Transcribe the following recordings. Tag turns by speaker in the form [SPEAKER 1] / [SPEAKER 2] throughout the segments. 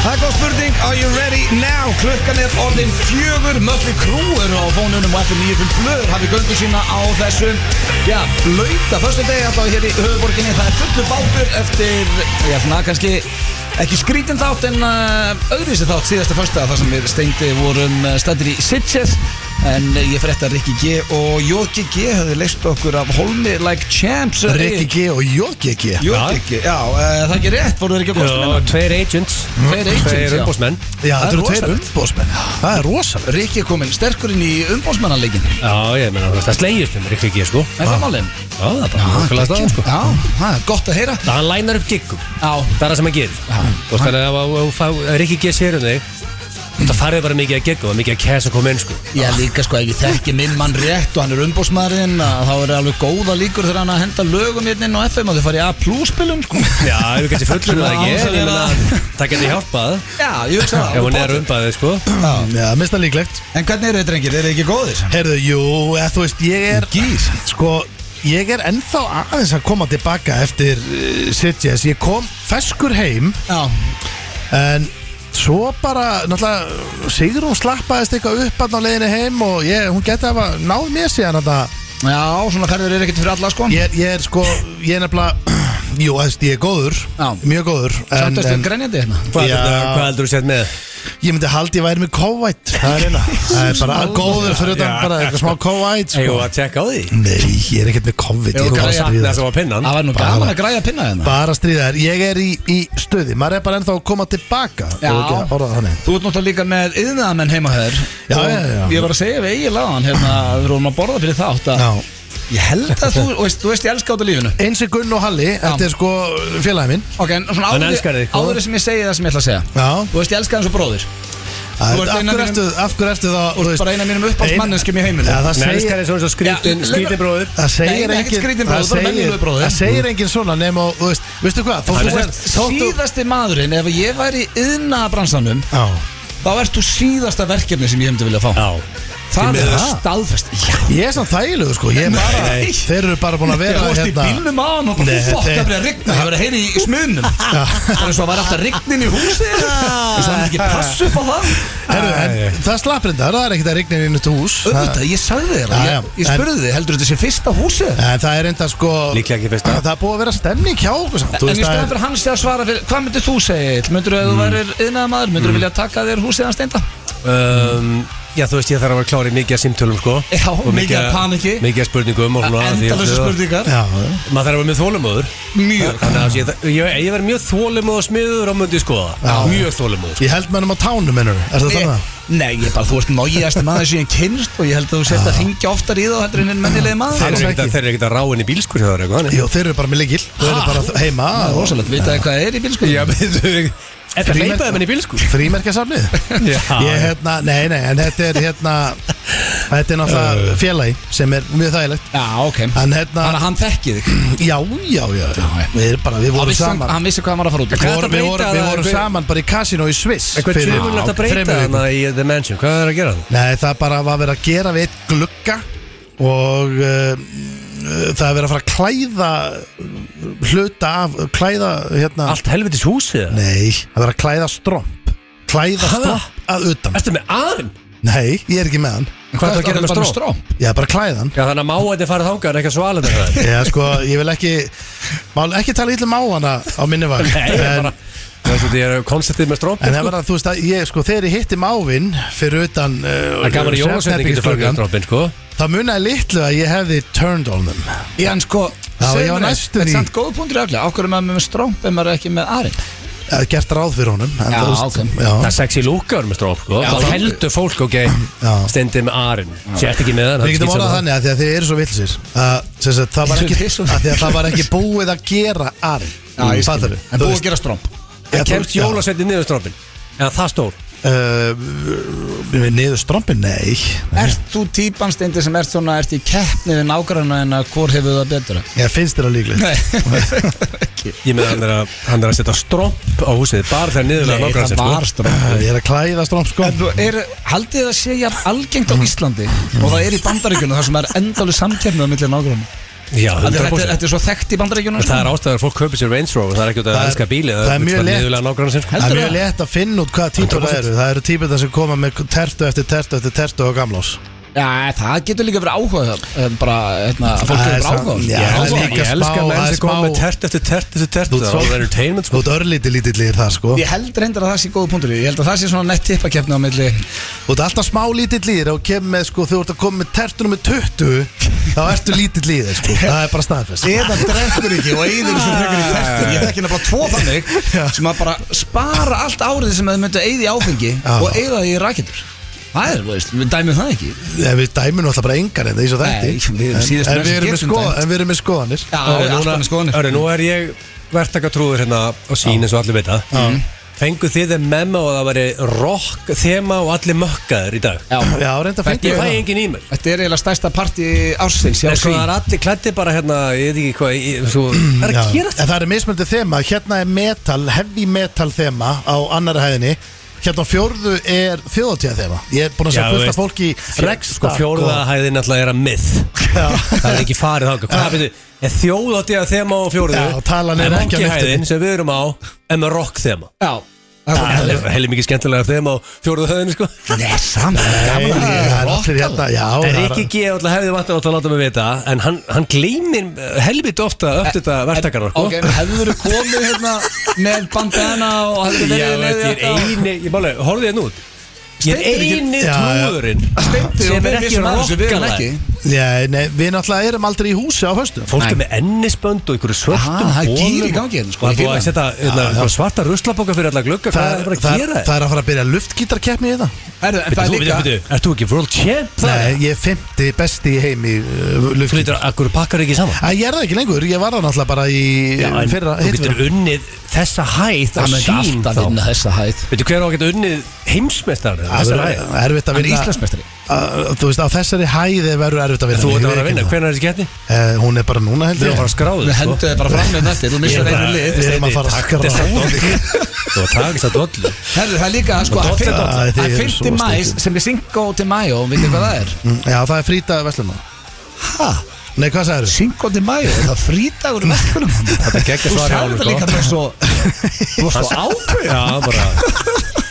[SPEAKER 1] Stóðspurning, are you ready now? Klukkan er orðin fjögur Mötli krúur á fónunum og FM 9 blöður hafi göngu sína á þessum já, blöyta Föstu degi allavega hér í höfuborginni Það er fullu bátur eftir, já, svona kannski ekki skrítin þátt en uh, öðruvísi þátt síðasta fösta þar sem við steindi vorum uh, stættir í Sitges en uh, ég frétta Rikki G og Jóki G höfðu leist okkur af Holmi like champs
[SPEAKER 2] Rikki G og Jóki G
[SPEAKER 1] Jóki G, já, uh, það er ekki rétt, voru þeir ekki að kosta minna
[SPEAKER 3] Tveir agents
[SPEAKER 1] Tveir agents,
[SPEAKER 3] Tveir
[SPEAKER 1] já.
[SPEAKER 3] umbósmenn
[SPEAKER 2] Já,
[SPEAKER 1] Það er
[SPEAKER 2] þetta eru tveir
[SPEAKER 1] rosalegt.
[SPEAKER 2] umbósmenn Það er rosalega
[SPEAKER 1] Rikki er komin sterkur inn í umbósmannanleikin Er
[SPEAKER 3] Já, ég meina, þú veist, það slegist um Rikki G, sko
[SPEAKER 1] það málinn?
[SPEAKER 3] Já, það er bara okkarlega staðan, sko
[SPEAKER 1] Já, það er gott að heyra
[SPEAKER 3] Það hann lænar upp giggum
[SPEAKER 1] Já,
[SPEAKER 3] Það er það sem hann gerir
[SPEAKER 1] Já.
[SPEAKER 3] Þú veist, þannig að ef- ef- ef ef Rikki G sér um þig Það farið bara mikið að giggum og mikið að kæsa koma inn, sko
[SPEAKER 1] ég líka sko, ef ég þekki minn mann rétt og hann er umbósmaðurinn að þá er alveg góða líkur þegar hann að henda lögum hérna inn á FM og þau fara í A-plúspilum sko.
[SPEAKER 3] Já, ef við kannski fullur með það ekki
[SPEAKER 1] Já,
[SPEAKER 3] en
[SPEAKER 1] það er
[SPEAKER 3] ég meina, Það geti hjálpað
[SPEAKER 1] Já, ég hugsa
[SPEAKER 3] Ef hún er umbaðið, sko
[SPEAKER 2] Já, minnst það líklegt
[SPEAKER 1] En hvernig eru þið drengir, eru þið ekki góðir?
[SPEAKER 2] Herðu, jú, eða þú veist, ég er Gýr Sko, ég er ennþá aðeins að koma tilbaka eftir uh, Sitges Ég kom feskur heim
[SPEAKER 1] Já,
[SPEAKER 2] En svo bara, náttúrulega Sigrún slappaðist eitthvað upp að á leiðinni heim Og ég, hún geti hafa náð mér síðan að það
[SPEAKER 1] já, svona ferður eru ekkert fyrir alla sko
[SPEAKER 2] Ég er, ég er sko, ég er nefnilega Jú, eðst, ég er góður,
[SPEAKER 1] Já.
[SPEAKER 2] mjög góður en,
[SPEAKER 1] Samt að
[SPEAKER 2] en
[SPEAKER 1] stuð grænjandi hérna
[SPEAKER 3] Hvað
[SPEAKER 2] Já.
[SPEAKER 3] heldur- hvað heldur þú sett með?
[SPEAKER 2] ég myndi haldi ég væri með kóvætt Það er eina, það er bara góður fyrir utan
[SPEAKER 3] Já.
[SPEAKER 2] bara eitthvað smá kóvætt
[SPEAKER 3] Eigum
[SPEAKER 2] sko.
[SPEAKER 3] við að tjekka á því?
[SPEAKER 2] Nei, ég er ekkert með COVID
[SPEAKER 1] Jú,
[SPEAKER 2] Ég
[SPEAKER 1] græja.
[SPEAKER 2] er bara að stríða
[SPEAKER 3] Það sem var pinnan
[SPEAKER 1] Það var nú
[SPEAKER 2] Bara-
[SPEAKER 1] gaman að græja pinna hérna
[SPEAKER 2] Bara að stríða þér, ég er í, í stöði Maður er bara ennþá að koma tilbaka Ef
[SPEAKER 1] Já.
[SPEAKER 2] ekki að orða það þannig.
[SPEAKER 1] Þú ert náttúrulega líka með yðnaðamenn heima hér
[SPEAKER 2] Já,
[SPEAKER 1] og
[SPEAKER 2] já, já.
[SPEAKER 1] Ég var að segja við eigin lagan hérna, við vorum að borða fyrir þátt að
[SPEAKER 2] Já.
[SPEAKER 1] Ég held að þú, og veist, þú veist ég elska át að lífinu
[SPEAKER 2] Eins er Gunn og Halli, þetta er sko félagi minn
[SPEAKER 1] Ok, en svona
[SPEAKER 3] Hann elskar
[SPEAKER 1] áður,
[SPEAKER 3] þig, sko.
[SPEAKER 1] áður sem ég segi það sem ég ætla að segja
[SPEAKER 2] Já.
[SPEAKER 1] Þú veist ég elska hann svo bróðir
[SPEAKER 2] Af
[SPEAKER 1] ert eina
[SPEAKER 2] hverju
[SPEAKER 1] mínum-
[SPEAKER 2] ertu- af hverju ertu þá þú veist-
[SPEAKER 1] Bara eina af mínum
[SPEAKER 2] Ein-
[SPEAKER 1] uppáhaldsmanneskjum í heiminum
[SPEAKER 2] Já, það
[SPEAKER 3] Nei,
[SPEAKER 2] segir
[SPEAKER 3] elskar þér svona svo skrítin,
[SPEAKER 1] Já,
[SPEAKER 3] skrítin bróður
[SPEAKER 2] Það segir
[SPEAKER 1] Nei, ekkert
[SPEAKER 2] engin
[SPEAKER 1] skrýtin
[SPEAKER 2] það
[SPEAKER 1] bróður, bara
[SPEAKER 2] segir-
[SPEAKER 1] venjulegur bróður.
[SPEAKER 2] Það segir engin svona nema, og, þú veist, veistu hvað, þó
[SPEAKER 3] Hann
[SPEAKER 2] þú
[SPEAKER 3] er
[SPEAKER 2] ert þóttu-
[SPEAKER 1] Síðasti maðurinn, ef ég væri í yðnaðabransanum
[SPEAKER 2] Já,
[SPEAKER 1] Þá ert þú síðasta verkefni sem ég hefndi vilja fá
[SPEAKER 3] Já
[SPEAKER 1] Það
[SPEAKER 2] miður
[SPEAKER 1] er
[SPEAKER 2] það.
[SPEAKER 1] staðfest Já,
[SPEAKER 2] ég er samt þægilegu sko, ég er bara,
[SPEAKER 3] nei.
[SPEAKER 2] þeir eru bara búin að vera hérna.
[SPEAKER 1] Þú varst í bílnum á hann og bara
[SPEAKER 2] Nei,
[SPEAKER 1] fokk,
[SPEAKER 2] þetta er-
[SPEAKER 1] það byrja að rigna Það var að heyra í smunum Það er eins og það var alltaf rignin í húsi eins og það er ekki pass upp á það
[SPEAKER 2] Herru, en það slapp reyndar, það er ekkert að rigna inn í þetta hús
[SPEAKER 1] Öfnvitað, ég sagði þér það
[SPEAKER 2] Já, já.
[SPEAKER 1] Ég, ég spurði þig, heldur þetta sé fyrsta húsið?
[SPEAKER 2] En það er reyndar sko
[SPEAKER 3] Líklega ekki fyrsta.
[SPEAKER 2] Það er búið að vera stemning hjá okkur samt
[SPEAKER 1] En
[SPEAKER 2] þú veist,
[SPEAKER 1] í
[SPEAKER 2] það
[SPEAKER 1] staðan
[SPEAKER 2] er- Mm.
[SPEAKER 1] fyrir hans að svara fyrir Hvað myndir þú segja? Egill? Myndirðu að þú værir yðnaðamaður? Myndirðu vilja taka þér húsið hans steinda?
[SPEAKER 3] um, Já, þú veist, ég þarf að vera klár í mikið að símtölum, sko
[SPEAKER 1] Já,
[SPEAKER 3] Og
[SPEAKER 1] mikið af paniki.
[SPEAKER 3] Mikið að spurningum og svona því
[SPEAKER 1] Enda
[SPEAKER 3] að-
[SPEAKER 1] þessu spurningar
[SPEAKER 2] Já,
[SPEAKER 3] Maður þarf að vera mjög þólumöður
[SPEAKER 1] Mjög
[SPEAKER 3] Þannig að ég, ég, ég verð mjög þólumöð og smiður á mundi skoða
[SPEAKER 2] Já.
[SPEAKER 3] Mjög þólumöður
[SPEAKER 2] ég held mönnum á tánum mennur Er það þannig?
[SPEAKER 1] Ég- Nei, ég bara, þú ert nágiðast maður sem ég kynst og ég held að þú sért að ringja oftar í það heldur en en mennilegi maður
[SPEAKER 3] Þeir
[SPEAKER 2] alls
[SPEAKER 3] eru ekkert
[SPEAKER 2] ekki.
[SPEAKER 3] að- þeir eru ekkert að ráin í bílskur hjá þér eitthvað þannig.
[SPEAKER 2] Jó, þeir eru bara með leikil Þeir eru bara heima
[SPEAKER 1] Það er rosalegt, vitaði hvað er í bílskuðu?
[SPEAKER 3] Já, veitu Þetta
[SPEAKER 2] Frímerk-
[SPEAKER 3] leipaði menn í bílskur
[SPEAKER 2] Frímerkasafnið
[SPEAKER 3] Já.
[SPEAKER 2] Ég hérna, nei, nei, en þetta er hérna Þetta er náttúrulega félagi sem er mjög þægilegt
[SPEAKER 1] Já, ok
[SPEAKER 2] En hérna,
[SPEAKER 1] Þannig að hann þekkið þig
[SPEAKER 2] já, já, já, já. Við erum bara, við
[SPEAKER 1] Hann
[SPEAKER 2] vorum
[SPEAKER 1] vissi- um-
[SPEAKER 2] saman
[SPEAKER 1] Hann vissi hvað hann var að fara út í
[SPEAKER 2] Við
[SPEAKER 3] Hvað er
[SPEAKER 2] vorum, við
[SPEAKER 3] þetta
[SPEAKER 2] vorum,
[SPEAKER 3] að breyta
[SPEAKER 2] við
[SPEAKER 3] það?
[SPEAKER 2] vorum
[SPEAKER 3] Hver-
[SPEAKER 2] saman bara í kasinu í Sviss
[SPEAKER 3] Eitthvað
[SPEAKER 2] fyrir
[SPEAKER 3] tjúmulegt að
[SPEAKER 2] þremur
[SPEAKER 3] breyta
[SPEAKER 2] vikum.
[SPEAKER 3] hana í The Mansion Hvað er að gera það?
[SPEAKER 2] Nei, það bara var verið að gera við eitt glugga og uh, það er verið að fara að klæða uh, hluta af, klæða hérna
[SPEAKER 3] Allt helvitis húsið eða?
[SPEAKER 2] Nei, það er verið að klæða stromp klæða
[SPEAKER 3] Ha?
[SPEAKER 2] stromp að utan
[SPEAKER 3] Ertu með aðeim?
[SPEAKER 2] Nei, ég er ekki með hann
[SPEAKER 3] Hvað er það að gera með stró?
[SPEAKER 2] Ég er bara að klæða hann
[SPEAKER 3] Já, þannig að má þetta fara þangað en ekki að svala þetta
[SPEAKER 2] Já, sko, ég vil ekki mál, ekki tala yllum á hana á minni var
[SPEAKER 3] Nei, ég bara Þú veist, þetta er konceptið með strópi
[SPEAKER 2] En það var að þú veist að ég, sko, þegar ég hitti mávin fyrir utan uh,
[SPEAKER 3] Það er gaman í jólasveitin getur farið með strópin, sko
[SPEAKER 2] þá munaði litlu að ég hefði turned on them
[SPEAKER 1] Já, en sko
[SPEAKER 2] Já,
[SPEAKER 1] segðu
[SPEAKER 2] ég var
[SPEAKER 1] mér eitt,
[SPEAKER 2] næstur
[SPEAKER 1] Þetta
[SPEAKER 2] í-
[SPEAKER 1] er samt góð punktur öglega Ákveður maður með strómp ef maður er ekki með aðrin
[SPEAKER 2] Það er gert ráð fyrir honum en
[SPEAKER 1] Já,
[SPEAKER 2] þú veist-
[SPEAKER 1] ok.
[SPEAKER 2] já.
[SPEAKER 3] Það er sexy lúkar með stróp, sko
[SPEAKER 1] Já,
[SPEAKER 3] Það
[SPEAKER 1] það-
[SPEAKER 3] heldur fólk, ok,
[SPEAKER 2] Já.
[SPEAKER 3] stendið með arinn Sért ekki með hann,
[SPEAKER 2] Við
[SPEAKER 3] hann
[SPEAKER 2] getum
[SPEAKER 3] skýt
[SPEAKER 2] orðað
[SPEAKER 3] saman
[SPEAKER 2] þannig að því að þið eru svo vilsir að það var
[SPEAKER 1] Þið eru
[SPEAKER 2] ekki
[SPEAKER 1] svo
[SPEAKER 2] að því að það var ekki búið að gera Ari Fattar þú?
[SPEAKER 1] En
[SPEAKER 2] Þú
[SPEAKER 1] búið
[SPEAKER 2] veist,
[SPEAKER 1] að gera strómp
[SPEAKER 2] já,
[SPEAKER 3] En
[SPEAKER 2] þú
[SPEAKER 3] kemst
[SPEAKER 2] veist, já.
[SPEAKER 3] jólasveitin niður strópin Eða það stór
[SPEAKER 2] Uh, eh, við Niður strompin, nei
[SPEAKER 1] Ert þú típan steindi sem ert svona Ert í keppni við nágranna en að hvor hefur það betra?
[SPEAKER 2] Ég finnst þér að líklegt
[SPEAKER 1] Nei
[SPEAKER 3] Ég með hann er að, hann er að setja stróp á húsið Bara þegar niðurlega
[SPEAKER 1] Nei,
[SPEAKER 3] nokkran
[SPEAKER 1] það
[SPEAKER 3] sér, sko
[SPEAKER 1] var strómp
[SPEAKER 2] Ég er að klæða stromp sko
[SPEAKER 1] En þú er, haldið það sé jafn algengt á Íslandi og það er í bandaríkunum þar sem er endalu samkefnið á millir nágrunum
[SPEAKER 3] Já,
[SPEAKER 1] Þetta er- þetta er-
[SPEAKER 3] 100%
[SPEAKER 1] þetta er svo þekkt í bandaríkjunum
[SPEAKER 3] Það er ástæður að fólk kaupir sér Range Rover Það er ekki út af
[SPEAKER 2] Það
[SPEAKER 3] að
[SPEAKER 2] er-
[SPEAKER 3] elska bíli
[SPEAKER 2] það er mjög létt.
[SPEAKER 3] Nýðulega nágrann sinn sko.
[SPEAKER 1] Held-
[SPEAKER 2] Það er
[SPEAKER 1] Heldurðu
[SPEAKER 2] mjög
[SPEAKER 1] það?
[SPEAKER 2] létt að finna út hvaða típur það eru Það eru típur sem koma með tertu eftir tertu eftir tertu og gamlás
[SPEAKER 1] Já, það getur líka verið áhuga um, bara, hérna, að fólk
[SPEAKER 2] Það er
[SPEAKER 1] hefur
[SPEAKER 2] það-
[SPEAKER 1] áhuga
[SPEAKER 2] já,
[SPEAKER 1] Ég
[SPEAKER 2] það
[SPEAKER 3] Ég
[SPEAKER 2] er
[SPEAKER 1] elska-
[SPEAKER 3] elska-
[SPEAKER 2] líka smá- það
[SPEAKER 3] Ég elska menn
[SPEAKER 2] er
[SPEAKER 3] sem koma
[SPEAKER 2] smá-
[SPEAKER 3] með tert eftir tert eftir tert
[SPEAKER 2] Þú ert
[SPEAKER 3] Það
[SPEAKER 2] svo-
[SPEAKER 3] er entertainment
[SPEAKER 2] Þú
[SPEAKER 3] sko
[SPEAKER 2] ert örlítið lítill í það sko
[SPEAKER 1] Ég held reyndar að það sé góð punktur Ég held að það sé svona nett tippakefni á milli
[SPEAKER 2] Þú ert alltaf smá lítill í þér og kemur með sko, þú ert að koma með tertunum með 20 þá ertu lítill í þér sko. það er bara staðfest
[SPEAKER 1] eða drekkur ekki og eyður sem frekar í tertur ég þekki nefnilega tvo þannig sem að bara spara allt árið sem þau myndu eyði áfengi
[SPEAKER 2] Já.
[SPEAKER 1] og eyða því í raketur það er, þú veist, við dæmum það ekki
[SPEAKER 2] En við dæmum náttúrulega bara engar en það er svo
[SPEAKER 1] Nei,
[SPEAKER 2] þetta
[SPEAKER 1] við erum síðustu
[SPEAKER 2] en,
[SPEAKER 1] menn sem
[SPEAKER 2] en, við erum með
[SPEAKER 1] getum
[SPEAKER 2] sko,
[SPEAKER 1] dæmt.
[SPEAKER 2] en við erum með skoðanir
[SPEAKER 1] já,
[SPEAKER 3] Örri,
[SPEAKER 1] allt
[SPEAKER 3] núna-
[SPEAKER 1] annað skoðanir
[SPEAKER 3] Örri, nú er ég verktaka trúður hérna á sín eins og allir vita
[SPEAKER 2] Mm.
[SPEAKER 3] Fenguð þið þeim memo að það væri rock þema og allir mökkaður í dag
[SPEAKER 1] já,
[SPEAKER 2] Já, reynda
[SPEAKER 3] Ég
[SPEAKER 2] fengið
[SPEAKER 3] fæ
[SPEAKER 2] það
[SPEAKER 3] engin e-mail
[SPEAKER 1] þetta er eiginlega stærsta partí ársins já,
[SPEAKER 3] En sko
[SPEAKER 1] sí.
[SPEAKER 3] það er allir klætti bara hérna Ég veit ekki hvað ég- svo- Það er
[SPEAKER 2] Já,
[SPEAKER 3] að gera
[SPEAKER 2] en það er mismöndið þema, hérna er metal, heavy metal þema á annari hæðinni Hérna á fjórðu er þjóðatíða þema Ég er búin að sjá
[SPEAKER 3] Já, þú
[SPEAKER 2] fullt af
[SPEAKER 3] veist,
[SPEAKER 2] fólki í Rex
[SPEAKER 3] Sko fjórða hæðin alltaf er að myth Það er ekki farið þáka Hvað veitu, er þjóðatíða þema á fjórðu
[SPEAKER 2] Já, talan er
[SPEAKER 3] en
[SPEAKER 2] ekki á
[SPEAKER 3] monkey
[SPEAKER 2] mythinni.
[SPEAKER 3] hæðin sem við erum á En með rock þema
[SPEAKER 1] já, það er
[SPEAKER 3] Það er heilig mikið skemmtilega þema á fjórðu hæðin sko
[SPEAKER 1] það er saman
[SPEAKER 2] Nei,
[SPEAKER 1] gaman að-
[SPEAKER 2] það er allir
[SPEAKER 1] rokkala.
[SPEAKER 2] hérna, já
[SPEAKER 3] En
[SPEAKER 2] það er-
[SPEAKER 3] Rikki G. alltaf hefði vant að láta mig vita En hann, hann gleymir helvit ofta Öft þetta verktakarar sko.
[SPEAKER 1] ok, en hefur þú komið hérna með bandana og hefur
[SPEAKER 3] Já,
[SPEAKER 1] þú verið
[SPEAKER 3] veit, ég er eini Ég máli, horfðu þér nú Ég er
[SPEAKER 1] Steindir ekki-
[SPEAKER 3] eini
[SPEAKER 2] Já, já.
[SPEAKER 3] trúðurinn
[SPEAKER 1] Steindir og
[SPEAKER 3] Sem
[SPEAKER 1] við
[SPEAKER 3] er ekki
[SPEAKER 1] vissum að þessu, við erum
[SPEAKER 3] rokkala
[SPEAKER 1] ekki
[SPEAKER 2] Nei, nei, við náttúrulega erum aldrei í húsi á höstum
[SPEAKER 3] Fólk
[SPEAKER 1] Nei.
[SPEAKER 3] er með ennisbönd og ykkur
[SPEAKER 1] Aha,
[SPEAKER 3] svörtum
[SPEAKER 1] Ah, það er
[SPEAKER 3] bolum.
[SPEAKER 1] gír í gangi hérna, sko,
[SPEAKER 3] Það
[SPEAKER 1] ég
[SPEAKER 3] er búið
[SPEAKER 1] fíla
[SPEAKER 3] að setja hérna,
[SPEAKER 2] Já,
[SPEAKER 3] einhver svarta ruslaboka fyrir alla glugga Hvað er bara að
[SPEAKER 2] það,
[SPEAKER 3] gera
[SPEAKER 2] það er að fara að byrja luftgítarkeppni í það
[SPEAKER 1] Herðu, en það er
[SPEAKER 3] Þú veitir,
[SPEAKER 1] líka
[SPEAKER 3] veitir, ert þú ekki world champ? það?
[SPEAKER 2] Nei, ég er 50 besti í heimi uh,
[SPEAKER 3] Þú
[SPEAKER 2] luftgítar
[SPEAKER 3] veitir, akkur pakkar ekki saman
[SPEAKER 2] Æ, ég er það ekki lengur, ég var það náttúrulega bara í
[SPEAKER 3] en
[SPEAKER 2] fyrra
[SPEAKER 3] Þú
[SPEAKER 2] hittir
[SPEAKER 3] getur unnið þessa hæð á
[SPEAKER 1] Það myndi
[SPEAKER 3] sín
[SPEAKER 1] alltaf
[SPEAKER 3] þá
[SPEAKER 1] vinna þessa hæð
[SPEAKER 3] Veitir, hver á að geta unnið heimsmeistar?
[SPEAKER 2] Það er erfitt að
[SPEAKER 1] Hann er
[SPEAKER 2] vinna
[SPEAKER 1] Íslandsmeistari
[SPEAKER 2] Að- Þú veist, á þessari hæði verður erfitt að vinna
[SPEAKER 3] Þú
[SPEAKER 2] Ég
[SPEAKER 3] ert að vera
[SPEAKER 2] veit
[SPEAKER 3] að vinna,
[SPEAKER 2] ekki
[SPEAKER 3] hvernig er þessi getni?
[SPEAKER 2] það. Eh, Hún er bara núna
[SPEAKER 3] Þú
[SPEAKER 2] heldur
[SPEAKER 3] ert að sko. fara að skráðu
[SPEAKER 1] Við hendum þið bara fram með nættir Þú missar einu lið
[SPEAKER 2] Við erum að fara að skráða.
[SPEAKER 3] Þú ert að taka þess að dollu
[SPEAKER 1] Herðu, það er líka sko
[SPEAKER 3] Dollu,
[SPEAKER 1] að fyrr-
[SPEAKER 3] dollu.
[SPEAKER 2] Æ, þið
[SPEAKER 1] að
[SPEAKER 2] eru
[SPEAKER 1] 50
[SPEAKER 2] svo
[SPEAKER 1] mæs
[SPEAKER 2] stundum.
[SPEAKER 1] sem er Cinco de Mayo Vitið þið hvað það er?
[SPEAKER 2] Mm, Já, það er frýta veslum
[SPEAKER 1] Hæ?
[SPEAKER 2] Nei, hvað sagður?
[SPEAKER 1] Cinco de Mayo Er það frítagur um ekkunum?
[SPEAKER 3] Þetta er geggja
[SPEAKER 1] Þú
[SPEAKER 3] svar hjá
[SPEAKER 1] sagði
[SPEAKER 3] honum,
[SPEAKER 1] þetta
[SPEAKER 3] sko.
[SPEAKER 1] líka með svo Þú var svo ákveð
[SPEAKER 3] Já, bara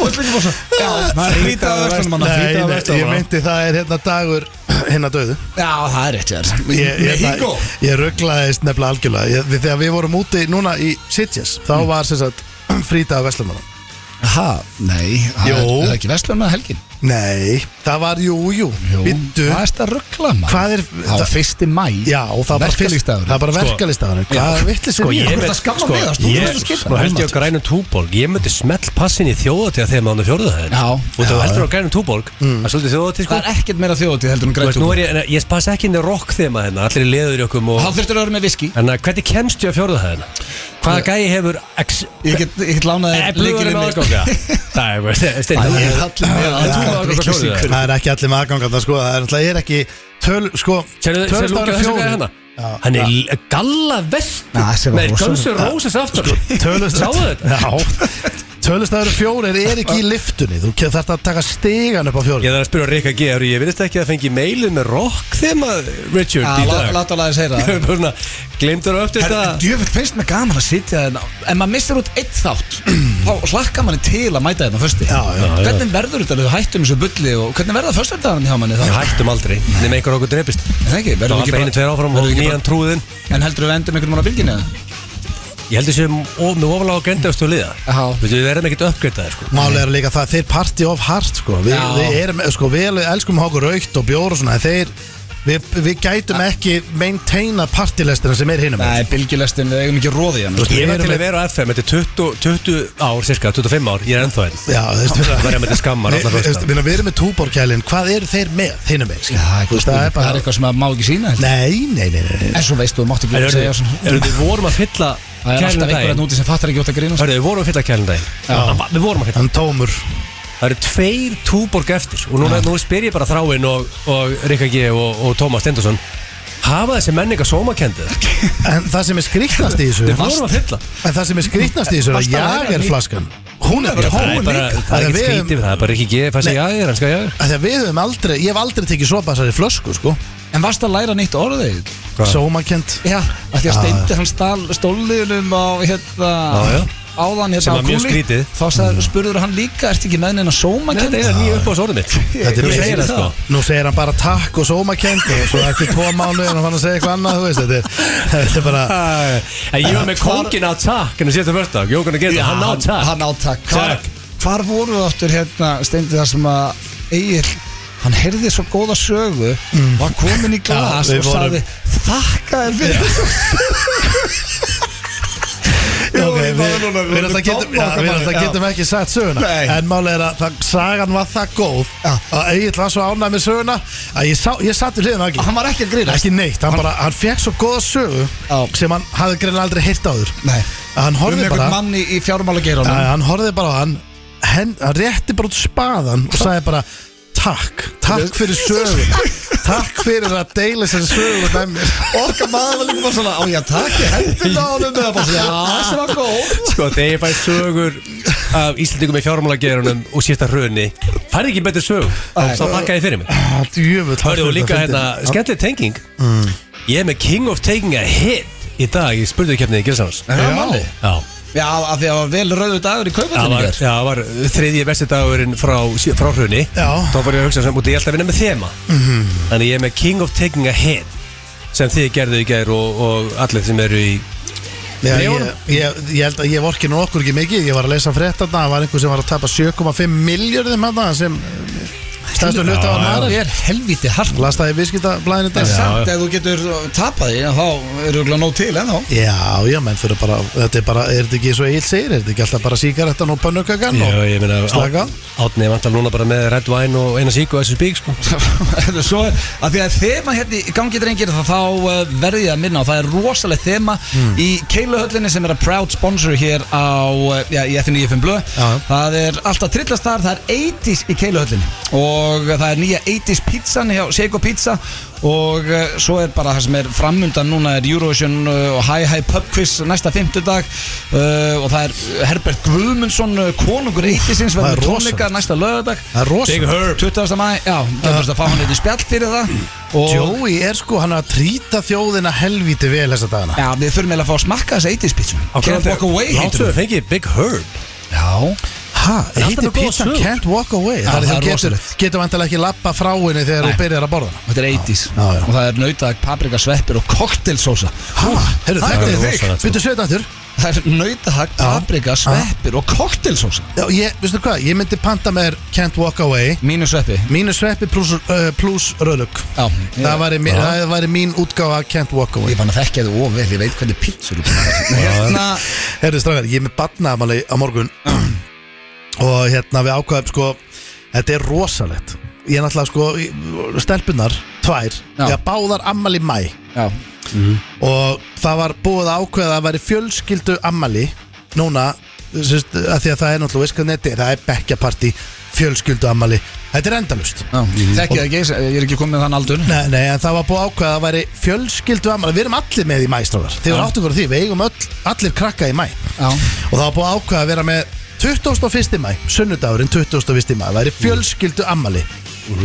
[SPEAKER 1] Og þú var svo Já, það er frítagur verslunum manna
[SPEAKER 2] Nei, nei,
[SPEAKER 3] Frídagur verslunarmanna.
[SPEAKER 2] ég myndi það er hérna dagur hérna döðu
[SPEAKER 1] Já, það er rétt ég er
[SPEAKER 2] Ég, ég,
[SPEAKER 1] Með híkó
[SPEAKER 2] ég, ég rugglaðist nefnilega algjörlega ég, við- Þegar við vorum úti núna í Sitges Þá var sem sagt frýtaða veslum
[SPEAKER 1] Hæ? Nei það
[SPEAKER 2] Jó.
[SPEAKER 1] er- er það ekki verslunum með helgin?
[SPEAKER 2] Nei, það var, jú, jú,
[SPEAKER 1] Jú,
[SPEAKER 2] Bíddu.
[SPEAKER 1] Hvað er þetta ruggla maður?
[SPEAKER 2] Hvað er-
[SPEAKER 1] Það var
[SPEAKER 2] það-
[SPEAKER 1] fyrsti mæ
[SPEAKER 2] Já, og það var fyrst-
[SPEAKER 1] Verkalýðsdagurinn.
[SPEAKER 2] það var bara verkalistafurinn Hvað vitlis er
[SPEAKER 3] Sko, ég
[SPEAKER 1] Þú ert
[SPEAKER 3] myndi-
[SPEAKER 1] að skamma mig, það er
[SPEAKER 3] sko,
[SPEAKER 1] stúlkan
[SPEAKER 3] ég-
[SPEAKER 1] sem skilur.
[SPEAKER 3] Nú held ég á grænum túborg Ég myndi smelt passin í þjóðatíða þegar maður fjórða það
[SPEAKER 1] Já.
[SPEAKER 3] Og þú heldur á grænum túborg
[SPEAKER 2] Mm.
[SPEAKER 3] Það er svolítið þjóðatíð sko
[SPEAKER 1] Það er ekkert meira þjóðatíð heldur en
[SPEAKER 3] Þú veist, nú
[SPEAKER 1] grætúk
[SPEAKER 3] er ég en Ég spasa ekki inn í rock þema hérna Allir í leður í okkum
[SPEAKER 1] Þá
[SPEAKER 3] og
[SPEAKER 1] þurftur að vera með viski
[SPEAKER 3] En að hvernig kemst ég á fjórða það hérna? Hvaða gæi hefur ex-
[SPEAKER 1] Ég get, ég get lánað
[SPEAKER 3] Eh,
[SPEAKER 1] þér lykilinn
[SPEAKER 3] blöðurinn með
[SPEAKER 1] minn.
[SPEAKER 3] aðganga Það er bara
[SPEAKER 1] Það
[SPEAKER 3] Það
[SPEAKER 1] er allir með
[SPEAKER 3] Það er
[SPEAKER 1] aðgang.
[SPEAKER 3] túborg og kjóðið
[SPEAKER 2] Það er ekki allir með aðganganda sko Það er náttúrulega er ekki töl, sko,
[SPEAKER 3] Sérðu sérðu Lúka
[SPEAKER 2] Tölustafurinn
[SPEAKER 3] þessu gæði
[SPEAKER 2] fjórir
[SPEAKER 3] hana? hérna? Hann er l- galla
[SPEAKER 1] Já,
[SPEAKER 3] vest
[SPEAKER 1] Sko, þessi var
[SPEAKER 3] með
[SPEAKER 1] rosa-
[SPEAKER 3] Guns N' Roses aftur Sáðu þetta?
[SPEAKER 2] Tölustafur fjórir er ekki í liftunni Þú ke- þarft að taka stegan upp á
[SPEAKER 3] Ég
[SPEAKER 2] fjórir
[SPEAKER 3] þarf að spyrja Rikka G. Eru Ég veist ekki að fengi mailið með rock þema
[SPEAKER 1] Já,
[SPEAKER 3] Richard í
[SPEAKER 1] lá-
[SPEAKER 3] dag
[SPEAKER 1] Láta að laðið segja það
[SPEAKER 3] Glimtur upp til
[SPEAKER 1] Herra,
[SPEAKER 3] þetta
[SPEAKER 1] Djöfitt finnst mér gaman að sitja hérna En maður missir út eitt þátt Þá hlakka manni til að mæta hérna fyrsti
[SPEAKER 2] Já, já,
[SPEAKER 3] já.
[SPEAKER 1] Hvernig verður þetta þegar þú hættum þessu bulli og hvernig verður það fyrstöldagarn hjá manni þá?
[SPEAKER 3] Við hættum aldrei nema einhver okkur drepist
[SPEAKER 1] Er Það ekki,
[SPEAKER 3] Það
[SPEAKER 1] verður
[SPEAKER 3] var
[SPEAKER 1] ekki
[SPEAKER 3] alltaf einu tveir áfram og
[SPEAKER 1] verðum við ekki
[SPEAKER 3] nýjan trúðinn
[SPEAKER 1] bara- En heldur við endum einhvern mann á bylginni? eða?
[SPEAKER 3] Ég heldur sem of, með ofalega á gendastu liða
[SPEAKER 1] Já.
[SPEAKER 3] Veitum, Við verðum ekkert uppgreitaðir sko
[SPEAKER 2] Málega er líka það, þeir party of heart sko Við,
[SPEAKER 1] Já.
[SPEAKER 2] við erum, sko, við elskum að hafa okkur raukt og bjór og svona en Þeir, við, við gætum ekki maintaina partylestina sem er hinum
[SPEAKER 1] Nei, bylgjulestin, við eigum ekki hérna. róði hann
[SPEAKER 2] veist, við
[SPEAKER 3] Ég var
[SPEAKER 2] erum
[SPEAKER 3] til að
[SPEAKER 2] með-
[SPEAKER 3] vera á FM Þetta er 20, 20 ár, cirka 25 ár Ég er ennþá enn
[SPEAKER 2] Já, þú veist,
[SPEAKER 3] Það verður með þetta skammar
[SPEAKER 2] Nei,
[SPEAKER 3] allar
[SPEAKER 2] þú veist,
[SPEAKER 3] fyrsta
[SPEAKER 2] minna, Við erum með túborkælin, hvað eru þeir með hinum með?
[SPEAKER 1] Já, ekki,
[SPEAKER 2] það er
[SPEAKER 1] það er
[SPEAKER 2] bara
[SPEAKER 1] eitthvað sem að má ekki sína heldur.
[SPEAKER 2] Nei, nei, nei, nei, nei.
[SPEAKER 1] En svo veistu, þú mátt ekki segja svona.
[SPEAKER 3] Við vorum að fylla
[SPEAKER 1] Það er alltaf
[SPEAKER 3] kælinu
[SPEAKER 1] einhverjarn úti sem fattar ekki út að grínast
[SPEAKER 3] Hörru, við vorum að fylla kælinn daginn Já. Við vorum að fylla
[SPEAKER 2] Hann tómur
[SPEAKER 3] Það eru tveir túborg eftir Og núna, nú spyr ég bara þráinn og, og Rikka G. og, og Tómas Stendursson Hafa þessi menninga sómakendið?
[SPEAKER 2] En það sem er skrýtnast í þessu
[SPEAKER 3] Við vorum að fylla
[SPEAKER 2] En það sem er skrýtnast í þessu er að
[SPEAKER 1] Varstu að læra
[SPEAKER 2] jagerflaskan Hún er bara
[SPEAKER 3] Það er
[SPEAKER 2] tómur
[SPEAKER 3] bara,
[SPEAKER 2] líka
[SPEAKER 3] það
[SPEAKER 2] Þegar
[SPEAKER 3] er ekki
[SPEAKER 2] við-
[SPEAKER 3] skrítið við það Það er bara Rikki G. fæsir
[SPEAKER 2] Nei.
[SPEAKER 3] jáður, hann skal jáður
[SPEAKER 2] Þegar við höfum aldrei, ég hef aldrei tekið sopa þessari flösku sko
[SPEAKER 1] En varst að læra nýtt orðið?
[SPEAKER 3] Hvað?
[SPEAKER 2] Sómakent
[SPEAKER 1] Já, af því að steindi hann stál stóliðunum á hérna
[SPEAKER 3] Já, já.
[SPEAKER 1] áðan hérna
[SPEAKER 3] Sem var
[SPEAKER 1] á
[SPEAKER 3] mjög
[SPEAKER 1] kúli.
[SPEAKER 3] skrítið.
[SPEAKER 1] Þá sagði, spurður hann líka, ertu ekki með neina sómakent?
[SPEAKER 3] Þetta er nýja upp á sorðum mitt
[SPEAKER 2] Þetta er
[SPEAKER 3] Þú
[SPEAKER 2] nú-
[SPEAKER 3] segir það sko
[SPEAKER 2] Nú segir hann bara takk og sómakent og svo eftir tvo mánu er hann fann að segja eitthvað annað þú veist, þetta er, þetta er bara
[SPEAKER 3] Æ, En ég var með kóngin á hérna takk En það séðast að fyrsta Jókan að
[SPEAKER 1] Já,
[SPEAKER 3] geta Hann á takk
[SPEAKER 1] Hann á takk Hvar,
[SPEAKER 3] Takk.
[SPEAKER 1] hvar voru við áttur hérna steindi þar sem að Egil hann heyrði svo góða sögu var komin í glas
[SPEAKER 2] við
[SPEAKER 1] og
[SPEAKER 2] vorum-
[SPEAKER 1] sagði þakka þér fyrir Jú,
[SPEAKER 2] Ok,
[SPEAKER 1] ég
[SPEAKER 2] við,
[SPEAKER 1] man núna,
[SPEAKER 2] við,
[SPEAKER 1] vorum
[SPEAKER 2] við, getum,
[SPEAKER 1] dobba
[SPEAKER 2] já,
[SPEAKER 1] okkar
[SPEAKER 2] við
[SPEAKER 1] bara.
[SPEAKER 2] alltaf
[SPEAKER 1] Já.
[SPEAKER 2] getum ekki sagt söguna
[SPEAKER 1] Nei.
[SPEAKER 2] En málið er að það, sagan var það góð
[SPEAKER 1] Já.
[SPEAKER 2] að Egil var svo ánæg með söguna að ég, sá, ég satt í hliðin á ekki
[SPEAKER 1] hann var ekki að grýra
[SPEAKER 2] ekki neitt, hann, bara, hann fekk svo góða sögu
[SPEAKER 1] Já.
[SPEAKER 2] sem hann hafði greinlega aldrei heyrt áður
[SPEAKER 1] Nei.
[SPEAKER 2] að hann
[SPEAKER 1] um
[SPEAKER 2] horfði
[SPEAKER 1] einhvern
[SPEAKER 2] bara
[SPEAKER 1] mann í, í fjármálageiranum
[SPEAKER 2] að hann horfði bara á hann henn, hann rétti bara út spaðan og sagði bara takk, takk fyrir söguna takk fyrir að deila sér söguna með mér
[SPEAKER 1] okkar maður var líka bara svona á ég að takja hendina á honum eða bara svona já, þessi var góð
[SPEAKER 3] Sko þegar ég fæ sögur Af Íslandingum í fjármálagerunum Og sísta hruni Færði ekki betur sög Þá þakka ég fyrir mig
[SPEAKER 2] djöfull
[SPEAKER 3] Hörðu og líka hérna Skellir tenging Ég er með King of Taking a Hit Í dag Ég spurði kemnið í Gilsans
[SPEAKER 1] Er það málið?
[SPEAKER 3] Já
[SPEAKER 1] já, af því að það var vel rauðu dagur í
[SPEAKER 3] Það
[SPEAKER 1] kaupatinn
[SPEAKER 3] var,
[SPEAKER 1] í
[SPEAKER 3] já,
[SPEAKER 1] gær.
[SPEAKER 3] það var þriðji besti dagurinn frá, frá hrunni
[SPEAKER 2] Já.
[SPEAKER 3] Þá var ég að hugsa sem út Ég ætla að vinna með þema -hmm. Þannig ég er með King of Taking a Hit Sem þið gerðu í gær og, og allir sem eru í
[SPEAKER 2] Já, ég,
[SPEAKER 3] Leonum.
[SPEAKER 2] ég, ég held að ég vorki nú okkur ekki mikið Ég var að lesa fréttarna, það var einhver sem var að tapa 7,5 miljörðum hann hérna, sem stæðstu hluta á
[SPEAKER 1] það
[SPEAKER 2] maður
[SPEAKER 1] er helviti hart
[SPEAKER 2] Las það í viðskiptablaðinu
[SPEAKER 1] en
[SPEAKER 2] dag Já,
[SPEAKER 1] samt ef þú getur tapað því þá eru ekki nóg til ennþá
[SPEAKER 2] já, menn fyrir bara Þetta er bara, er þetta ekki svo eilt segir Er þetta ekki alltaf bara síkarettan og pönnukakan
[SPEAKER 3] Já,
[SPEAKER 2] og
[SPEAKER 3] ég meina
[SPEAKER 2] slaka á?
[SPEAKER 3] Átni er vantar núna bara með Red Wine og eina sík og þessu spík sko.
[SPEAKER 1] Þetta er Svo, að því að þema hérna í gangi drengir þá, þá eh, verð ég að minna og það er rosalega þema
[SPEAKER 2] Hmm.
[SPEAKER 1] í Keiluhöllinni sem er að proud sponsor hér á eh, já, í FNI FM Blöð
[SPEAKER 2] Já.
[SPEAKER 1] það er alltaf trillast þar, það er 80s í Keiluhöllinni og það er nýja 80s pizzan hjá Seiko Pizza og eh, svo er bara það sem er framundan núna er Eurovision eh, og High High Pub Quiz næsta fimmtudag uh, og það er Herbert Guðmundsson eh, konungur 80sins
[SPEAKER 2] það
[SPEAKER 1] verður
[SPEAKER 2] er
[SPEAKER 1] með
[SPEAKER 2] rosalegt.
[SPEAKER 1] tónleika næsta lögadag
[SPEAKER 2] Það er rosa
[SPEAKER 3] Big Herb
[SPEAKER 1] 20. mæ, já, gæmurst að fá hann eitthvað spjall fyrir það og
[SPEAKER 2] Joey er sko, hann er að trýta þjóðina helvíti vel þessa dagana
[SPEAKER 1] já, við þurfum eiginlega að fá að smakka þessa 80s pizza Can't walk away heitir
[SPEAKER 3] Láttu
[SPEAKER 1] hún.
[SPEAKER 3] að fengi Big Herb
[SPEAKER 1] Já,
[SPEAKER 2] Ha,
[SPEAKER 3] er alltaf
[SPEAKER 2] heitir
[SPEAKER 3] með góða
[SPEAKER 2] pizza
[SPEAKER 3] sögur.
[SPEAKER 2] can't walk away
[SPEAKER 1] Já,
[SPEAKER 2] Það
[SPEAKER 1] það
[SPEAKER 2] er
[SPEAKER 1] er
[SPEAKER 2] því þú getur,
[SPEAKER 1] rosalegt.
[SPEAKER 2] getur vantilega ekki lappa frá henni þegar
[SPEAKER 1] Nei.
[SPEAKER 2] þú byrjar að borða hana.
[SPEAKER 1] þetta er 80s
[SPEAKER 2] Já, já.
[SPEAKER 1] og það er nautag, paprika, sveppir og koktelsósa
[SPEAKER 2] Ha, heyrðu,
[SPEAKER 1] Það er
[SPEAKER 2] þetta er þig
[SPEAKER 3] rosalegt, sko.
[SPEAKER 2] Byttu sveit aftur
[SPEAKER 1] Það er nautag, paprika, sveppir og koktelsósa
[SPEAKER 2] Já, ég, veistu hvað, ég myndi panta mér Can't Walk Away
[SPEAKER 1] Mínu sveppi
[SPEAKER 2] Mínu sveppi pluss, uh, pluss röðlug
[SPEAKER 1] Já,
[SPEAKER 2] það, væri mi-
[SPEAKER 3] Já.
[SPEAKER 2] það væri mín útgáfa af Can't Walk Away
[SPEAKER 1] Ég fann að þekka þið of vel, ég veit hvernig pizzur þú búin að Hérna,
[SPEAKER 2] Herðu strafgar, ég er með batnaðamali á morgun Og hérna við ákvaðum sko Þetta er rosalegt Ég er náttúrulega sko, í- stelpunnar, tvær
[SPEAKER 1] Já.
[SPEAKER 2] Ég báðar ammali mæ
[SPEAKER 1] já,
[SPEAKER 2] Og það var búið að ákveða að það væri fjölskyldu ammali Núna, sérst, að því að það er náttúrulega veist hvað neti er, Það er bekkjaparti, fjölskyldu ammali Þetta er endalust
[SPEAKER 1] já Þekki það ekki, ég er ekki komið með þann aldur
[SPEAKER 2] Nei, nei, en það var búið ákveða að það væri fjölskyldu ammali Við erum allir með í mæstráðar Þið
[SPEAKER 1] Já.
[SPEAKER 2] eru áttu hverju því, við eigum öll, allir krakka í mæ Og
[SPEAKER 1] Já,
[SPEAKER 2] það var búið ákveða að vera með 21. mæ, sunnudagurinn 21. mæ væri fjölskyldu ammali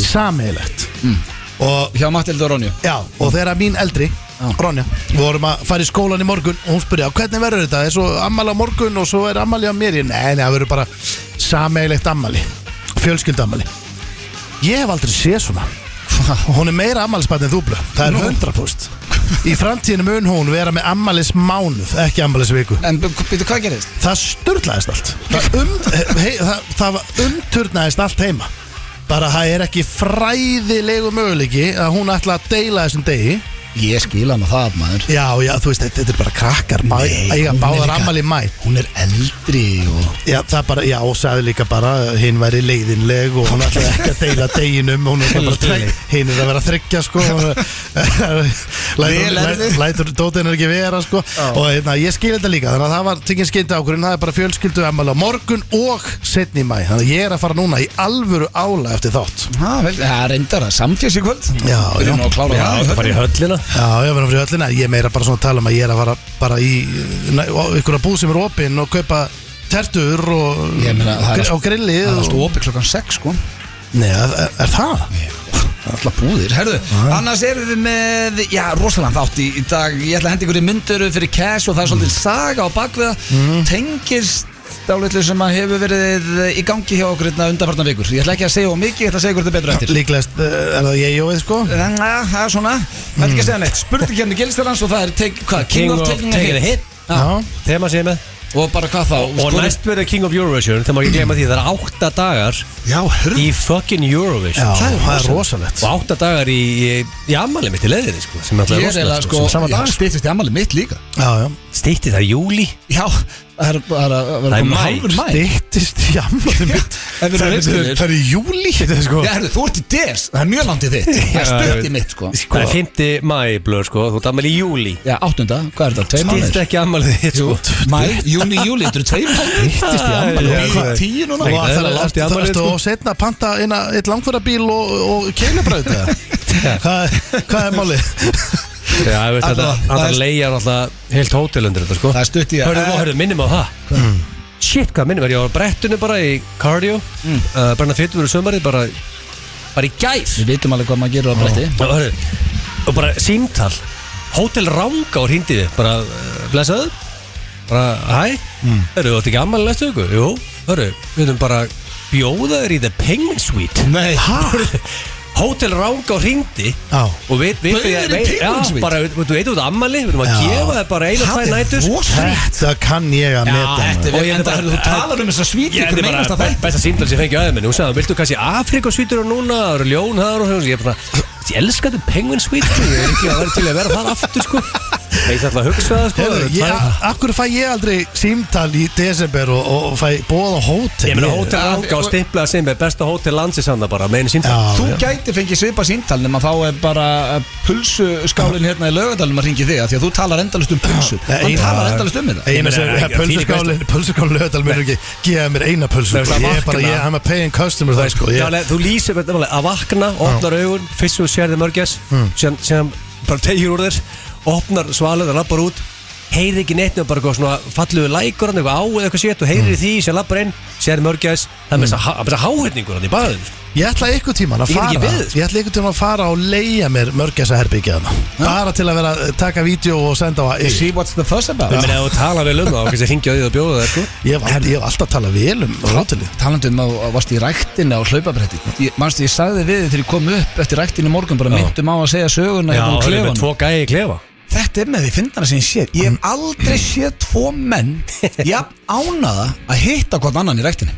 [SPEAKER 2] Sameigilegt Og
[SPEAKER 1] hjá Matildur Ronju
[SPEAKER 2] já, og þegar mín eldri Ronja, við vorum að fara í skólan í morgun og hún spurði á hvernig verður þetta, er svo ammali á morgun og svo er ammali á mér, ég, nei, nei, það verður bara sameigilegt ammali, fjölskyldu ammali Ég hef aldrei séð svona Hún er meira ammælisbarn en þú blöð Það er 100% Í framtíðinu mun hún vera með ammælismánuð Ekki ammælisviku
[SPEAKER 1] En býttu, hvað gerist?
[SPEAKER 2] Það sturlaðist allt Það, um, hei, það, það var- umturnaðist allt heima Bara það er ekki fræðilegu möguleiki Að hún ætla að deila þessum degi
[SPEAKER 1] Ég skil hann að það, maður
[SPEAKER 2] Já, já, þú veist, þetta er bara krakkar bæ,
[SPEAKER 1] Nei, hún
[SPEAKER 2] Eiga
[SPEAKER 1] er
[SPEAKER 2] báðar
[SPEAKER 1] líka-
[SPEAKER 2] ammæli í mæ
[SPEAKER 1] Hún er eldri og
[SPEAKER 2] Já, það bara, já, og sagði líka bara að Hinn væri leiðinleg og hún ætlaði ekki að deila deginum Hún ætlaði bara að treg, hinn er að vera að þryggja sko og-
[SPEAKER 1] Vel
[SPEAKER 2] Lætur,
[SPEAKER 1] er
[SPEAKER 2] læ-
[SPEAKER 1] þið.
[SPEAKER 2] lætur dótinu ekki vera sko Og hérna, ég skil þetta líka Þannig að það var tingin skyndi ákvörðin Það er bara fjölskyldu ammæli á morgun og setni í mæ Þannig að ég er að fara núna í alvöru ála eftir þátt
[SPEAKER 1] Ha, vel, það reyndar að samfjörs í kvöld
[SPEAKER 2] Já,
[SPEAKER 1] Byrjum
[SPEAKER 2] já.
[SPEAKER 1] nú að klára
[SPEAKER 3] Já,
[SPEAKER 1] það
[SPEAKER 3] það fari í höllina
[SPEAKER 2] Já, ég verður fyrir öllina Ég er meira bara svona að tala um að ég er að fara bara í næ- á einhverja búð sem er opinn og kaupa tertur og,
[SPEAKER 1] Ég meina, það er
[SPEAKER 2] og grillið
[SPEAKER 1] Það er
[SPEAKER 2] og-
[SPEAKER 1] alltaf opið klokkan 6 sko
[SPEAKER 2] Nei, er, er það?
[SPEAKER 1] Alla búðir, herðu Annars erum við með, já, rosalega þátt í, í dag Ég ætla að henda ykkur í myndur fyrir cash og það er svolítið saga á bakviða mm. Tengist dálitlu sem að hefur verið í gangi hjá okkur hérna undanfarnar vikur Ég ætla ekki að segja of mikið, ég ætla að segja ykkur þetta betur eftir
[SPEAKER 2] Líklegast eh, er það ég jóið sko
[SPEAKER 1] En, ja, Það er svona, það er ekki að segja neitt Spurning hérna Gilstarlands og það er take, hvað, King, of Taking a Hit
[SPEAKER 2] Já,
[SPEAKER 3] Þegar maður segir með
[SPEAKER 1] Og bara hvað þá
[SPEAKER 3] Og
[SPEAKER 1] skoðum-
[SPEAKER 3] næst verður King of Eurovision Þegar maður ekki glemma því Það er átta dagar
[SPEAKER 1] Já, hörðu
[SPEAKER 3] í fucking
[SPEAKER 2] já
[SPEAKER 3] Eurovision
[SPEAKER 1] Það er
[SPEAKER 2] það er
[SPEAKER 1] rosalegt.
[SPEAKER 2] rosalegt
[SPEAKER 3] Og átta dagar í, í, í ammali mitt í leiðinni sko, Sem alltaf
[SPEAKER 1] Ég
[SPEAKER 3] er
[SPEAKER 1] er eða
[SPEAKER 3] rosalegt
[SPEAKER 1] sko,
[SPEAKER 3] sko, sem Sama
[SPEAKER 1] já,
[SPEAKER 3] dag
[SPEAKER 1] styttist í ammali mitt líka
[SPEAKER 2] Já, já
[SPEAKER 3] Stýtti það í júli
[SPEAKER 1] Já, það er bara að
[SPEAKER 3] Það
[SPEAKER 1] vera
[SPEAKER 3] er
[SPEAKER 1] komið
[SPEAKER 3] maí.
[SPEAKER 1] hálfur mæ
[SPEAKER 2] Dittist í ammali mitt
[SPEAKER 1] Ef við erum
[SPEAKER 2] Það er-
[SPEAKER 1] reynslunir.
[SPEAKER 2] það er í júli þetta er sko
[SPEAKER 1] Já, herru, þú ert í DS, það er mjög langt í þitt Það er stutt í mitt, sko
[SPEAKER 3] Það er 5. maí blöð sko Þú ert ammali í júli
[SPEAKER 1] Já, áttunda, hvað er þetta, tvei mánuðir?
[SPEAKER 3] Stýtti ekki ammali þitt sko
[SPEAKER 1] Mæ, júni, júli, þetta eru tvei mánuðir
[SPEAKER 3] Styttist í afmælið.
[SPEAKER 1] Já,
[SPEAKER 3] Já,
[SPEAKER 1] Hvað,
[SPEAKER 3] það er-
[SPEAKER 1] tíu núna?
[SPEAKER 3] Nei,
[SPEAKER 2] Og
[SPEAKER 3] það er
[SPEAKER 2] það er
[SPEAKER 3] langt í
[SPEAKER 2] langt í
[SPEAKER 3] afmælið,
[SPEAKER 2] ammali
[SPEAKER 3] sko.
[SPEAKER 2] Og setna að panta inn að- eitt langfæra bíl og, og keilubræði Hvað hvað er málið?
[SPEAKER 3] Já, ég veist þetta
[SPEAKER 1] Alla-
[SPEAKER 3] Það
[SPEAKER 1] það er-
[SPEAKER 3] leigjar alltaf heilt hótel undir þetta sko
[SPEAKER 1] Það er stutt í Eh,
[SPEAKER 3] Hörðu, hörðu, minnum á það Mm. Shit, hvað minnum er Ég var á brettunni bara í cardio
[SPEAKER 1] Mm.
[SPEAKER 3] uh, Brenna fytur úr sömarið bara, bara í gæð
[SPEAKER 1] Við vitum alveg hvað maður gerur á bretti
[SPEAKER 3] og, hörðu, og bara símtal Hótel Rangá hindi við bara eh, blessaðu bara hæ, mm. eru þú átt ekki ammæli næstu ykkur? Jú, hörru, við höfum bara bjóða þér í The Penguin Suite
[SPEAKER 1] Nei,
[SPEAKER 3] Hörðu, Hótel Rangá hindi
[SPEAKER 2] Já.
[SPEAKER 3] og við við
[SPEAKER 1] Bauð þér í
[SPEAKER 3] við-
[SPEAKER 1] Penguin Suite?
[SPEAKER 3] já, bara, við- við veitum út ammæli við höfum að
[SPEAKER 2] Já.
[SPEAKER 3] gefa þér bara einu og tvær nætur
[SPEAKER 2] Þetta kann ég að meta
[SPEAKER 1] þetta
[SPEAKER 2] maður.
[SPEAKER 1] er
[SPEAKER 3] Og
[SPEAKER 1] verið
[SPEAKER 3] ég
[SPEAKER 1] enda
[SPEAKER 3] bara-
[SPEAKER 1] Þú talar um þess að svíti
[SPEAKER 3] Ég
[SPEAKER 1] ykkur
[SPEAKER 3] hefði
[SPEAKER 1] meinast
[SPEAKER 3] bara
[SPEAKER 1] að
[SPEAKER 3] be-
[SPEAKER 1] þetta
[SPEAKER 3] besta síndal sem ég fengi á aðeins minni Hún sagði, viltu kannski Afrikasvítur og núna Það eru ljón, það eru og Ég er bara, ég elska þetta penguinsvítur Ég er ekki að vera til að vera þar aftur sko Ég ætla alltaf að hugsa það sko
[SPEAKER 2] Hefur,
[SPEAKER 3] það eru
[SPEAKER 2] ég,
[SPEAKER 3] tvær-
[SPEAKER 2] akkur fæ ég aldrei símtal í desember og, og fæ bóð á hótel
[SPEAKER 3] Ég meina hótel
[SPEAKER 1] Já,
[SPEAKER 3] Ranga og stimplað sem er besta hótel landsins hann bara með einu síndal
[SPEAKER 2] Já,
[SPEAKER 1] Þú
[SPEAKER 2] já.
[SPEAKER 1] gæti fengið svipa síntal nema þá er bara eh, pulsuskálinn hérna í lögadalum að ringi þig af því að þú talar endalist um pulsu Hann
[SPEAKER 2] Nei,
[SPEAKER 1] talar
[SPEAKER 2] já.
[SPEAKER 1] endalist um þetta
[SPEAKER 2] Ég meina
[SPEAKER 3] Ég meina,
[SPEAKER 2] sem
[SPEAKER 3] ekki-
[SPEAKER 2] pulsuskálin Pulsuskálin lögadal mér ekki gefa mér eina pulsu
[SPEAKER 3] Nei,
[SPEAKER 2] sko.
[SPEAKER 3] það
[SPEAKER 2] Ég er
[SPEAKER 3] vakna.
[SPEAKER 2] bara, ég I'm a paying customer það sko ég,
[SPEAKER 3] Þú lýsir þetta alveg að vakna, opnar augun Fyrst þú sér þið mörgjæs Síðan síðan bara tegjur úr þér Opnar svalið og lappar út Heyrið ekki neitt nefnum bara eitthvað svona falluðu lækur hann eitthvað á eða eitthvað sétt og heyrið í því sem lappar inn, sér mörgjæðis, það er með þess að háhætningur hann í baðinu. sko.
[SPEAKER 2] ég ætla ykkur tíman að
[SPEAKER 3] Ég get ekki
[SPEAKER 2] fara
[SPEAKER 3] beðið, sko.
[SPEAKER 2] Ég ætla ykkur tíman að fara og leia mér mörgjasa herbyggjaðna Bara til að vera, taka vídeo og senda á að
[SPEAKER 1] See what's the fuss about
[SPEAKER 3] Ég meina, ef þú tala vel um það og kannski hringja á því að bjóða það, sko.
[SPEAKER 2] Ég hef aldrei- ég hef alltaf talað vel um hóteli
[SPEAKER 1] talandi um að að varst í ræktinni á hlaupabretti ég, manstu, ég sagði við þig þegar ég kom upp eftir ræktinni í morgun, bara myndum á að segja söguna hérna úr
[SPEAKER 3] er með
[SPEAKER 1] klefanum
[SPEAKER 3] tvo gæi í klefa.
[SPEAKER 1] þetta er með því fyndana sem ég sé ég hef aldrei séð tvo menn jafn ánaða að hitta hvort annan í ræktinni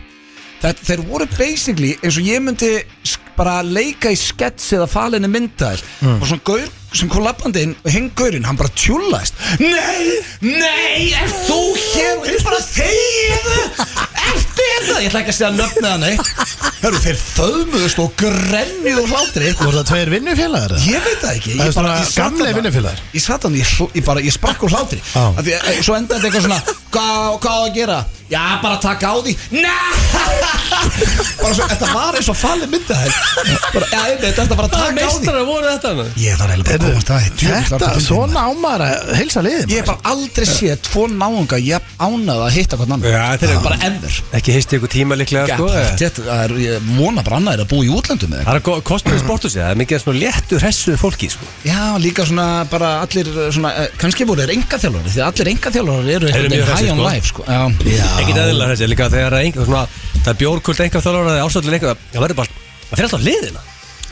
[SPEAKER 1] Þetta, þeir voru basically eins og ég myndi sk- bara leika í skets eða falinni myndaðil og svona gaur sem kom lappandi inn og hinn gaurinn, hann bara tjúlaðist Nei, nei, er þú hér og ég bara þegiðu Ertu hérna? Ég ætla ekki að segja nöfnið hann neitt Hörru, þeir föðmuðust og grennið og hlátri
[SPEAKER 2] Voru það tveir vinnufélagar? eða?
[SPEAKER 1] Ég veit það ekki
[SPEAKER 2] Það
[SPEAKER 1] ég
[SPEAKER 2] er svona
[SPEAKER 1] ég sat
[SPEAKER 2] gamlir
[SPEAKER 1] þarna-
[SPEAKER 2] vinnufélagar.
[SPEAKER 1] Ég satt hann, ég, hló- ég bara, ég sprakk úr hlátri
[SPEAKER 2] Já.
[SPEAKER 1] Af því að- eh, Svo endaði þetta eitthvað svona Hvað hva á að gera? Já, bara taka á því Nei Bara svo, þetta var eins og falli myndið þær Bara, já, einmitt, þetta er bara að taka á því
[SPEAKER 3] Meistarar voru þetta með.
[SPEAKER 1] Ég þarf eiginlega bara að komast að því Djöfull var
[SPEAKER 2] Þetta,
[SPEAKER 1] þetta fyndið.
[SPEAKER 2] svona ámar að heilsa liðin
[SPEAKER 1] Ég hef bara aldrei séð tvo náunga Ég hef ánað að hitta hvern annan
[SPEAKER 3] Já, þetta er-
[SPEAKER 1] bara endur
[SPEAKER 3] Ekki heisti ykkur tíma líklega, sko. eh.
[SPEAKER 1] Þetta er, ég vona bara annað er að búa í útlöndum eða eitthvað.
[SPEAKER 3] Það er að kostnaði sportu sig, það er mikið af svona léttu hressuðu fólki, sko.
[SPEAKER 1] Já, líka svona bara allir svona, eh, kannski voru þeir enga þjálfari því að allir enga þjálfari eru
[SPEAKER 3] Eru
[SPEAKER 1] einhvern
[SPEAKER 3] mjög
[SPEAKER 1] veginn high
[SPEAKER 3] hressir,
[SPEAKER 1] on
[SPEAKER 3] sko.
[SPEAKER 1] life sko. Já,
[SPEAKER 3] Ekkit eðlilega hressi, líka þegar ein, svona, það er bjórkult einhver þjálfur að það er ástöldlega einhver, það verður bara, það fyrir alltaf á hliðina.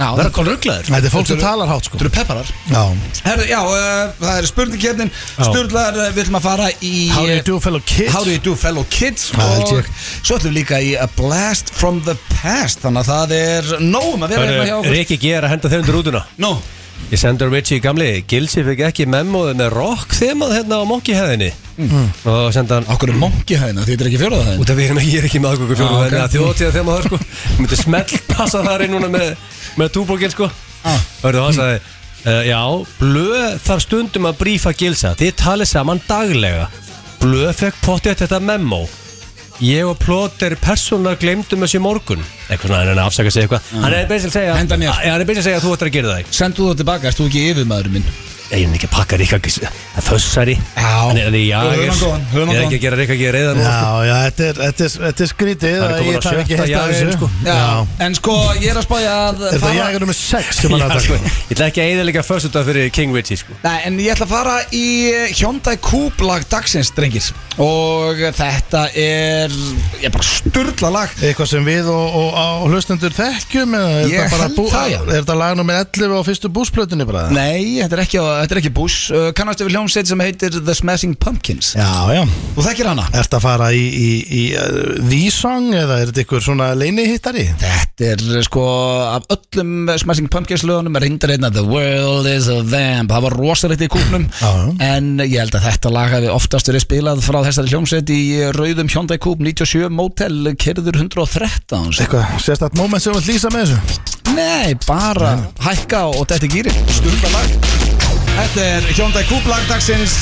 [SPEAKER 1] Já,
[SPEAKER 3] Það verður kól rugglaður.
[SPEAKER 2] Þetta er fólk sem talar hátt sko
[SPEAKER 1] Þú eru pepparar
[SPEAKER 2] Já
[SPEAKER 1] Herðu, já, uh, það er spurningkefnin Sturlar, uh, við ætlum að fara í uh,
[SPEAKER 2] How do you do fellow kids?
[SPEAKER 1] How do you do fellow kids
[SPEAKER 2] Já, held
[SPEAKER 1] Og
[SPEAKER 2] ég.
[SPEAKER 1] svo ætlum við líka í A Blast from the Past Þannig að það er nógum að vera hérna hjá okkur
[SPEAKER 3] Riki G er að henda þeim undir rútuna.
[SPEAKER 1] Nó,
[SPEAKER 3] Ég sendur Richie gamli, Gilsi fikk ekki memóðu með rock þemað hérna á monkeyhæðinni. Og sendi hann,
[SPEAKER 1] okkur er mongi
[SPEAKER 2] hérna,
[SPEAKER 1] hæðina, þetta er ekki fjórað hæðin
[SPEAKER 3] Út af því erum ekki, ég er ekki með aðgöngu fjóru
[SPEAKER 1] Ah, ok.
[SPEAKER 3] Þannig að þjóðtíða þeim að það sko Ég myndi smelt passa þar inn núna með, með túbókin sko
[SPEAKER 1] Ah.
[SPEAKER 3] Hörðu það sagði uh, Já, blöð þarf stundum að brífa gilsa Þið talið saman daglega Blöð fekk pottið þetta memo Ég og plóter persónar glemdum þessi morgun Eitthvað svona, hann er að afsaka sig eitthvað Hann er beinsil að segja
[SPEAKER 1] Ah. Henda mér.
[SPEAKER 3] Já, Hann er beinsil að segja að þú ættir að gera það
[SPEAKER 1] Sendu þú það tilbaka, erst þú ekki yfirmaðurinn minn?
[SPEAKER 3] ég er ekki að pakka Rikka það fössari
[SPEAKER 1] Já.
[SPEAKER 3] hann er í
[SPEAKER 1] Höfum
[SPEAKER 3] jagers
[SPEAKER 1] hann góðan, höfum hann
[SPEAKER 3] ég er ekki
[SPEAKER 1] góðan.
[SPEAKER 3] að gera Rikka ekki reyðan
[SPEAKER 2] Já, já, þetta er, þetta er, þetta er skrítið
[SPEAKER 3] Hann er
[SPEAKER 2] að
[SPEAKER 3] kominn
[SPEAKER 2] ég
[SPEAKER 3] á
[SPEAKER 2] þarf ekki heilt
[SPEAKER 3] sjötta
[SPEAKER 2] af
[SPEAKER 3] jagerinn,
[SPEAKER 2] þessu
[SPEAKER 3] sko.
[SPEAKER 2] Já.
[SPEAKER 1] En sko, ég er að spája að
[SPEAKER 2] Er það
[SPEAKER 1] fara-
[SPEAKER 2] jagar nummer 6 sem hann
[SPEAKER 3] Já,
[SPEAKER 2] að
[SPEAKER 3] sko,
[SPEAKER 2] taka?
[SPEAKER 3] ég ætla ekki að eða líka fössuta fyrir King Richie sko.
[SPEAKER 1] Nei, en ég ætla að fara í Hyundai Coupe lag dagsins, drengir Og þetta er, ég er bara sturla lag
[SPEAKER 2] Eitthvað sem við og, og, og hlustendur þekkjum eða er
[SPEAKER 1] Ég
[SPEAKER 2] þetta bara
[SPEAKER 1] held
[SPEAKER 2] bú-
[SPEAKER 1] það, já.
[SPEAKER 2] Er þetta lag nummer 11 á fyrstu búsplötunni bara?
[SPEAKER 1] Nei, þetta er ekki, þetta er ekki Bush uh, Kannastu við hljómsveit sem heitir The Smashing Pumpkins
[SPEAKER 2] Já, já
[SPEAKER 1] Þú þekkir hana?
[SPEAKER 2] Er þetta að fara í, í, í uh, Vísang eða er þetta ykkur svona leinihittari?
[SPEAKER 1] Þetta er uh, sko af öllum uh, Smashing Pumpkins lögunum er reyndar einna The World is a Vamp Það var rosalegt í kúknum
[SPEAKER 2] Já,
[SPEAKER 1] En ég held að þetta lag hafi oftast verið spilað frá þessari hljómsveit í uh, rauðum Hyundai Coupe 97 Motel Kerður 113
[SPEAKER 2] Eitthvað sérstætt moment sem við ætlum að lýsa með þessu?
[SPEAKER 1] Nei, bara hækka og þetta er gýri Stundalag Þetta er Hyundai Coupe lagdagsins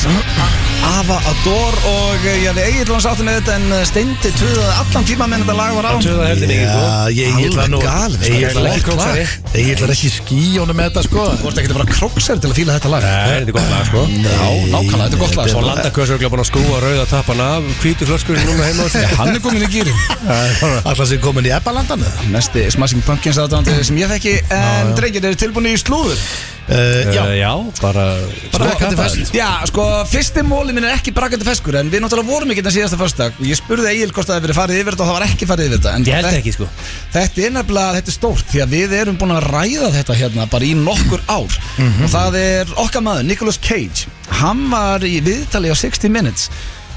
[SPEAKER 1] Ava Ador og eh, ég hefði eiginlega hans átti með þetta en eh, steindi tvöðaði allan tíma meðan þetta lag var á
[SPEAKER 3] Töða heldur mikið sko.
[SPEAKER 2] Já, ég ég ætla
[SPEAKER 1] Alveg
[SPEAKER 2] nú
[SPEAKER 1] galið,
[SPEAKER 2] Ég
[SPEAKER 1] sko.
[SPEAKER 2] ætla ekki
[SPEAKER 1] Flott lag.
[SPEAKER 2] Ég ætla ekki skí honum með þetta sko
[SPEAKER 1] Þú ert ekki að vera krókser til að fýla þetta lag
[SPEAKER 3] Nei, þetta er gott lag sko
[SPEAKER 1] Já, nákvæmlega, þetta er gott lag
[SPEAKER 3] Svo
[SPEAKER 1] sko.
[SPEAKER 3] landakörs er búin að skrúa rauða tappan af Hvítu flöskurinn núna heima og þessu.
[SPEAKER 1] Hann er komin í gýrin
[SPEAKER 2] Alltaf sem komin í Ebbalandan eða?
[SPEAKER 1] Mesti Smashing Pumpkins aðdándi sem ég þekki En drengir eru tilbúinu í slúður
[SPEAKER 2] Uh, Já,
[SPEAKER 3] Eh, Já, bara
[SPEAKER 2] bara
[SPEAKER 3] Sko,
[SPEAKER 2] ekki til fest
[SPEAKER 1] Já, sko, fyrsti móli minn er ekki brakandi feskur En við náttúrulega vorum ekki þetta síðasta förstak Og ég spurði Egil hvort það hefði verið farið yfir þetta Og það var ekki farið yfir þetta En
[SPEAKER 3] Ég held
[SPEAKER 1] þetta-
[SPEAKER 3] ekki sko
[SPEAKER 1] Þetta er nefnilega, þetta er stórt Því að við erum búin að ræða þetta hérna bara í nokkur ár Og það er okkar maður, Nicolas Cage Hann var í viðtali á 60 Minutes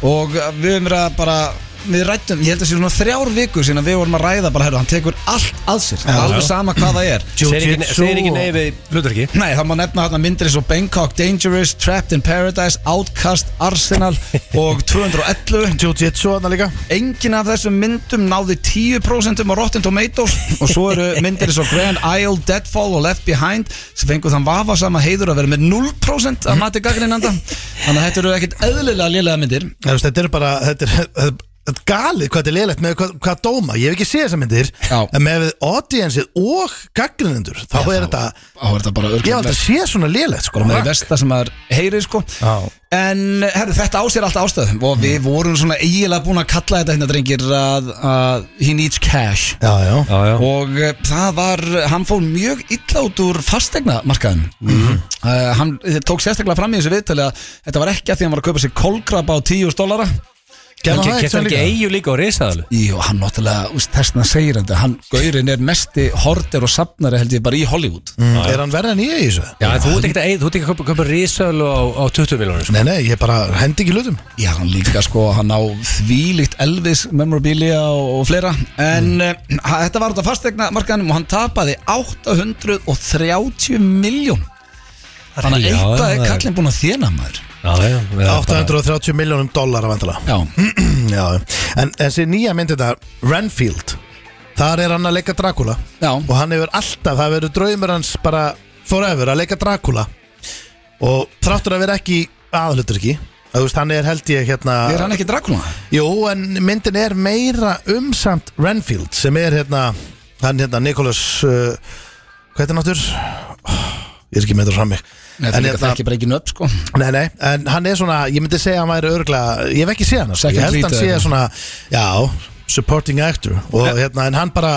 [SPEAKER 1] Og við höfum verið að bara Við rættum, ég held að sé svona þrjár vikur síðan að við vorum að ræða bara, herru, hann tekur allt að sér Það er
[SPEAKER 3] Já,
[SPEAKER 1] alveg
[SPEAKER 3] já.
[SPEAKER 1] sama hvað það er
[SPEAKER 3] Segir ekki-
[SPEAKER 2] Jiu-jitsu
[SPEAKER 3] Segir ekki
[SPEAKER 2] og-
[SPEAKER 3] nei við hlutverki
[SPEAKER 1] Nei, það má nefna þarna myndir eins og Bangkok Dangerous, Trapped in Paradise, Outcast, Arsenal og 211
[SPEAKER 2] Jiu-Jitsu aðna líka
[SPEAKER 1] Engin af þessum myndum náði 10% á Rotten Tomatoes og svo eru myndir eins og Grand Isle, Deadfall og Left Behind sem fengur þann vafasama heiður að vera með 0% af mati gagnrinnanda þannig að þetta eru ekkert eðlilega lélega myndir
[SPEAKER 2] Nei, þú veist, Þetta er bara, þetta er, þetta þetta er galið hvað þetta er leilægt með hvað, hvað dóma Ég hef ekki séð þessar myndir
[SPEAKER 1] Já.
[SPEAKER 2] En með audienceið og gaggrinendur Þá er þetta,
[SPEAKER 1] Á, er þetta bara
[SPEAKER 2] ég hef aldrei
[SPEAKER 1] örglega
[SPEAKER 2] séð svona leilægt sko
[SPEAKER 1] með
[SPEAKER 2] rakk.
[SPEAKER 1] versta sem maður heyrir sko
[SPEAKER 2] Já.
[SPEAKER 1] En herru, þetta á sér alltaf ástöðum og við vorum svona eiginlega búin að kalla þetta hérna drengir að, að he needs cash
[SPEAKER 2] Já, já
[SPEAKER 3] Já, já
[SPEAKER 1] og eh, það var, hann fór mjög illa út úr fastegnamarkaðin mm
[SPEAKER 3] Mhm.
[SPEAKER 1] hann eh, tók sérstaklega fram í þessu viðtali að þetta var ekki að því hann var að kaupa sér kolgraba á 10.000 dollara
[SPEAKER 2] Gerði hann það eitt
[SPEAKER 3] Kæftar
[SPEAKER 2] sem
[SPEAKER 3] ekki
[SPEAKER 2] líka?
[SPEAKER 3] eigu líka á reysaðalu
[SPEAKER 1] Jú, hann náttúrulega, úst, þessna segir þetta hann, Gaurin er mesti horder og safnari held ég bara í Hollywood
[SPEAKER 2] Mm, Er hann verið en ég í þessu?
[SPEAKER 3] Já, en þú ert ekki að eiga, þú ert ekki að kaupa- kaupa reysaðalu á, á 20 miljónir sko.
[SPEAKER 2] Nei, nei, ég bara hendi ekki hlutum
[SPEAKER 1] Já, hann líka sko, hann á þvílíkt Elvis memorabilia og, og fleira en mm. þetta var út af fastegnamarkaðinum og hann tapaði 830 miljón þannig að
[SPEAKER 3] Já,
[SPEAKER 1] eitthvað
[SPEAKER 3] það
[SPEAKER 1] er
[SPEAKER 3] er-
[SPEAKER 1] kallinn búin að þéna maður
[SPEAKER 3] Já, já það er bara-
[SPEAKER 2] 830 miljónum dólar að vantala
[SPEAKER 1] Já,
[SPEAKER 3] Mm.
[SPEAKER 2] Já, en þessi nýja mynd þetta Renfield Þar er hann að leika Dracula
[SPEAKER 1] já
[SPEAKER 2] og hann hefur alltaf, það verður draumur hans bara forever að leika Dracula og þráttur að vera ekki aðhlutur ekki, þú veist hann er held ég hérna,
[SPEAKER 1] Er hann ekki Dracula?
[SPEAKER 2] jú en myndin er meira umsamt Renfield sem er hérna hann hérna Nikolas uh, hvað heitir hann áttur? Ég er ekki með þetta frammi
[SPEAKER 1] Nei, það
[SPEAKER 2] En
[SPEAKER 1] er líka
[SPEAKER 2] hérna-
[SPEAKER 1] þekki bara ekki nöpp sko
[SPEAKER 2] Nei, nei, en hann er svona, ég myndi segja að hann væri örglega, ég hef ekki séð hann, sko. ég
[SPEAKER 1] Second
[SPEAKER 2] held
[SPEAKER 1] lead
[SPEAKER 2] hann
[SPEAKER 1] eða
[SPEAKER 2] sé
[SPEAKER 1] eitthvað.
[SPEAKER 2] svona, já, supporting actor og hérna, en hann bara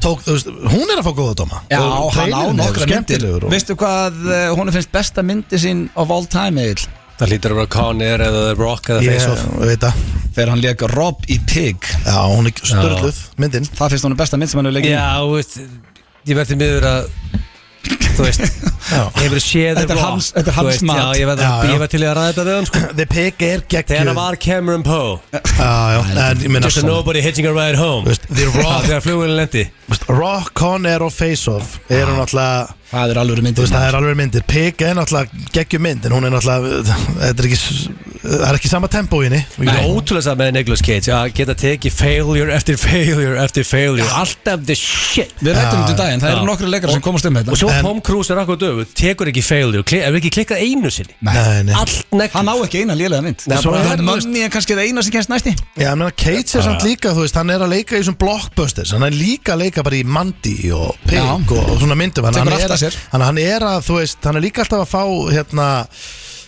[SPEAKER 2] tók, þú veist, hún er að fá góða dóma
[SPEAKER 1] Já,
[SPEAKER 2] Og
[SPEAKER 1] hann á
[SPEAKER 2] trailerinn er
[SPEAKER 1] nokkra myndir
[SPEAKER 2] skemmtilegur og,
[SPEAKER 1] Veistu hvað uh, hún finnst besta myndi sín of all time eil
[SPEAKER 3] Það lítur að vera Con Air eða The Rock eða
[SPEAKER 2] Ég
[SPEAKER 3] Face Off
[SPEAKER 2] veit það,
[SPEAKER 1] Þegar hann leika Rob í Pig
[SPEAKER 2] já, hún er störluð, myndin
[SPEAKER 1] Það finnst hún besta mynd sem hann hefur leikið
[SPEAKER 3] Já, þú veist Ég verði miður að Þú veist
[SPEAKER 2] Já.
[SPEAKER 3] Hefur séð
[SPEAKER 1] Þetta er
[SPEAKER 3] The Rock,
[SPEAKER 1] hans- þetta er
[SPEAKER 3] þú
[SPEAKER 1] hans
[SPEAKER 3] veist,
[SPEAKER 1] mat.
[SPEAKER 3] Já, ég verði
[SPEAKER 2] Já, já.
[SPEAKER 3] ég verð til í að ræða þetta við hann sko
[SPEAKER 2] The Pig er
[SPEAKER 3] Þegar
[SPEAKER 2] geggjur
[SPEAKER 3] hann var Cameron Poe
[SPEAKER 2] Já, já, en ég minna
[SPEAKER 3] Just a nobody hitching a ride home
[SPEAKER 2] Þú veist, The
[SPEAKER 3] Það
[SPEAKER 2] Rock,
[SPEAKER 3] þegar flugvélinn lendi
[SPEAKER 2] þú veist, Rock, Con Air og Face Off eru náttúrulega
[SPEAKER 1] Það er alveg
[SPEAKER 2] Þú
[SPEAKER 1] myndir
[SPEAKER 2] veist, það er alveg myndir Pig er náttúrulega geggjum mynd En hún er náttúrulega Þetta er ekki s- það er ekki sama tempo í henni
[SPEAKER 3] Ég er ótrúlega saman með Nicolas Cage að geta tekið failure eftir failure eftir failure Alltaf the shit
[SPEAKER 1] Við rættum
[SPEAKER 2] Já,
[SPEAKER 1] þetta um daginn, það eru
[SPEAKER 3] já.
[SPEAKER 1] nokkru leikar sem komast um með
[SPEAKER 3] Og
[SPEAKER 1] þetta
[SPEAKER 3] svo
[SPEAKER 2] En-
[SPEAKER 3] Tom Cruise er akkur döfu Tekur ekki failure, kli- hefur ekki klikkað einu sinni
[SPEAKER 2] Nei, nei
[SPEAKER 3] Allt negl
[SPEAKER 1] Hann á ekki eina lélega mynd
[SPEAKER 3] Nei, bara-
[SPEAKER 1] Það er mönni en kannski það eina sem kennst næsti
[SPEAKER 2] Já, ég meina, Cates er samt líka, þú veist, hann er að leika í svona blockbusters, hann er líka að leika bara í Mandy og Pig
[SPEAKER 1] Já.
[SPEAKER 2] og, og svona myndum hann,
[SPEAKER 1] Tekur
[SPEAKER 2] hann, er
[SPEAKER 1] allt að sér.
[SPEAKER 2] að, hann, hann er að, þú veist, hann er líka alltaf að fá hérna,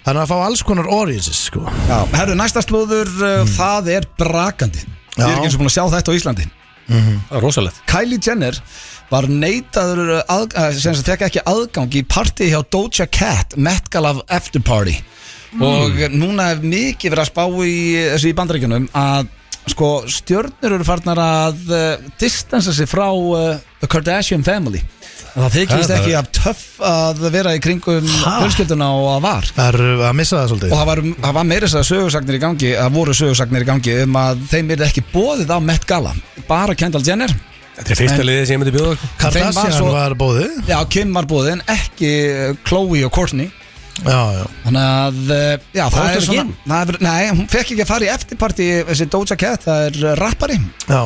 [SPEAKER 2] hann er að fá alls konar audiences, sko
[SPEAKER 1] Já, herru, næsta slúður, uh, það er brakandi Ég er
[SPEAKER 2] Já.
[SPEAKER 1] ekki eins og búin að sjá þetta á Íslandi
[SPEAKER 3] Það er rosalegt
[SPEAKER 1] Kylie Jenner var neitaður að, sem þess að fekk ekki aðgang í partí hjá Doja Cat Met Gala After Party og núna er mikið verið að spá í þessu í bandaríkjunum að sko stjörnur eru farnar að uh, distansa sig frá uh, the Kardashian family En það þykist
[SPEAKER 3] Það-
[SPEAKER 1] ekki af töff að vera í kringum fjölskylduna og að var
[SPEAKER 2] Það er að missa það
[SPEAKER 1] og
[SPEAKER 2] svolítið
[SPEAKER 1] það var, um, það var meira þess að sögursagnir í gangi það voru sögursagnir í gangi um að þeim er ekki bóðið á Met Gala bara Kendall Jenner
[SPEAKER 3] Þetta er fyrsta liðið sem ég myndi bjóða okkur
[SPEAKER 1] þeim var
[SPEAKER 2] Kardashian
[SPEAKER 1] svo-
[SPEAKER 2] var bóðið
[SPEAKER 1] Já, Kim var bóðið en ekki eh, Chloe og Kourtney
[SPEAKER 2] Já, já
[SPEAKER 1] Þannig að, eh, já, það
[SPEAKER 3] Fórstu
[SPEAKER 1] er
[SPEAKER 3] ekki
[SPEAKER 1] svona
[SPEAKER 3] inn?
[SPEAKER 1] það er, Nei, hún fekk ekki að fara í eftirparti þessi Doja Cat, það er eh, rappari
[SPEAKER 2] Já,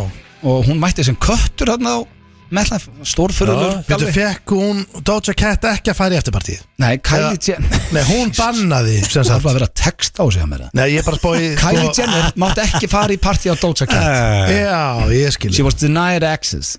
[SPEAKER 1] og hún mætti sem köttur þarna á Mella, stórfurulur
[SPEAKER 2] betur fekk hún Doja Cat ekki að fara í eftirpartíð
[SPEAKER 1] Nei, Kylie Jenner
[SPEAKER 2] Nei, hún bannaði, sem
[SPEAKER 1] Það er
[SPEAKER 2] sagt
[SPEAKER 1] bara að vera text á sig að mér
[SPEAKER 2] Nei, ég er bara að spá í
[SPEAKER 1] Kylie
[SPEAKER 2] sko- Eh.
[SPEAKER 1] Jenner mátti ekki fara í partí á Doja Cat
[SPEAKER 2] Já, ég skil
[SPEAKER 1] She was denied access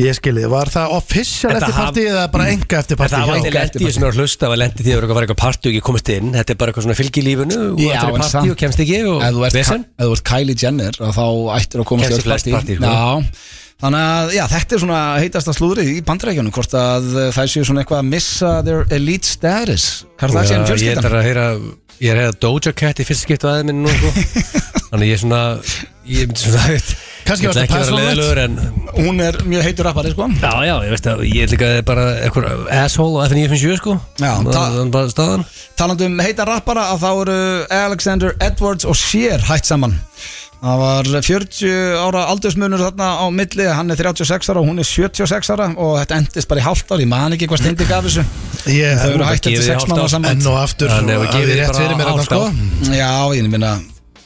[SPEAKER 2] Ég skil Var það official
[SPEAKER 3] Þetta
[SPEAKER 2] eftirpartíð eða bara
[SPEAKER 1] Mm.
[SPEAKER 2] enga eftirpartíð
[SPEAKER 3] Það var
[SPEAKER 2] hjá-
[SPEAKER 3] ekki lendi sem er að hlusta Það var lendi því að vera eitthvað- var eitthvað partí og ekki komist inn Þetta er bara eitthvað svona fylgilífinu Og
[SPEAKER 1] Já,
[SPEAKER 3] þetta er
[SPEAKER 1] en samt-
[SPEAKER 3] partí og kemst ekki og
[SPEAKER 1] Ef þú ert,
[SPEAKER 3] vesen.
[SPEAKER 1] ef þú ert Kylie Jenner að þá ættir að koma
[SPEAKER 3] Kemst í flest partí, sko.
[SPEAKER 1] Já, þannig að já, þetta er svona heitasta slúðrið í bandarækjunum hvort að uh, þær séu svona eitthvað að missa their elite status Kardashian
[SPEAKER 3] Já, Sko, Ég
[SPEAKER 1] um fjölskyldan
[SPEAKER 3] er að heyra Ég er að heyra Doja Cat í fyrsta skiptu aðeins minn nú sko. Þannig ég er svona Ég myndi svona
[SPEAKER 2] Kannski
[SPEAKER 3] Ég
[SPEAKER 2] varstu
[SPEAKER 3] ætla ekki að vera
[SPEAKER 2] persónulegt.
[SPEAKER 3] leiðilegur en
[SPEAKER 1] Hún er mjög heitur rappari sko
[SPEAKER 3] Já, já, ég veist að Ég er líka bara eitthvað asshole á FNF57 sko
[SPEAKER 1] Já,
[SPEAKER 3] það
[SPEAKER 1] það-
[SPEAKER 3] það er bara staðan
[SPEAKER 1] Talandi um heita rappara að þá eru Alexander Edwards og Cher hætt saman Það var 40 ára aldursmunur þarna á milli, hann er 36 ára og hún er 76 ára og þetta endist bara í hálft ári, maður ekki hvað steindi gaf þessu
[SPEAKER 2] Ég,
[SPEAKER 1] Þau eru
[SPEAKER 3] bara
[SPEAKER 1] hætt
[SPEAKER 3] gefið
[SPEAKER 1] eftir
[SPEAKER 3] í
[SPEAKER 1] 6
[SPEAKER 3] hálft
[SPEAKER 1] mánu
[SPEAKER 3] ár.
[SPEAKER 1] saman
[SPEAKER 2] enn og aftur
[SPEAKER 3] Hann hefur
[SPEAKER 2] hafið
[SPEAKER 3] gefið
[SPEAKER 2] rétt
[SPEAKER 3] bara
[SPEAKER 2] fyrir mér hérna
[SPEAKER 3] hálft
[SPEAKER 2] sko
[SPEAKER 3] ár.
[SPEAKER 1] Já, ég minna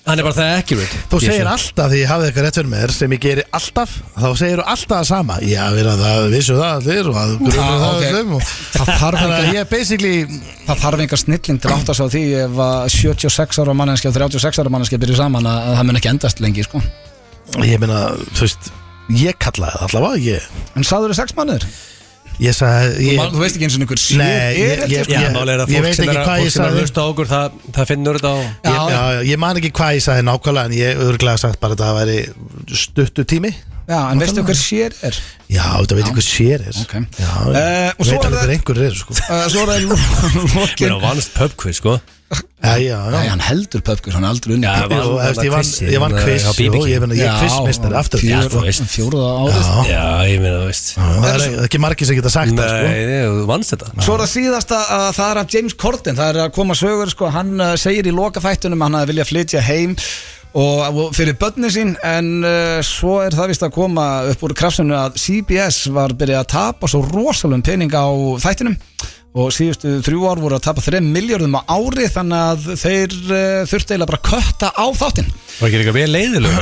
[SPEAKER 3] Hann er bara það accurate
[SPEAKER 2] Þú
[SPEAKER 3] Ég
[SPEAKER 2] segir
[SPEAKER 3] sé.
[SPEAKER 2] alltaf því ég hafið eitthvað rétt fyrir mér sem ég geri alltaf þá segir þú alltaf það sama Já, við erum það, vissu það allir og það grunum
[SPEAKER 1] Ah,
[SPEAKER 2] það
[SPEAKER 1] ok.
[SPEAKER 2] öllum og
[SPEAKER 1] Það þarf
[SPEAKER 2] Þannig að
[SPEAKER 1] engan-
[SPEAKER 2] ég er basically
[SPEAKER 1] Það þarf engar snilling til að átta sig á því ef að 76 ára manneskja og 36 ára manneskja byrju saman að, að það mun ekki endast lengi sko.
[SPEAKER 2] ég meina, þú veist ég kallaði það allavega ég,
[SPEAKER 1] En sagður þau 6 mannir?
[SPEAKER 2] ég sagði
[SPEAKER 1] Ég,
[SPEAKER 2] ég,
[SPEAKER 1] þú veist ekki eins og einhver
[SPEAKER 2] Nei, ég-
[SPEAKER 1] er
[SPEAKER 2] ég-
[SPEAKER 1] þetta
[SPEAKER 3] Já,
[SPEAKER 2] ég-
[SPEAKER 3] málega er að
[SPEAKER 2] ég
[SPEAKER 3] fólk
[SPEAKER 2] veit
[SPEAKER 3] sem
[SPEAKER 2] ekki
[SPEAKER 3] er að-
[SPEAKER 2] hvað
[SPEAKER 3] fólk
[SPEAKER 2] ég
[SPEAKER 3] sem er að
[SPEAKER 2] sagði.
[SPEAKER 3] hlusta á okkur það- það finnur þetta á
[SPEAKER 2] ég, já,
[SPEAKER 1] já.
[SPEAKER 2] ég man ekki hvað ég sagði nákvæmlega en ég örglega sagt bara að það væri stuttu tími
[SPEAKER 1] Já, en veistu hver sér er?
[SPEAKER 2] já, þetta veit ekki hvað sér er
[SPEAKER 1] Ok.
[SPEAKER 2] já,
[SPEAKER 1] Eh, og
[SPEAKER 2] ég
[SPEAKER 1] svo
[SPEAKER 2] veit
[SPEAKER 1] er
[SPEAKER 2] alveg
[SPEAKER 1] það-
[SPEAKER 2] hver einhver er sko.
[SPEAKER 1] Uh, svo er það
[SPEAKER 3] Ég
[SPEAKER 1] lokin
[SPEAKER 3] er á vannst pubquiz sko
[SPEAKER 2] já, já, já,
[SPEAKER 1] Nei, hann heldur pöpkur, hann er aldrei unni
[SPEAKER 3] Já,
[SPEAKER 2] Jú, þú veist, ég vann- ég vann
[SPEAKER 3] Hann, eh,
[SPEAKER 2] quiz
[SPEAKER 3] á
[SPEAKER 2] jú,
[SPEAKER 3] BBQ.
[SPEAKER 2] ég meina, ég er quizmistari aftur
[SPEAKER 1] fjör,
[SPEAKER 2] sko.
[SPEAKER 3] þú veist.
[SPEAKER 1] Fjóruða árið
[SPEAKER 2] Já.
[SPEAKER 3] Já, ég meina, þú veist
[SPEAKER 2] það er ekki margir sem geta sagt það sko.
[SPEAKER 3] Nei, nei, þú vannst þetta
[SPEAKER 1] Svo er það síðasta að það er af James Corden Það er að koma sögur, sko, hann uh, segir í lokafættunum að hann að vilja flytja heim og, og fyrir börnin sín en uh, svo er það vist að koma upp úr krafsinu að CBS var byrjað að tapa svo rosalum pening á þættinum og síðustu þrjú ár voru að tapa 3 miljardum á ári þannig að þeir uh, þurfti eiginlega bara að kötta á þáttin
[SPEAKER 3] Var ekki eitthvað vel leiðilega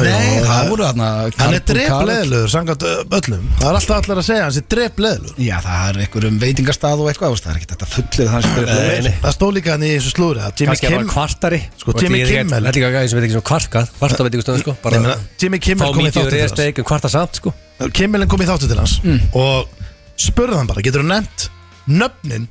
[SPEAKER 1] Nei, það voru þarna
[SPEAKER 2] hann er
[SPEAKER 1] Karl- Karl-
[SPEAKER 2] drefleðilegur, samkvæmt ö, öllum það er alltaf allir að segja, hann er drefleðilegur
[SPEAKER 1] Já, það er einhverjum veitingastað og eitthvað þú veist, það er ekki þetta fullið þannig sem þetta
[SPEAKER 3] Nei,
[SPEAKER 1] er
[SPEAKER 3] nei.
[SPEAKER 2] það stóð líka hann í þessu slúri að Jimmy
[SPEAKER 3] Kannski að það var
[SPEAKER 2] Kimmel
[SPEAKER 3] kvartari
[SPEAKER 2] Sko,
[SPEAKER 3] Og þetta
[SPEAKER 2] Jimmy
[SPEAKER 3] er ekki-
[SPEAKER 2] Kimmel.
[SPEAKER 3] Þetta er ekki að sem veit ekki svona kvarkað Kvarta veit ekki stöðum sko
[SPEAKER 2] Nei, meina, Jimmy Kimmel
[SPEAKER 3] Fá
[SPEAKER 2] kom í
[SPEAKER 3] mikið
[SPEAKER 2] þáttinn
[SPEAKER 3] og
[SPEAKER 2] til
[SPEAKER 3] reyðast
[SPEAKER 2] hans.
[SPEAKER 3] ekki kvarta samt sko
[SPEAKER 2] Kimmelin kom í þáttu til hans og spurði hann bara, getur þú nefnt nöfnin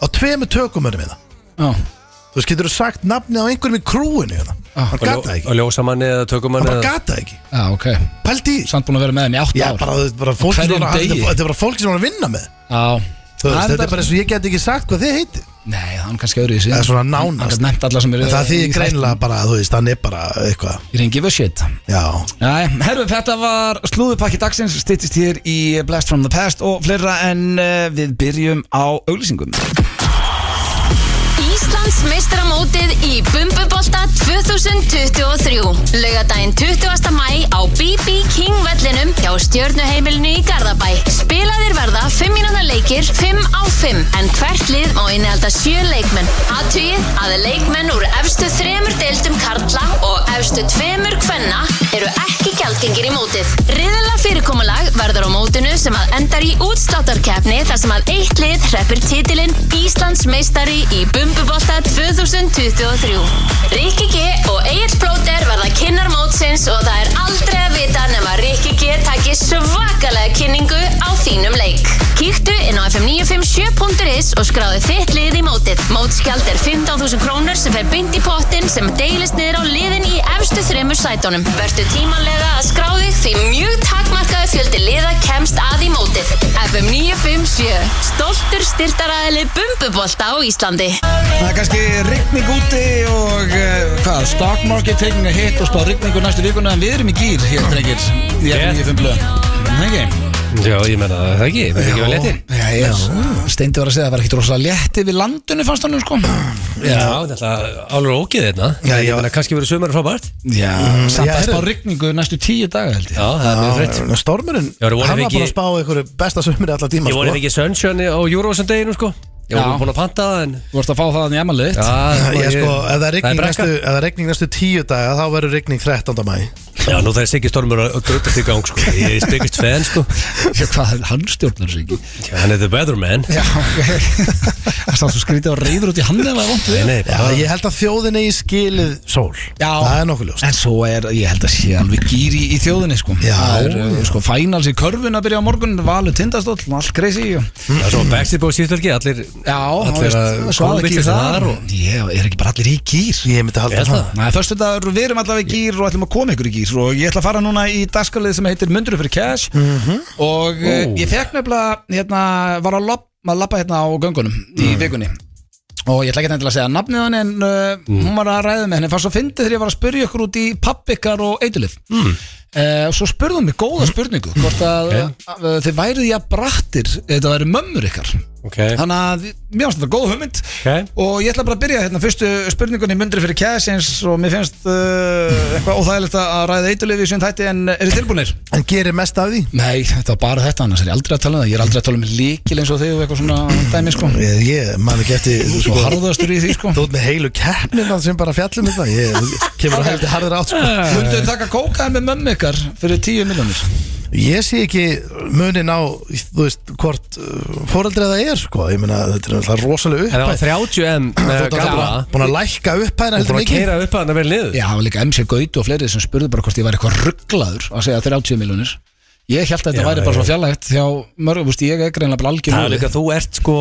[SPEAKER 2] á tveimu tökumörum hérna
[SPEAKER 1] Já.
[SPEAKER 2] þú veist, getur þú sagt nafnið á einhverjum í krúinu hérna
[SPEAKER 1] Ah.
[SPEAKER 2] hann gata
[SPEAKER 3] Og
[SPEAKER 2] ekki,
[SPEAKER 3] ljósamanni eða tökumanni
[SPEAKER 2] hann bara
[SPEAKER 3] eða-
[SPEAKER 2] gata ekki
[SPEAKER 1] Já, ok
[SPEAKER 2] pældi í, því.
[SPEAKER 1] Samt búin að vera með henni í 8
[SPEAKER 2] já,
[SPEAKER 1] ár
[SPEAKER 2] bara, þú veist, bara fólk sem
[SPEAKER 1] hverjum
[SPEAKER 2] var að-
[SPEAKER 1] degi.
[SPEAKER 2] þetta er bara fólk sem var að vinna með
[SPEAKER 1] Já
[SPEAKER 2] Þú veist,
[SPEAKER 1] Það er
[SPEAKER 2] þetta er bara eins og ég get ekki sagt hvað þið heiti
[SPEAKER 1] Nei, það er kannski öðru í sig
[SPEAKER 2] Það er svona
[SPEAKER 1] Hann
[SPEAKER 2] nánast
[SPEAKER 1] gæti nefnt alla sem
[SPEAKER 2] En
[SPEAKER 1] eru
[SPEAKER 2] Það
[SPEAKER 1] í
[SPEAKER 2] þýðir
[SPEAKER 1] þættinum.
[SPEAKER 2] greinilega bara, þú veist, hann er bara eitthvað
[SPEAKER 1] Ég ringi við shit
[SPEAKER 2] Já,
[SPEAKER 1] Nei, herru, þetta var slúðupakki dagsins Stittist hér í Blast from the Past og fleira En uh, við byrjum á auglýsingum
[SPEAKER 4] Íslands meistaramótið í Bumbubolta 2023 Laugadaginn 20. mæ á BB King vellinum hjá stjörnuheimilinu í Garðabæ Spilaðir verða 5 mínúna leikir Fylkir 5 á 5 en hvert lið má innihalda 7 leikmenn. Aðtugið að leikmenn úr efstu þremur deildum karla og efstu tveimur kvenna eru ekki gjaldgengir í mótið. Riðala fyrirkomulag verður á mótinu sem að endar í útsláttarkefni þar sem að eitt lið hreppir titilinn Íslandsmeistari í Bumbubolta 2023. Rikki G og Egil Blóter verða kynnar mótsins og það er aldrei að vita nema Rikki G takki svakalega kynningu á þínum leik. Kíktu inn á fm957.is og skráðu þitt lið í mótið. Mótskjald er 15.000 krónur sem fer bynd í pottin sem deilist niður á liðin í efstu þremur sætunum. Vertu tímanlega að skráðu því mjög takmarkaðu fjöldi liða kemst að í mótið. FM957, stoltur styrtaræðili Bumbubolta á Íslandi.
[SPEAKER 1] Það er kannski rigning úti og uh, hvað, stock market taking a hit og spá rigningu næstu vikuna en við erum í gýr hér, drengir, í
[SPEAKER 3] Yeah.
[SPEAKER 1] FN 95 blöð. Það er ekki?
[SPEAKER 3] Já, ég menna það ekki, það er ekki að leti
[SPEAKER 1] Já, ég steindi var að segja að það var ekkit rosalega létti við landinu fannst hann sko
[SPEAKER 3] Já, þetta er alveg hérna. ógið þetta
[SPEAKER 2] Já,
[SPEAKER 3] Ég
[SPEAKER 2] já.
[SPEAKER 3] menna kannski verið sömur frábært
[SPEAKER 1] Mhm. Já, samt
[SPEAKER 2] já,
[SPEAKER 1] að spá
[SPEAKER 2] heyrðu.
[SPEAKER 1] rigningu næstu tíu daga held ég
[SPEAKER 3] Já, það er mjög þreytt
[SPEAKER 2] Já, Stormurinn,
[SPEAKER 3] Já,
[SPEAKER 2] hann
[SPEAKER 3] voru
[SPEAKER 2] var
[SPEAKER 3] við
[SPEAKER 2] búin
[SPEAKER 3] ekki-
[SPEAKER 2] að spá einhverju besta sömur allar tíma
[SPEAKER 3] Ég voru ekki Sunshine á Eurosundeginum sko Ég
[SPEAKER 1] Já.
[SPEAKER 3] voru búin að panta það en
[SPEAKER 1] Þú varst að fá það hann í emmalið
[SPEAKER 3] Já,
[SPEAKER 2] Ég, sko, ef það er rigning,
[SPEAKER 3] brekka.
[SPEAKER 2] næstu, ef það er rigning næstu tíu daga þá verður rigning 13. mæ
[SPEAKER 3] Já, nú það er Siggi Stormur að drutta til gang sko Ég er styggist fenn sko
[SPEAKER 1] Já, hvað, hann stjórnar sig ekki
[SPEAKER 3] Já, Hann er the better man
[SPEAKER 1] Já, það státt svo skrítið og reyður út í hann eða vant
[SPEAKER 3] Nei,
[SPEAKER 1] við
[SPEAKER 3] nei,
[SPEAKER 2] Já,
[SPEAKER 3] bara
[SPEAKER 2] ég held að þjóðin eigi skilið sól
[SPEAKER 1] Já.
[SPEAKER 2] Það er nokkuð ljóst
[SPEAKER 1] En svo er, ég held að sé alveg gýri í, í þjóðinni sko
[SPEAKER 2] Já.
[SPEAKER 1] Það er, uh, Sko, fænals í körfun að byrja á morgun Valur tindastóll, allt crazy og...
[SPEAKER 3] Já, svo Backstreet Boys síðustu helgi, allir
[SPEAKER 1] Já,
[SPEAKER 3] Allir að
[SPEAKER 1] svaða
[SPEAKER 3] kúlvitlis
[SPEAKER 1] gýr þar
[SPEAKER 3] þar
[SPEAKER 1] og... Ég er ekki bara allir í gýr
[SPEAKER 2] Ég myndi halda
[SPEAKER 3] Ég held
[SPEAKER 2] það
[SPEAKER 3] það.
[SPEAKER 1] Næ, förstu dagur, við erum allavega í gýr og ætlum að koma ykkur í gýr og ég ætla að fara núna í dagskalið sem heitir Mundurinn fyrir cash
[SPEAKER 3] Mhm.
[SPEAKER 1] og uh, ég fekk nefnilega, hérna, var að labba, að labba hérna á göngunum í
[SPEAKER 3] Mhm.
[SPEAKER 1] vikunni og ég ætla ekki nefnilega að segja nafnið hann en uh,
[SPEAKER 3] Mm.
[SPEAKER 1] hún var að ræða með henni, fannst svo fyndið þegar ég var að spyrja ykkur út í pappikar og eitulif mm. og svo spurði hún mig góða spurningu hvort að
[SPEAKER 3] Mm. Ok.
[SPEAKER 1] uh, þið værið ég að brattir, þetta væri mömmur ykkar
[SPEAKER 3] Ok,
[SPEAKER 1] Þannig að mér finnst þetta góð hugmynd
[SPEAKER 3] Ok.
[SPEAKER 1] og ég ætla bara að byrja hérna fyrstu spurningunni mundri fyrir kæðsins og mér finnst uh, eitthvað óþægilegt að ræða eitulif í sín þætti en er þið tilbúinir?
[SPEAKER 2] En gerir mest af því?
[SPEAKER 1] Nei, þetta var bara þetta annars er ég aldrei að tala um það, ég er aldrei að tala um líkil eins og þig og eitthvað svona dæmi sko
[SPEAKER 2] Ég, ég man ekki eftir Þú
[SPEAKER 1] Svo
[SPEAKER 2] sko,
[SPEAKER 1] harðastur í því sko
[SPEAKER 2] Þú ert með heilu keppnina sem bara fjallum þetta Ég þú kemur að heldur harður átt sko.
[SPEAKER 1] Mundu taka kókaðan með mömmu ykkar fyrir 10 miljonir
[SPEAKER 2] Ég sé ekki munin á Þú veist hvort uh, foreldrið það er sko. Ég meina þetta er alltaf rosalega
[SPEAKER 3] en það var
[SPEAKER 2] upphæð
[SPEAKER 3] 30M
[SPEAKER 2] Þú
[SPEAKER 3] með
[SPEAKER 2] ert
[SPEAKER 3] eh, gamla
[SPEAKER 2] alltaf búin að lækka upphæðina
[SPEAKER 3] Og
[SPEAKER 2] heldur
[SPEAKER 3] bara að
[SPEAKER 2] mikið
[SPEAKER 3] keira upp að hann að vera niður
[SPEAKER 1] Já, það var líka MC Gauti og fleiri sem spurðu bara hvort ég var eitthvað rugglaður að segja 30 miljonir Ég held að þetta
[SPEAKER 3] Já,
[SPEAKER 1] væri bara
[SPEAKER 3] já.
[SPEAKER 1] svona fjarlægt hjá mörgum, veist, ég er greinlega bara algjör
[SPEAKER 3] Það er
[SPEAKER 1] núli.
[SPEAKER 3] líka, þú ert sko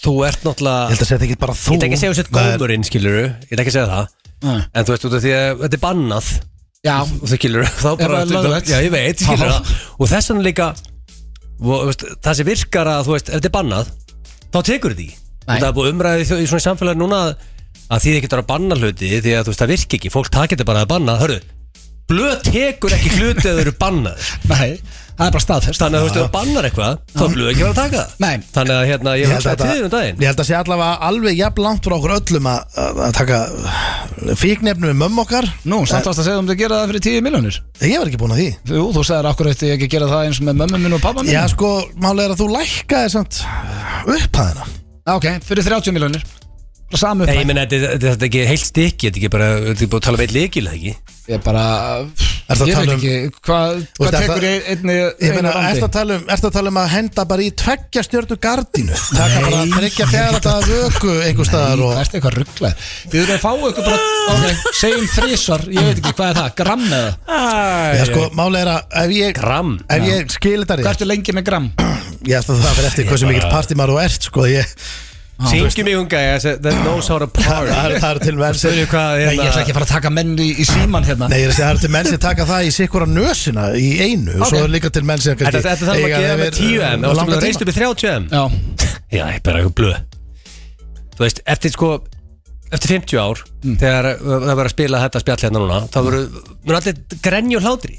[SPEAKER 3] Þú ert
[SPEAKER 2] Ég
[SPEAKER 3] náttúrulega
[SPEAKER 2] held að segja ekki bara
[SPEAKER 3] Ég
[SPEAKER 2] þú
[SPEAKER 3] ætla ekki að segja þessi gómurinn, skilur Ég ætla ekki að segja það
[SPEAKER 1] Nei.
[SPEAKER 3] En þú veist út af því að þetta er bannað
[SPEAKER 1] Ah. Já,
[SPEAKER 3] Og þú skilur Þá bara
[SPEAKER 1] það er löglegt.
[SPEAKER 3] Já, ég veit, skilur
[SPEAKER 1] Já.
[SPEAKER 3] það Og þess vegna líka og, þú veist, Það sem virkar að, þú veist, ef þetta er bannað Þá tekur því Og
[SPEAKER 1] Nei.
[SPEAKER 3] það er búið umræði í þjó- í svona samfélagi núna að- Að því þið getur að banna hluti Því að þú veist, það virki ekki Fólk takir þetta bara að banna Hörru, blöð tekur ekki hluti ef þau eru bannað
[SPEAKER 1] Nei, það er bara staðfest
[SPEAKER 3] Þannig að þú veist, ef þú bannar eitthvað Þá er blöð ekki að vera að taka það
[SPEAKER 1] Nei.
[SPEAKER 3] Þannig að hérna, ég,
[SPEAKER 2] Ég
[SPEAKER 3] ég
[SPEAKER 2] held, að
[SPEAKER 3] hugsaði til þér um
[SPEAKER 2] þetta-
[SPEAKER 3] daginn
[SPEAKER 2] ég held að sé allavega alveg jafn langt frá okkur öllum að, að að taka fíknefnu með mömmu okkar
[SPEAKER 1] Nú, samt ást að segja um þetta að gera það fyrir 10 miljonir
[SPEAKER 2] Ég var ekki búin að því
[SPEAKER 1] Jú, þú sagðir akkur eftir ekki að gera það eins með mömmu minn og pappa minn
[SPEAKER 2] Já sko, málega er að þú lækkaði samt upphæðina
[SPEAKER 1] Ok, fyrir 30 miljonir Bara samu
[SPEAKER 3] Nei,
[SPEAKER 1] upphæð
[SPEAKER 3] ég meina, þetta þetta- þetta er ekki heilt stykki, þetta er ekki bara, þetta er búið að tala um veit leikil, það ekki?
[SPEAKER 1] Ég bara,
[SPEAKER 2] Ertu að
[SPEAKER 1] ég veit
[SPEAKER 2] tala um-
[SPEAKER 1] ekki Hvað hva
[SPEAKER 2] veist,
[SPEAKER 1] tekur
[SPEAKER 2] ertu-
[SPEAKER 1] ég einni
[SPEAKER 2] Ég meina,
[SPEAKER 1] einu
[SPEAKER 2] ertu að, tala um, ertu að tala um að henda bara í tveggja stjörnu gardínu Taka bara að tryggja fjara þetta vöku einhver staðar
[SPEAKER 1] Það
[SPEAKER 2] og
[SPEAKER 1] er eitthvað rugglað Þið eru að fá ykkur bara Ok, segjum þrísvar, ég veit ekki hvað er það, gramm eða
[SPEAKER 2] Já sko, málega er að ef ég,
[SPEAKER 3] Gramm.
[SPEAKER 2] ef ég skil þetta
[SPEAKER 1] Hvað
[SPEAKER 2] rétt
[SPEAKER 1] ertu lengi með gramm?
[SPEAKER 2] Já sko, það fyrir eftir hversu mikill partímar þú ert sko ég,
[SPEAKER 3] Syngjum mig um unga, ég sagði, that knows how to
[SPEAKER 2] það,
[SPEAKER 3] party.
[SPEAKER 2] það, er- það er til menn sem
[SPEAKER 3] Spurðu hvað, hérna-
[SPEAKER 1] Nei, ég ætla ekki að fara að taka menn í, í síman hérna
[SPEAKER 2] Nei, ég er að segja, það er til menn sem taka það í sikkura nösina í einu og svo
[SPEAKER 1] Ok.
[SPEAKER 2] er líka til menn sem
[SPEAKER 3] Þetta þetta þarf að gera með 10M, þá erum við reist upp í 30M.
[SPEAKER 1] Já,
[SPEAKER 3] Já, ég er bara eitthvað blöð. Þú veist, eftir sko, eftir 50 ár, þegar uh, það verður að spila þetta spjall hérna núna, þá verður, verður allir grenju og hlátri.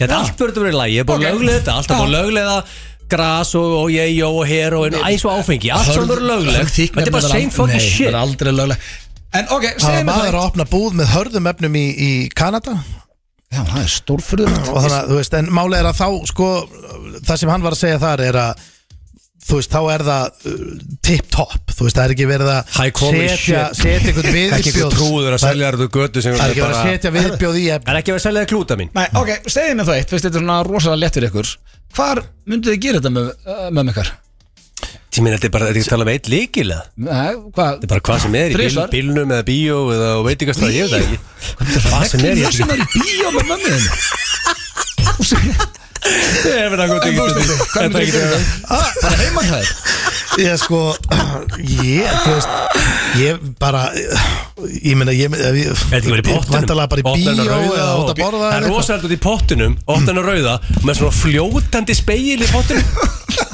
[SPEAKER 3] Þetta allt verður að vera í lagi, ég er búin að
[SPEAKER 1] Ok.
[SPEAKER 3] löglega þetta, allt er búin að löglega gras og, og ég, jó og hér og æs og áfengi, allt sem verður löglega. Þetta er bara same fucking
[SPEAKER 1] Nei,
[SPEAKER 3] shit.
[SPEAKER 1] þetta er aldrei löglegt En ok,
[SPEAKER 2] Það var
[SPEAKER 1] segjum við
[SPEAKER 2] maður að opna búð með hörðum efnum í, í Kanada
[SPEAKER 1] Já, það er stórfurðulegt
[SPEAKER 2] og þannig að, þú veist, en málega er að þá sko, það sem hann var að segja þar er að þú veist, þá er það uh, tip-top, þú veist, það er ekki verið að
[SPEAKER 3] High quality
[SPEAKER 2] setja,
[SPEAKER 3] shit.
[SPEAKER 2] setja einhvern viðbjóð
[SPEAKER 3] Ekki eitthvað trúður að
[SPEAKER 2] Það-
[SPEAKER 3] selja þér þú götu sem
[SPEAKER 2] það er ekki verið að
[SPEAKER 3] bara-
[SPEAKER 2] setja viðbjóð í
[SPEAKER 3] Það
[SPEAKER 2] efni
[SPEAKER 3] er ekki verið að selja þér klúta mín
[SPEAKER 1] Nei, ok, segið mér það eitt, veist þetta er svona rosalega lett fyrir ykkur Hvar mynduð þið gera þetta með, uh, með ykkar?
[SPEAKER 3] Tíminn, þetta er bara, þetta er ekki að tala með eitt líkilega
[SPEAKER 1] Nei, hvað?
[SPEAKER 3] Þetta er bara hvað sem er í bíl,
[SPEAKER 1] Þrisvar.
[SPEAKER 3] bílnum eða bíó eða og veit ekki hvað ég veit það ekki Hvað sem er, ég
[SPEAKER 1] Það sem er í bíó með mömmu þinn
[SPEAKER 3] Ég veit það
[SPEAKER 1] En þú veist þetta, hvað mynduð þið gera
[SPEAKER 3] ekki
[SPEAKER 1] þetta? Ah, Bara heimakæðir
[SPEAKER 2] ég sko, ég, þú veist ég bara ég meina, ég, ég, ég
[SPEAKER 3] Er þetta ekki verið í pottunum?
[SPEAKER 2] vantarlega bara í
[SPEAKER 3] Opnar
[SPEAKER 2] bíó
[SPEAKER 3] hana rauða
[SPEAKER 2] eða
[SPEAKER 3] og-
[SPEAKER 2] út að borða
[SPEAKER 3] Það
[SPEAKER 2] eða
[SPEAKER 3] er
[SPEAKER 2] eitthvað.
[SPEAKER 3] rosalega út í pottunum, óttan og rauða með svona fljótandi speil í pottunum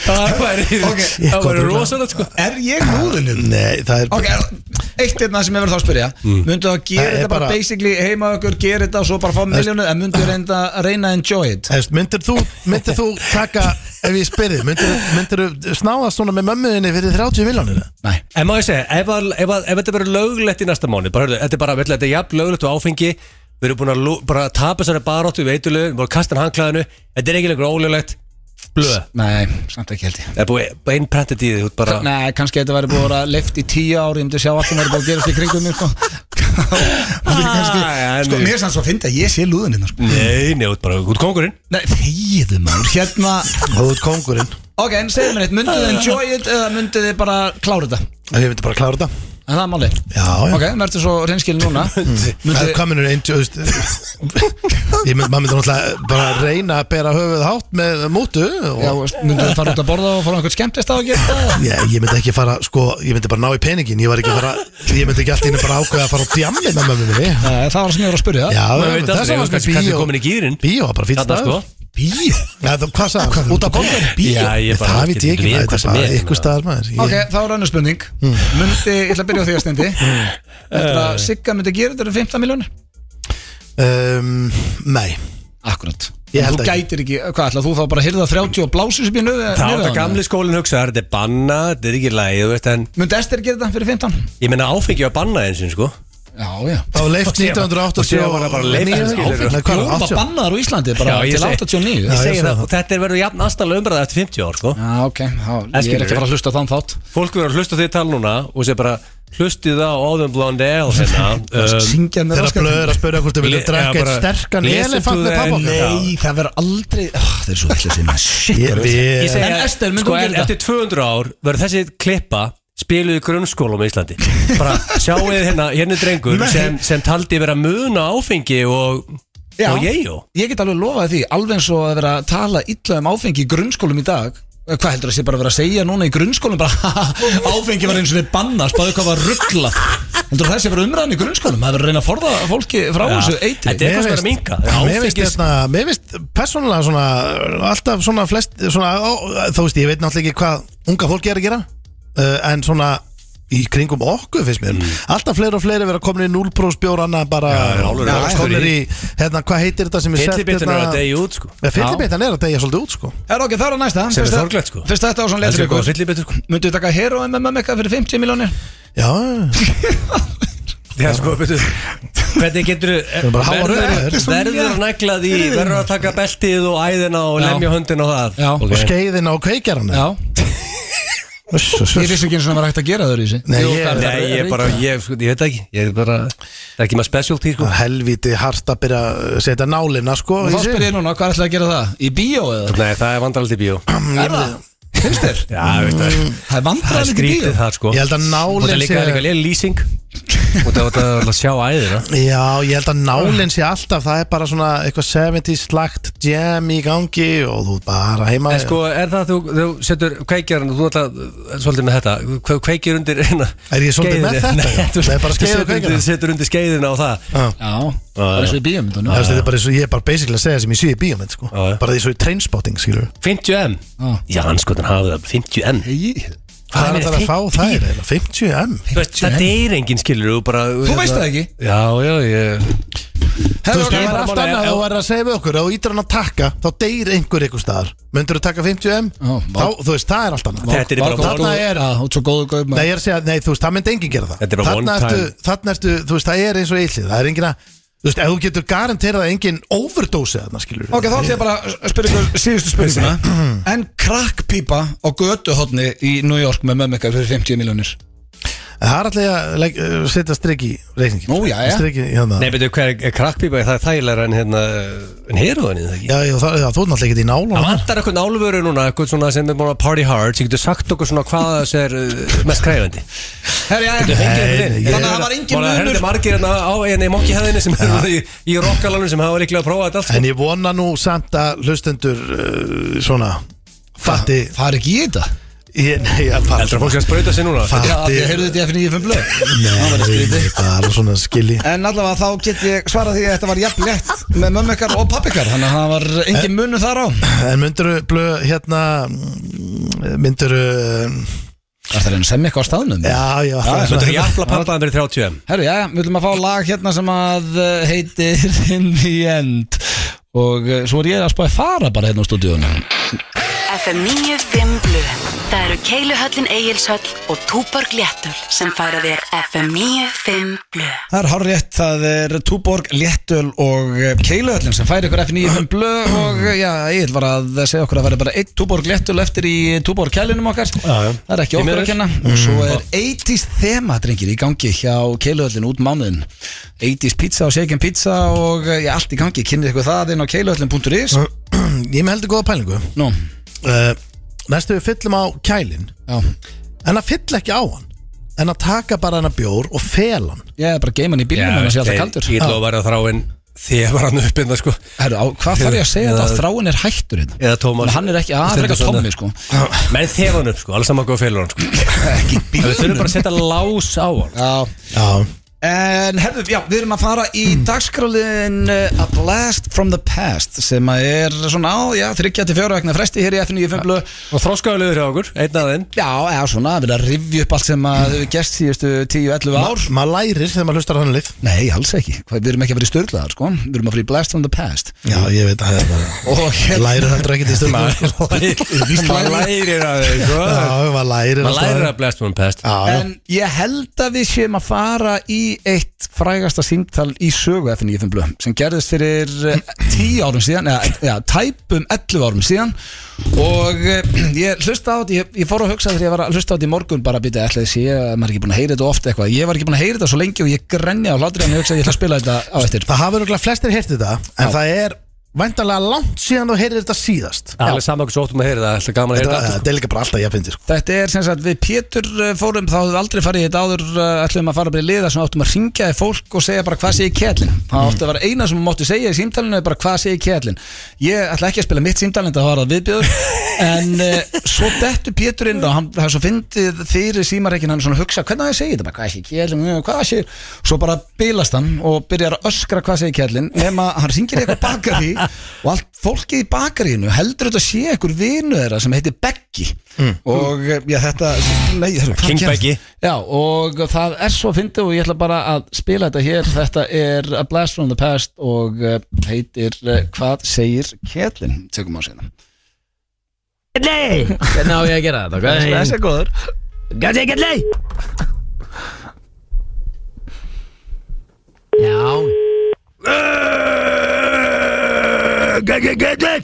[SPEAKER 3] Það væri Það
[SPEAKER 2] gott
[SPEAKER 3] væri
[SPEAKER 2] rugl.
[SPEAKER 3] rosalega sko
[SPEAKER 1] Er ég lúðinu?
[SPEAKER 2] Nei, það er
[SPEAKER 1] Ok, eitt einna sem ég verið þá að spyrja Mynduð það að gera
[SPEAKER 2] Það er
[SPEAKER 1] þetta bara
[SPEAKER 2] bara-
[SPEAKER 1] basically heima ykkur Gera þetta og svo bara fá miljónu En mynduð þið reynda að reyna að enjoy it
[SPEAKER 2] Hefst, myndir, þú, myndir þú taka ef ég spyrði, myndir, myndir þú snáðast svona með mömmuðinni fyrir 30 miljónir
[SPEAKER 1] Nei
[SPEAKER 3] En má ég segja, ef, að- ef, að- ef þetta verður löglegt í næsta mánu bara, hörðu, Þetta er bara, veitlega, þetta er jafn löglegt og áfengi Við erum búin að lú- bara tapa þessari baróttu við eitulegu, við erum búin að kasta hann hangklæðinu Þetta er ekki lengur ólöglegt Blöð,
[SPEAKER 1] Nei, samt ekki held ég
[SPEAKER 3] það er búið beinprentet í því þú ert bara,
[SPEAKER 1] Nei, kannski þetta væri búið að vera leift í tíu ári Ég myndi sjá allt sem væri búið að gerast í kringum mér sko. Og því kannski,
[SPEAKER 3] Ah,
[SPEAKER 1] sko,
[SPEAKER 3] en-
[SPEAKER 1] Mér er sann svo að finna að ég sé lúðin hérna sko.
[SPEAKER 3] Nei, nei, þú ert bara, þú ert kongurinn
[SPEAKER 1] Nei, þegiðu maður Hérna,
[SPEAKER 2] þú ert kongurinn
[SPEAKER 1] ok, en segðu mér eitt Mynduð þið enjoy it eða mynduð þið bara klára þetta
[SPEAKER 2] ég myndi bara klára þetta
[SPEAKER 1] En það er máli
[SPEAKER 2] Já, já.
[SPEAKER 1] Ok, verður svo reynskil núna
[SPEAKER 2] Það
[SPEAKER 1] Mynduð
[SPEAKER 2] er kominur einn þú veist, Ég mynd, maður myndi náttúrulega bara reyna að bera höfuð hátt með mútu og
[SPEAKER 1] Já, veist, mynduð þið fara út að borða og fara á einhvern skemmtist á að gera það?
[SPEAKER 2] ég, ég myndi ekki fara, sko, ég myndi bara ná í peningin ég var ekki að fara, ég myndi ekki alltaf bara ákveða að fara á djammi með mömmu minni
[SPEAKER 1] Nei, það var það sem ég var að spyrja
[SPEAKER 2] Já,
[SPEAKER 3] Maður veit aldrei,
[SPEAKER 2] þess að
[SPEAKER 3] þú
[SPEAKER 2] var
[SPEAKER 3] kannski- kannski komin í gírinn.
[SPEAKER 2] Bíó, var bara fýtt
[SPEAKER 3] Þarna, sko.
[SPEAKER 2] Bíó? Já, þú, hvað sagði hann? Út að borða í bíó?
[SPEAKER 3] Já, ég bara-
[SPEAKER 2] það veit ég ekki,
[SPEAKER 3] Við
[SPEAKER 2] það
[SPEAKER 3] hvað
[SPEAKER 2] er
[SPEAKER 3] sem
[SPEAKER 2] bara
[SPEAKER 3] er, sko.
[SPEAKER 2] ykkur staðar maður Ég-
[SPEAKER 1] Ok, þá er önnur spurning Myndi, ég ætla að byrja á því að stendi Þetta Sigga myndi gera þetta um 15 miljónir
[SPEAKER 2] Um, nei
[SPEAKER 1] Akkurat
[SPEAKER 2] Ég held
[SPEAKER 1] Þú
[SPEAKER 2] ekki.
[SPEAKER 1] gætir ekki, eh, hvað ætla þú þá bara að hyrða 30 og blásur sem ég nöðu
[SPEAKER 3] Þá er það gamli skólinn hugsaðar, þetta er banna, þetta er ekki lægi, þú veist En
[SPEAKER 1] Myndi Ester gera þetta fyrir 15?
[SPEAKER 3] ég meina áfengi var banna eins og sko
[SPEAKER 1] Já, já
[SPEAKER 2] Það var leift
[SPEAKER 3] Og síðan var það bara leyft,
[SPEAKER 2] 1989
[SPEAKER 3] skilurðu.
[SPEAKER 2] Nei, hvað er það,
[SPEAKER 1] Jóma
[SPEAKER 2] 80?
[SPEAKER 1] bannaðar á Íslandi bara
[SPEAKER 3] Já, ég
[SPEAKER 1] til
[SPEAKER 3] segi-
[SPEAKER 1] 89
[SPEAKER 3] Ég
[SPEAKER 1] Já,
[SPEAKER 3] segi
[SPEAKER 2] ég
[SPEAKER 3] það,
[SPEAKER 2] sagði
[SPEAKER 3] og þetta er verður jafn aðstæðlega umræða eftir 50 ár, sko
[SPEAKER 1] ok, þá, ég
[SPEAKER 3] skilur
[SPEAKER 1] er ekki að
[SPEAKER 3] við.
[SPEAKER 1] fara að hlusta á þann þátt
[SPEAKER 3] Fólk verður að hlusta á því tala núna og sé bara Hlustið á Óðum Blonde Ale hérna um,
[SPEAKER 1] Syngja með
[SPEAKER 2] Þeirra
[SPEAKER 1] raskat.
[SPEAKER 2] blöður að spyrja hvort þau vilja
[SPEAKER 3] Le- já,
[SPEAKER 2] drekka eitt
[SPEAKER 3] bara-
[SPEAKER 2] sterkan
[SPEAKER 3] Lesum
[SPEAKER 2] elefant
[SPEAKER 3] þú
[SPEAKER 2] með
[SPEAKER 3] það-
[SPEAKER 2] pappokka
[SPEAKER 1] Nei, það verður aldrei oh, Það er svo ekki að sinna Shit
[SPEAKER 2] Ég
[SPEAKER 3] Ég
[SPEAKER 2] við
[SPEAKER 3] segi
[SPEAKER 1] En
[SPEAKER 3] að-
[SPEAKER 1] Ester, myndi
[SPEAKER 3] sko,
[SPEAKER 1] hún
[SPEAKER 3] en
[SPEAKER 1] gera
[SPEAKER 3] Eftir 200 ár verður þessi klippa spiluð í grunnskólum í Íslandi bara sjáu þið hérna, hérna er drengur sem, sem taldi vera muna áfengi og,
[SPEAKER 1] Já.
[SPEAKER 3] og ég og
[SPEAKER 1] Ég get alveg lofað því, alveg eins og að vera að tala illa um áfengi í grunnskólum í dag Eh, Hvað heldur það sé bara að vera að segja núna í grunnskólum bara haha, áfengi var eins og þið banna spáðu hvað var rugglað Heldur það sé bara umræðan í grunnskólum, það er að reyna að forða fólki frá
[SPEAKER 3] Já.
[SPEAKER 1] þessu eitri
[SPEAKER 3] Þetta er eitthvað sem er að minka.
[SPEAKER 2] Mér finnst
[SPEAKER 3] Áfengis-
[SPEAKER 2] hérna, mér finnst persónulega svona alltaf svona flest svona, ó, þú veist, ég veit náttúrulega ekki hvað unga fólki er að gera uh, en svona í kringum okkur finnst mér alltaf fleiri og fleiri vera komin í 0% bjórana bara
[SPEAKER 3] Mm. já, alveg
[SPEAKER 2] Já,
[SPEAKER 3] alveg
[SPEAKER 2] komnir í,
[SPEAKER 3] í-
[SPEAKER 2] hérna, hvað heitir þetta sem er selt
[SPEAKER 3] Fyllibitinn er að
[SPEAKER 2] hérna-
[SPEAKER 3] degja út sko
[SPEAKER 2] Ja, Fyllibitinn er að degja svolítið út sko
[SPEAKER 1] Er ok, það er að næsta
[SPEAKER 3] Sem er
[SPEAKER 1] Fyrsta-
[SPEAKER 3] sorglegt, sko.
[SPEAKER 1] Fyrst þetta á svona
[SPEAKER 3] Það er
[SPEAKER 1] letur
[SPEAKER 3] góð
[SPEAKER 1] ykkur
[SPEAKER 3] fyllibitinn sko
[SPEAKER 1] Myndu við taka heroin með mömmu eitthvað fyrir 50 miljónir?
[SPEAKER 2] Já,
[SPEAKER 3] Já, sko, betur Hvernig getur
[SPEAKER 2] erum bara háar röðir.
[SPEAKER 3] verður, verður að negla því Verður að taka beltið og æðina og
[SPEAKER 1] Já.
[SPEAKER 3] lemja höndin og það
[SPEAKER 1] Já.
[SPEAKER 2] og
[SPEAKER 3] okay.
[SPEAKER 2] skeiðina og kveikjarana
[SPEAKER 1] Já
[SPEAKER 2] Uss, uss,
[SPEAKER 1] Ég
[SPEAKER 2] uss.
[SPEAKER 1] vissi ekki eins og það var hægt að gera þau í þessi
[SPEAKER 2] Nei, ég-
[SPEAKER 3] Nei, ég bara, ég, sko, ég veit það ekki Ég er bara, það er ekki maður specialty sko
[SPEAKER 2] Það er helvíti hart að byrja að setja nálina sko
[SPEAKER 1] Og
[SPEAKER 2] í
[SPEAKER 1] þá
[SPEAKER 2] sig.
[SPEAKER 1] spyr ég núna, hvað ætlaði að gera það? Í bíó eða?
[SPEAKER 3] Nei, það er vandraldi bíó
[SPEAKER 1] Er það? Finnst þér?
[SPEAKER 3] Já, ég veit það
[SPEAKER 1] Það er
[SPEAKER 3] Það er
[SPEAKER 1] vandræðan ekki bíó
[SPEAKER 3] skrítið það sko
[SPEAKER 2] Ég held að
[SPEAKER 3] Og það
[SPEAKER 2] nálinn
[SPEAKER 3] er líka, líka líka lýsing Og það var að sjá æðina
[SPEAKER 2] Já, ég held að nálinn sé alltaf Það er bara svona eitthvað 70s slagt jam í gangi og þú bara heima
[SPEAKER 3] En sko, er það þú, þú setur kveikjarinn Þú ætla, svolítið með þetta Hvað kveikir undir hérna
[SPEAKER 2] Er ég svolítið með
[SPEAKER 3] skeiðinni?
[SPEAKER 2] þetta?
[SPEAKER 3] Nei, þú
[SPEAKER 2] Nei, bara skeið og
[SPEAKER 3] setur undir-
[SPEAKER 2] kveikjara.
[SPEAKER 3] Setur undir skeiðina og það
[SPEAKER 2] Já.
[SPEAKER 1] Já, það er eins og í bíómyndunum
[SPEAKER 2] Það veist, Þetta er bara eins og ég er bara basically að segja sem ég sé í bíómynd sko.
[SPEAKER 3] Já, já.
[SPEAKER 2] bara því svo í trainspotting skilur
[SPEAKER 3] 50M
[SPEAKER 2] Ah.
[SPEAKER 1] Já.
[SPEAKER 3] Já, anskotin hafið það 50M
[SPEAKER 2] Hvað er
[SPEAKER 3] meina,
[SPEAKER 2] þetta að fá það er eiginlega? 50 M
[SPEAKER 3] Þú veist, Það deyr enginn skilur þú bara hérna-
[SPEAKER 1] Þú veist það ekki?
[SPEAKER 3] Já, já, ég
[SPEAKER 2] Þú veist,
[SPEAKER 1] ok,
[SPEAKER 2] það
[SPEAKER 1] ég
[SPEAKER 2] er
[SPEAKER 1] bara
[SPEAKER 2] allt
[SPEAKER 3] máli-
[SPEAKER 2] annað
[SPEAKER 3] ef-
[SPEAKER 2] Þú er að segja við okkur, ef þú ítir hann að taka þá deyr einhver einhver staðar Myndur þú taka 50 M?
[SPEAKER 1] Já, vá.
[SPEAKER 2] Þá, þú veist, það er allt annað
[SPEAKER 3] Þetta er bara
[SPEAKER 1] Vá, Þarna
[SPEAKER 3] von-
[SPEAKER 1] er að, út svo góðu gauð
[SPEAKER 2] Nei, ég er að segja, nei, þú veist, það myndi enginn gera það
[SPEAKER 3] Þetta er bara
[SPEAKER 2] Þarna
[SPEAKER 3] one time.
[SPEAKER 2] ertu, þarna ertu, þú veist, það er eins og illið Það er enginn að Þú veist, ef þú getur garanterað að engin overdose þarna, skilur
[SPEAKER 1] Ok, þá ætlum ég bara að spyrja ykkur síðustu spurninguna En krakkpípa á götuhotni í New York með mömmu ykkar fyrir 50 miljónir
[SPEAKER 2] Það er alltaf að legg- uh, setja strik í reikningin
[SPEAKER 1] Nú, jæja.
[SPEAKER 2] Strik í, hérna
[SPEAKER 3] Nei, betur, hver er krakkpípa? Það er þægilega en hérna En heroðan í það ekki
[SPEAKER 2] Já, já, það, það þú er náttúrulega ekkert í nála
[SPEAKER 3] Það vantar eitthvað álveru núna, eitthvað svona sem er búin að party hard sem getur sagt okkur svona hvað þess er uh, mest kræfandi
[SPEAKER 1] Herri, já,
[SPEAKER 3] Getur fengið
[SPEAKER 2] Nei,
[SPEAKER 3] þetta inn.
[SPEAKER 2] ég-
[SPEAKER 1] Þannig að það var engin
[SPEAKER 3] Bara,
[SPEAKER 1] munur.
[SPEAKER 3] herðu margir hérna á enni mokkihæðinni sem eru í, í rockalanum sem hafa líklega að prófa þetta allt sko.
[SPEAKER 2] En ég vona nú samt að hlustendur uh, svona fatti
[SPEAKER 1] Það er ekki í þetta
[SPEAKER 2] ég, Nei, ég bara
[SPEAKER 3] Heldur að fólk sé að sprauta sig núna
[SPEAKER 2] Fatti-
[SPEAKER 1] Já, af því að heyrðu þetta í FNÍFM blöð Það var
[SPEAKER 2] Nei,
[SPEAKER 1] skrítið
[SPEAKER 2] ég bara svona skilji
[SPEAKER 1] En allavega þá get ég svarað því að þetta var jafn lett með mömmu ykkar og pappi ykkar Þannig að það var engin munur þar á
[SPEAKER 2] En myndur blöð hérna mm, myndur
[SPEAKER 1] Það er enn sem eitthvað á staðnum
[SPEAKER 2] Já, já,
[SPEAKER 1] Já,
[SPEAKER 2] það
[SPEAKER 1] myndirðu
[SPEAKER 2] er
[SPEAKER 3] Þetta er
[SPEAKER 2] svona
[SPEAKER 3] jafnla pappaðan fyrir 30
[SPEAKER 1] Herru, já, við viljum að fá lag hérna sem að eh, heitir In the End Og eh, svo er ég að spáði fara bara hérna á stúdíunum
[SPEAKER 5] FM 95 Blu Það eru Keiluhöllin Egilshöll og Túborg Léttul sem færa þér FM 95 Blu
[SPEAKER 1] Það er hárétt, það er Túborg, Léttöl og eh, Keiluhöllin sem færi ykkur F95 blöð um og eh, já, ég var að segja okkur að það væri bara eitt Túborg Léttöl eftir í Túborg kælinum okkar
[SPEAKER 3] já. Mm.
[SPEAKER 1] Það er ekki
[SPEAKER 3] Því
[SPEAKER 1] okkur
[SPEAKER 3] miður.
[SPEAKER 1] að kenna og svo er 80s þema drengir í gangi hjá Keiluhöllin út mánuðin 80s pizza og shaken pizza og eh, já, allt í gangi, kynnið ykkur það inn á keiluhöllin.is
[SPEAKER 3] Mm.
[SPEAKER 2] Ég með heldur góða pælingu
[SPEAKER 1] Nú,
[SPEAKER 2] uh, Næstu við fyllum á kælin
[SPEAKER 1] já,
[SPEAKER 2] En að fylla ekki á hann En að taka bara hennar bjór og fel hann
[SPEAKER 1] ég er bara geiman í bílnum en það sé alltaf kaldur
[SPEAKER 3] Ég ætla að vera þráinn þegar var hann uppinna sko
[SPEAKER 1] Herru, á, hvað þarf ég að segja
[SPEAKER 3] Eða-
[SPEAKER 1] þetta að þráin er hættur hérna?
[SPEAKER 3] Eða Tómas
[SPEAKER 1] Hann er ekki, að, hann er ekki tómi sko
[SPEAKER 3] Menn þegar hann upp sko, alls saman góð félur hann sko
[SPEAKER 1] Ekki
[SPEAKER 3] Við þurfum bara að setja lás á hann
[SPEAKER 1] Já,
[SPEAKER 2] Já
[SPEAKER 1] En herðu, já, við erum að fara í dagskrálin A Blast from the Past sem að er svona á, já, 34 vegna fresti hér í F95 blöð.
[SPEAKER 3] Og þróskaðulegur hjá okkur, einn af þeim
[SPEAKER 1] Já, eða svona, við erum að rifja upp allt sem að við gerst síðustu 10-11 ár
[SPEAKER 2] Maður lærir þegar maður hlustar á hann lið
[SPEAKER 1] Nei, alls ekki, Hvað, við erum ekki að fara í störlaðar, sko Við erum að fara í Blast from the Past
[SPEAKER 2] Já, ég veit að það
[SPEAKER 1] Og
[SPEAKER 2] er
[SPEAKER 1] hérna
[SPEAKER 2] Lærir heldur ekki til stundum
[SPEAKER 3] Maður lærir að þeim sko
[SPEAKER 2] Já, maður lærir
[SPEAKER 3] Maður lærir að blast from the past
[SPEAKER 2] Já, já
[SPEAKER 1] En ég held að við séum að fara í eitt frægasta símtal í sögu FN95 blöð sem gerðist fyrir eh, 10 árum síðan eða, eða tæpum 11 árum síðan og eh, ég hlusta á þetta ég, ég fór að hugsa þegar ég var að hlusta á þetta í morgun bara að býta ætlaði að sé að maður er ekki búin að heyra þetta ofta eitthvað ég var ekki búin að heyra þetta svo lengi og ég grenja á hlátri en ég hugsa að ég ætla að spila þetta á eftir
[SPEAKER 2] Það hafa örgulega flestir heyrt þetta En
[SPEAKER 1] Já.
[SPEAKER 2] það er væntanlega langt síðan þú heyrir þetta síðast
[SPEAKER 3] Það er alveg saman okkur svo óttum að heyra það, alltaf gaman að heyra
[SPEAKER 2] Þetta
[SPEAKER 3] það
[SPEAKER 2] þetta er líka bara alltaf ég að fyndi sko.
[SPEAKER 1] Þetta er sem sagt við Pétur eh, fórum þá höfum við aldrei farið í þetta áður eh, ætlum að fara bara í liða sem áttum að ringja í fólk og segja bara hvað sé í kjælin það áttu að vera eina sem máttu segja í símtalinu er bara hvað sé í kjælin ég ætla ekki að spila mitt símtalin það var það viðbjöður en uh, svo dettur Pétur inn og hann það er svo fyndið fyrir símareikin hann er svona að hugsa hvernig á ég að segja þetta bara hvað sé í kjælin eh, hvað sé svo bara bilast hann og byrjar að öskra hvað sé í kjælin nema hann ringir í eitthvað bakari og allt fólkið í bakarínu heldur þetta sé einhver vinu þeirra sem heitir Beggi og eh, já, þetta nei, heru,
[SPEAKER 3] King Beggi.
[SPEAKER 1] já, og það er svo fyndið og ég ætla bara að spila þetta hér þetta er A Blast from the Past og eh, heitir eh, Hvað segir Ketlin tökum á sérna
[SPEAKER 6] Nei, hvernig á ég að gera þetta? Hvað
[SPEAKER 1] er góður
[SPEAKER 6] Hvað segir Gjalli? Já Hvað segir Gjalli?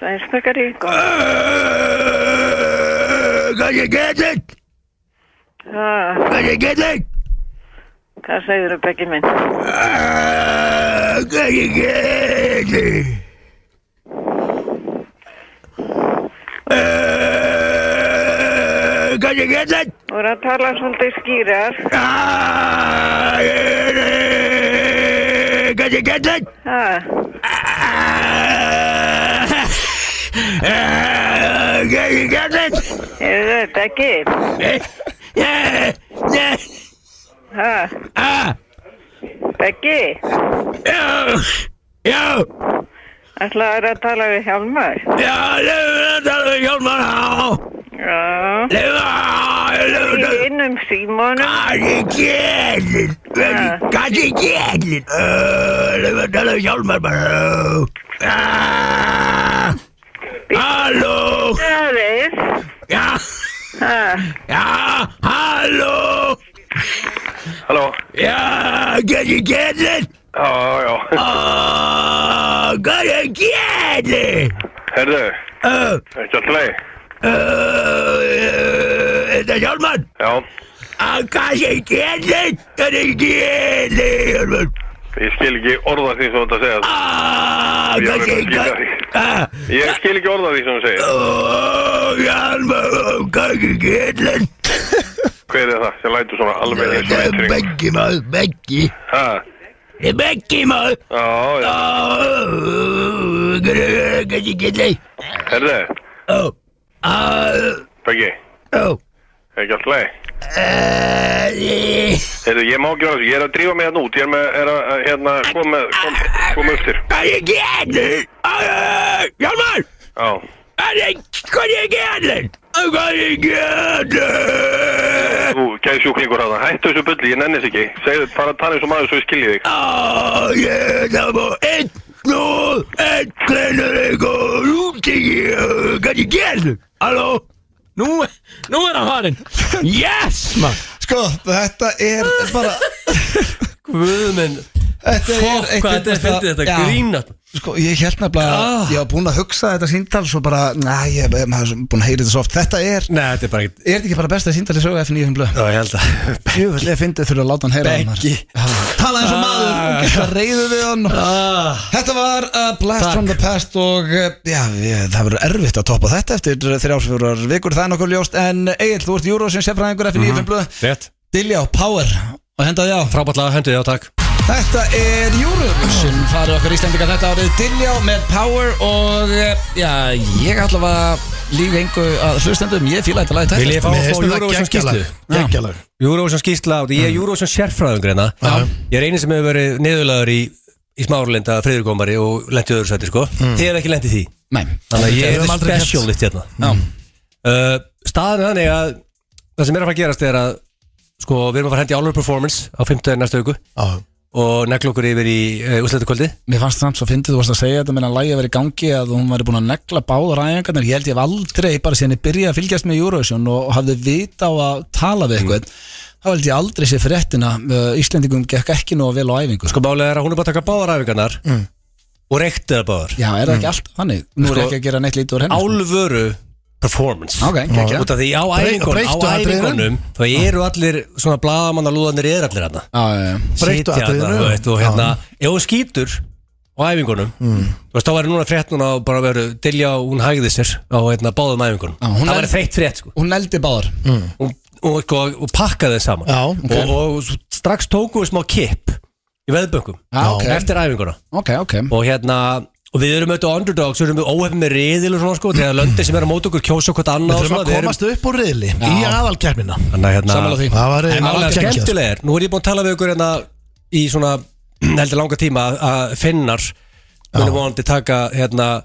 [SPEAKER 7] Sveinsbakari,
[SPEAKER 6] Hvað segir Gjalli?
[SPEAKER 7] hvað
[SPEAKER 6] Hvað segir Gjalli?
[SPEAKER 7] hvað segir þú Beggi minn?
[SPEAKER 6] Hvað segir Gjalli? Hvað segir Gjalli?
[SPEAKER 7] Þú er að tala svolítið skýrar.
[SPEAKER 6] Hvað segir Gjalli?
[SPEAKER 7] Ha,
[SPEAKER 6] Gæði gæðin
[SPEAKER 7] er þetta Beggi? Ha, Beggi,
[SPEAKER 6] Já Já
[SPEAKER 7] ætlaður að tala við Hjálmar?
[SPEAKER 6] Já Leifur að tala um hjálmar á
[SPEAKER 7] Já,
[SPEAKER 6] Leifur að Leifur
[SPEAKER 7] í
[SPEAKER 6] að
[SPEAKER 7] innum símónum.
[SPEAKER 6] Gæði gæðin Gæði gæðin Leifur að tala um hjálmar bara Halló
[SPEAKER 7] Það er,
[SPEAKER 6] Já
[SPEAKER 7] ha,
[SPEAKER 6] Já Halló
[SPEAKER 8] Halló,
[SPEAKER 6] Já Gæði gæðin
[SPEAKER 8] Já, já,
[SPEAKER 6] Ó, Hvað er að gera?
[SPEAKER 8] herðu, ekki alltaf leið
[SPEAKER 6] eh, Þetta er Hjálmar Ah,
[SPEAKER 8] Já,
[SPEAKER 6] Á, Hvað er að gera? Hvað er að gera, Hjálmar?
[SPEAKER 8] ég skil ekki orða því sem þú ert að segja
[SPEAKER 6] Á, Hvað er að gera?
[SPEAKER 8] Ég skil ekki orða því sem þú segir
[SPEAKER 6] Ó, Hjálmar, ó, hvað er að gera?
[SPEAKER 8] Hver er það sem lætur svona alveg eins og
[SPEAKER 6] Þetta er
[SPEAKER 8] eitring?
[SPEAKER 6] Beggi maður, Beggi
[SPEAKER 8] Ha,
[SPEAKER 6] Þetta er Beggi maður
[SPEAKER 8] já, já,
[SPEAKER 6] Kanski gilli
[SPEAKER 8] herðu, Beggi, ekki alltaf leið Herðu, ég má ekki orða þessu, ég er að drífa mig hérna út, ég er, með, er að, að, hérna, kom með, kom, kom upp til
[SPEAKER 6] Hvað er gerðin? Hjálmar!
[SPEAKER 8] Já,
[SPEAKER 6] Hvað er hvað er gerðin? Hvað er gerðin?
[SPEAKER 8] þú, gæði sjúklingur hérna, hættu þessu bulli, ég nenni þessu ekki Segðu, fara að tala eins og maður svo ég skilji þig
[SPEAKER 6] Á, ég það má einn nú, einn kleinur eitthvað út í Hvað er gerðin? Halló? Nú, nú er hann farin Yes, maður
[SPEAKER 1] Sko, þetta er bara
[SPEAKER 3] Guðminn
[SPEAKER 1] Þetta er
[SPEAKER 3] Fokk, hvað þetta er fyndið þetta
[SPEAKER 1] Já.
[SPEAKER 3] grínat
[SPEAKER 1] Sko, ég held nefnilega
[SPEAKER 3] Ah.
[SPEAKER 1] Ég var búin að hugsa þetta síntal Svo bara, næ, ég ég- maður er búin að heyra þetta svo oft Þetta er,
[SPEAKER 3] Nei, þetta er bara ekkert
[SPEAKER 1] er þetta ekki bara besta síntal í sögu F9 blöð?
[SPEAKER 3] Já, ég held að
[SPEAKER 1] Jöfnlega fyndið þurfa að láta hann heyra það, maður.
[SPEAKER 3] Beggi.
[SPEAKER 1] Já. Tala eins og
[SPEAKER 3] Ah.
[SPEAKER 1] maður og geta reyðu við hann
[SPEAKER 3] ah,
[SPEAKER 1] Þetta var uh, Blast
[SPEAKER 3] Takk.
[SPEAKER 1] from the Past og uh, já, ég, það verður erfitt að toppa þetta eftir þrjáfjórar vikur, það er nokkuð ljóst en Egil, þú ert júró sem sefraðingur eftir
[SPEAKER 3] Mhm.
[SPEAKER 1] nýjum blöð
[SPEAKER 3] Rétt
[SPEAKER 1] Dilljá, Power og henda því á
[SPEAKER 3] Frábært lag, hendur þið á takk
[SPEAKER 1] Þetta er Eurovision farið okkar Íslendingar þetta árið Dilljá með Power og eh, já, ég ætla að líka engu að hlustendum, ég fíla þetta lagi
[SPEAKER 3] Vil ég fá
[SPEAKER 2] Mér
[SPEAKER 3] að fá
[SPEAKER 2] finnst þetta
[SPEAKER 3] Eurovision skýslu?
[SPEAKER 2] geggjalag Geggjalag
[SPEAKER 3] Eurovision skýsla, ég er Eurovision sérfræðingur hérna
[SPEAKER 2] Já.
[SPEAKER 3] Ég er eini sem hefur verið neðurlegaður í í smárlinda friðurkomari og lenti öðru sæti sko Þið er ekki lendið því
[SPEAKER 1] Nei,
[SPEAKER 3] Þannig að ég
[SPEAKER 1] Þetta
[SPEAKER 3] er
[SPEAKER 1] aldrei gert.
[SPEAKER 3] specialist hérna
[SPEAKER 1] Já,
[SPEAKER 3] uh, Staðan er þannig að það sem er að fara að gerast er að sko, við erum að fara hendi álur performance á 50 næsta auku
[SPEAKER 2] Já.
[SPEAKER 3] og negla okkur yfir í uh, úsleitukvöldi
[SPEAKER 1] Mér fannst samt svo fyndið, þú varst að segja þetta meðan lægi að vera í gangi að hún væri búin að negla báður æfingarnar ég held ég hef aldrei, bara síðan ég byrjaði að fylgjast með Eurovision og hafði vita á að tala við eitthvað þá held ég aldrei sér fréttina uh, Íslendingum gekk ekki nú vel á æfingu
[SPEAKER 3] Sko málega er að hún er bara að taka báðar æfingarnar
[SPEAKER 1] Mm.
[SPEAKER 3] og reykti það báðar
[SPEAKER 1] Já, er það ekki alltaf þannig? Nú er
[SPEAKER 3] Sko-
[SPEAKER 1] ég ekki að gera neitt lítið úr henni sko.
[SPEAKER 3] Álvöru performance
[SPEAKER 1] Ok, ekki
[SPEAKER 3] Út af því á
[SPEAKER 2] Brey-
[SPEAKER 3] æfingunum,
[SPEAKER 2] breyttu
[SPEAKER 3] á
[SPEAKER 2] atriðinu?
[SPEAKER 3] æfingunum þá eru allir svona blaðamanna lúðanir eða allir hérna
[SPEAKER 2] Breyttu atriðinu?
[SPEAKER 3] þú veist, og hérna ef þú skýtur á æfingunum
[SPEAKER 2] Mm.
[SPEAKER 3] þú veist, þá væri núna frétt núna að bara veru dilja og hún hægði sér á hérna, báðum æfingunum
[SPEAKER 1] Já, hún
[SPEAKER 3] það
[SPEAKER 1] er-
[SPEAKER 3] væri þreytt frétt sko
[SPEAKER 1] Hún eldi báður
[SPEAKER 3] og, og, sko, og pakkaði þeim saman
[SPEAKER 2] Já, ok.
[SPEAKER 3] og, og, og strax tóku við smá kipp í veðböngum
[SPEAKER 1] Já, Ah, ok.
[SPEAKER 3] eftir æfinguna
[SPEAKER 1] Ok, ok
[SPEAKER 3] og hérna og við erum auðvitað underdogs, við erum óhefn með riðil og svona sko, þegar löndin sem er á móti okkur kjósa okkur
[SPEAKER 2] Við
[SPEAKER 3] annað og
[SPEAKER 2] þurfum
[SPEAKER 3] svona,
[SPEAKER 2] að komast upp úr riðli í aðalkermina
[SPEAKER 3] þannig að hérna
[SPEAKER 1] Sammála því.
[SPEAKER 2] Það var
[SPEAKER 3] En
[SPEAKER 2] eiginlega
[SPEAKER 3] alveg
[SPEAKER 2] geggjað, sko.
[SPEAKER 3] skemmtilegir, nú er ég búinn að tala við ykkur hérna í svona heldur langa tíma að- að finnar munum vonandi taka hérna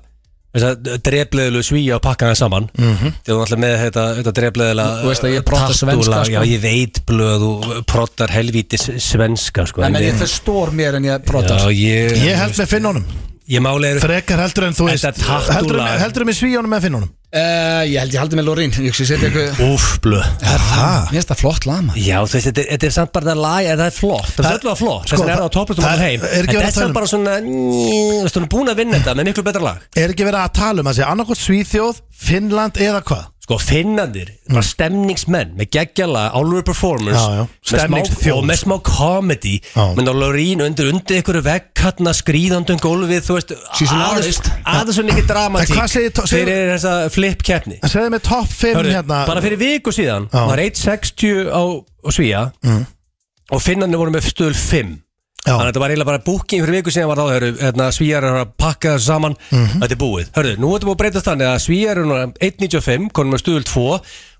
[SPEAKER 3] drefleðilu svíja og pakka það saman
[SPEAKER 2] Mhm.
[SPEAKER 3] þegar þú ætlar með þetta, þetta drefleðila
[SPEAKER 1] Þú veist að ég prota svenska, sko.
[SPEAKER 3] eh, já ég veit blöð og protar helvíti s- svenska sko
[SPEAKER 1] En ég
[SPEAKER 3] ég,
[SPEAKER 1] förstór mér en ég
[SPEAKER 3] já,
[SPEAKER 1] brotar
[SPEAKER 3] ég,
[SPEAKER 2] Ég held með finnunum
[SPEAKER 3] ég máli eru
[SPEAKER 2] Frekar heldur en þú
[SPEAKER 3] Þetta
[SPEAKER 2] veist
[SPEAKER 3] tattoo
[SPEAKER 2] Heldur
[SPEAKER 3] lag.
[SPEAKER 2] en- heldur en með svíjónum með finnunum
[SPEAKER 1] Eh, Ég held ég haldi með Lorín Ég hugsi, ég setja eitthvað
[SPEAKER 3] úf blöð
[SPEAKER 1] Mér finnst það flott lama
[SPEAKER 3] Já, þú veist, þetta, er- þetta er samt bara það lag, en það er flott, það er
[SPEAKER 2] Það-
[SPEAKER 3] öllulega flott,
[SPEAKER 2] sko,
[SPEAKER 3] þess vegna er það á topplustum
[SPEAKER 2] það
[SPEAKER 3] og heim,
[SPEAKER 2] er
[SPEAKER 3] en
[SPEAKER 2] ekki verið
[SPEAKER 3] þetta
[SPEAKER 2] að
[SPEAKER 3] er
[SPEAKER 2] tala
[SPEAKER 3] samt
[SPEAKER 2] um.
[SPEAKER 3] bara svona, þú veist, hún er búin að vinna þetta með miklu betra lag.
[SPEAKER 2] Er ekki verið að tala um að segja annarkot Svíþjóð, Finnland eða hvað?
[SPEAKER 3] sko finnandir var stemningsmenn með geggjala, álfur performance
[SPEAKER 2] Mm. Já, já.
[SPEAKER 3] með smá,
[SPEAKER 2] Stemningsþjóð.
[SPEAKER 3] og með smá comedy
[SPEAKER 2] Já.
[SPEAKER 3] menn á Lorín undir undir einhverju vekkatna skríðandum gólfið þú veist,
[SPEAKER 1] She's an
[SPEAKER 3] aðeins
[SPEAKER 1] artist.
[SPEAKER 3] aðeins og mikið
[SPEAKER 2] En
[SPEAKER 3] dramatík
[SPEAKER 2] hvað segir- segir-
[SPEAKER 3] fyrir þessa flip keppni
[SPEAKER 2] Segðu mig topp 5
[SPEAKER 3] Hörðu,
[SPEAKER 2] hérna
[SPEAKER 3] bara fyrir viku síðan
[SPEAKER 2] Já. Mm.
[SPEAKER 3] var 1.60 á, á Svíja og finnandir voru með stöðul 5
[SPEAKER 2] Já.
[SPEAKER 3] Þannig að þetta var eiginlega bara búking fyrir viku síðan var þá, hörru, hérna, svíjar eru að pakka þessu saman,
[SPEAKER 2] Mhm.
[SPEAKER 3] þetta er búið. Hörru, nú ertu búið að breyta þannig að svíjar eru núna 1.95, konum með stuðul 2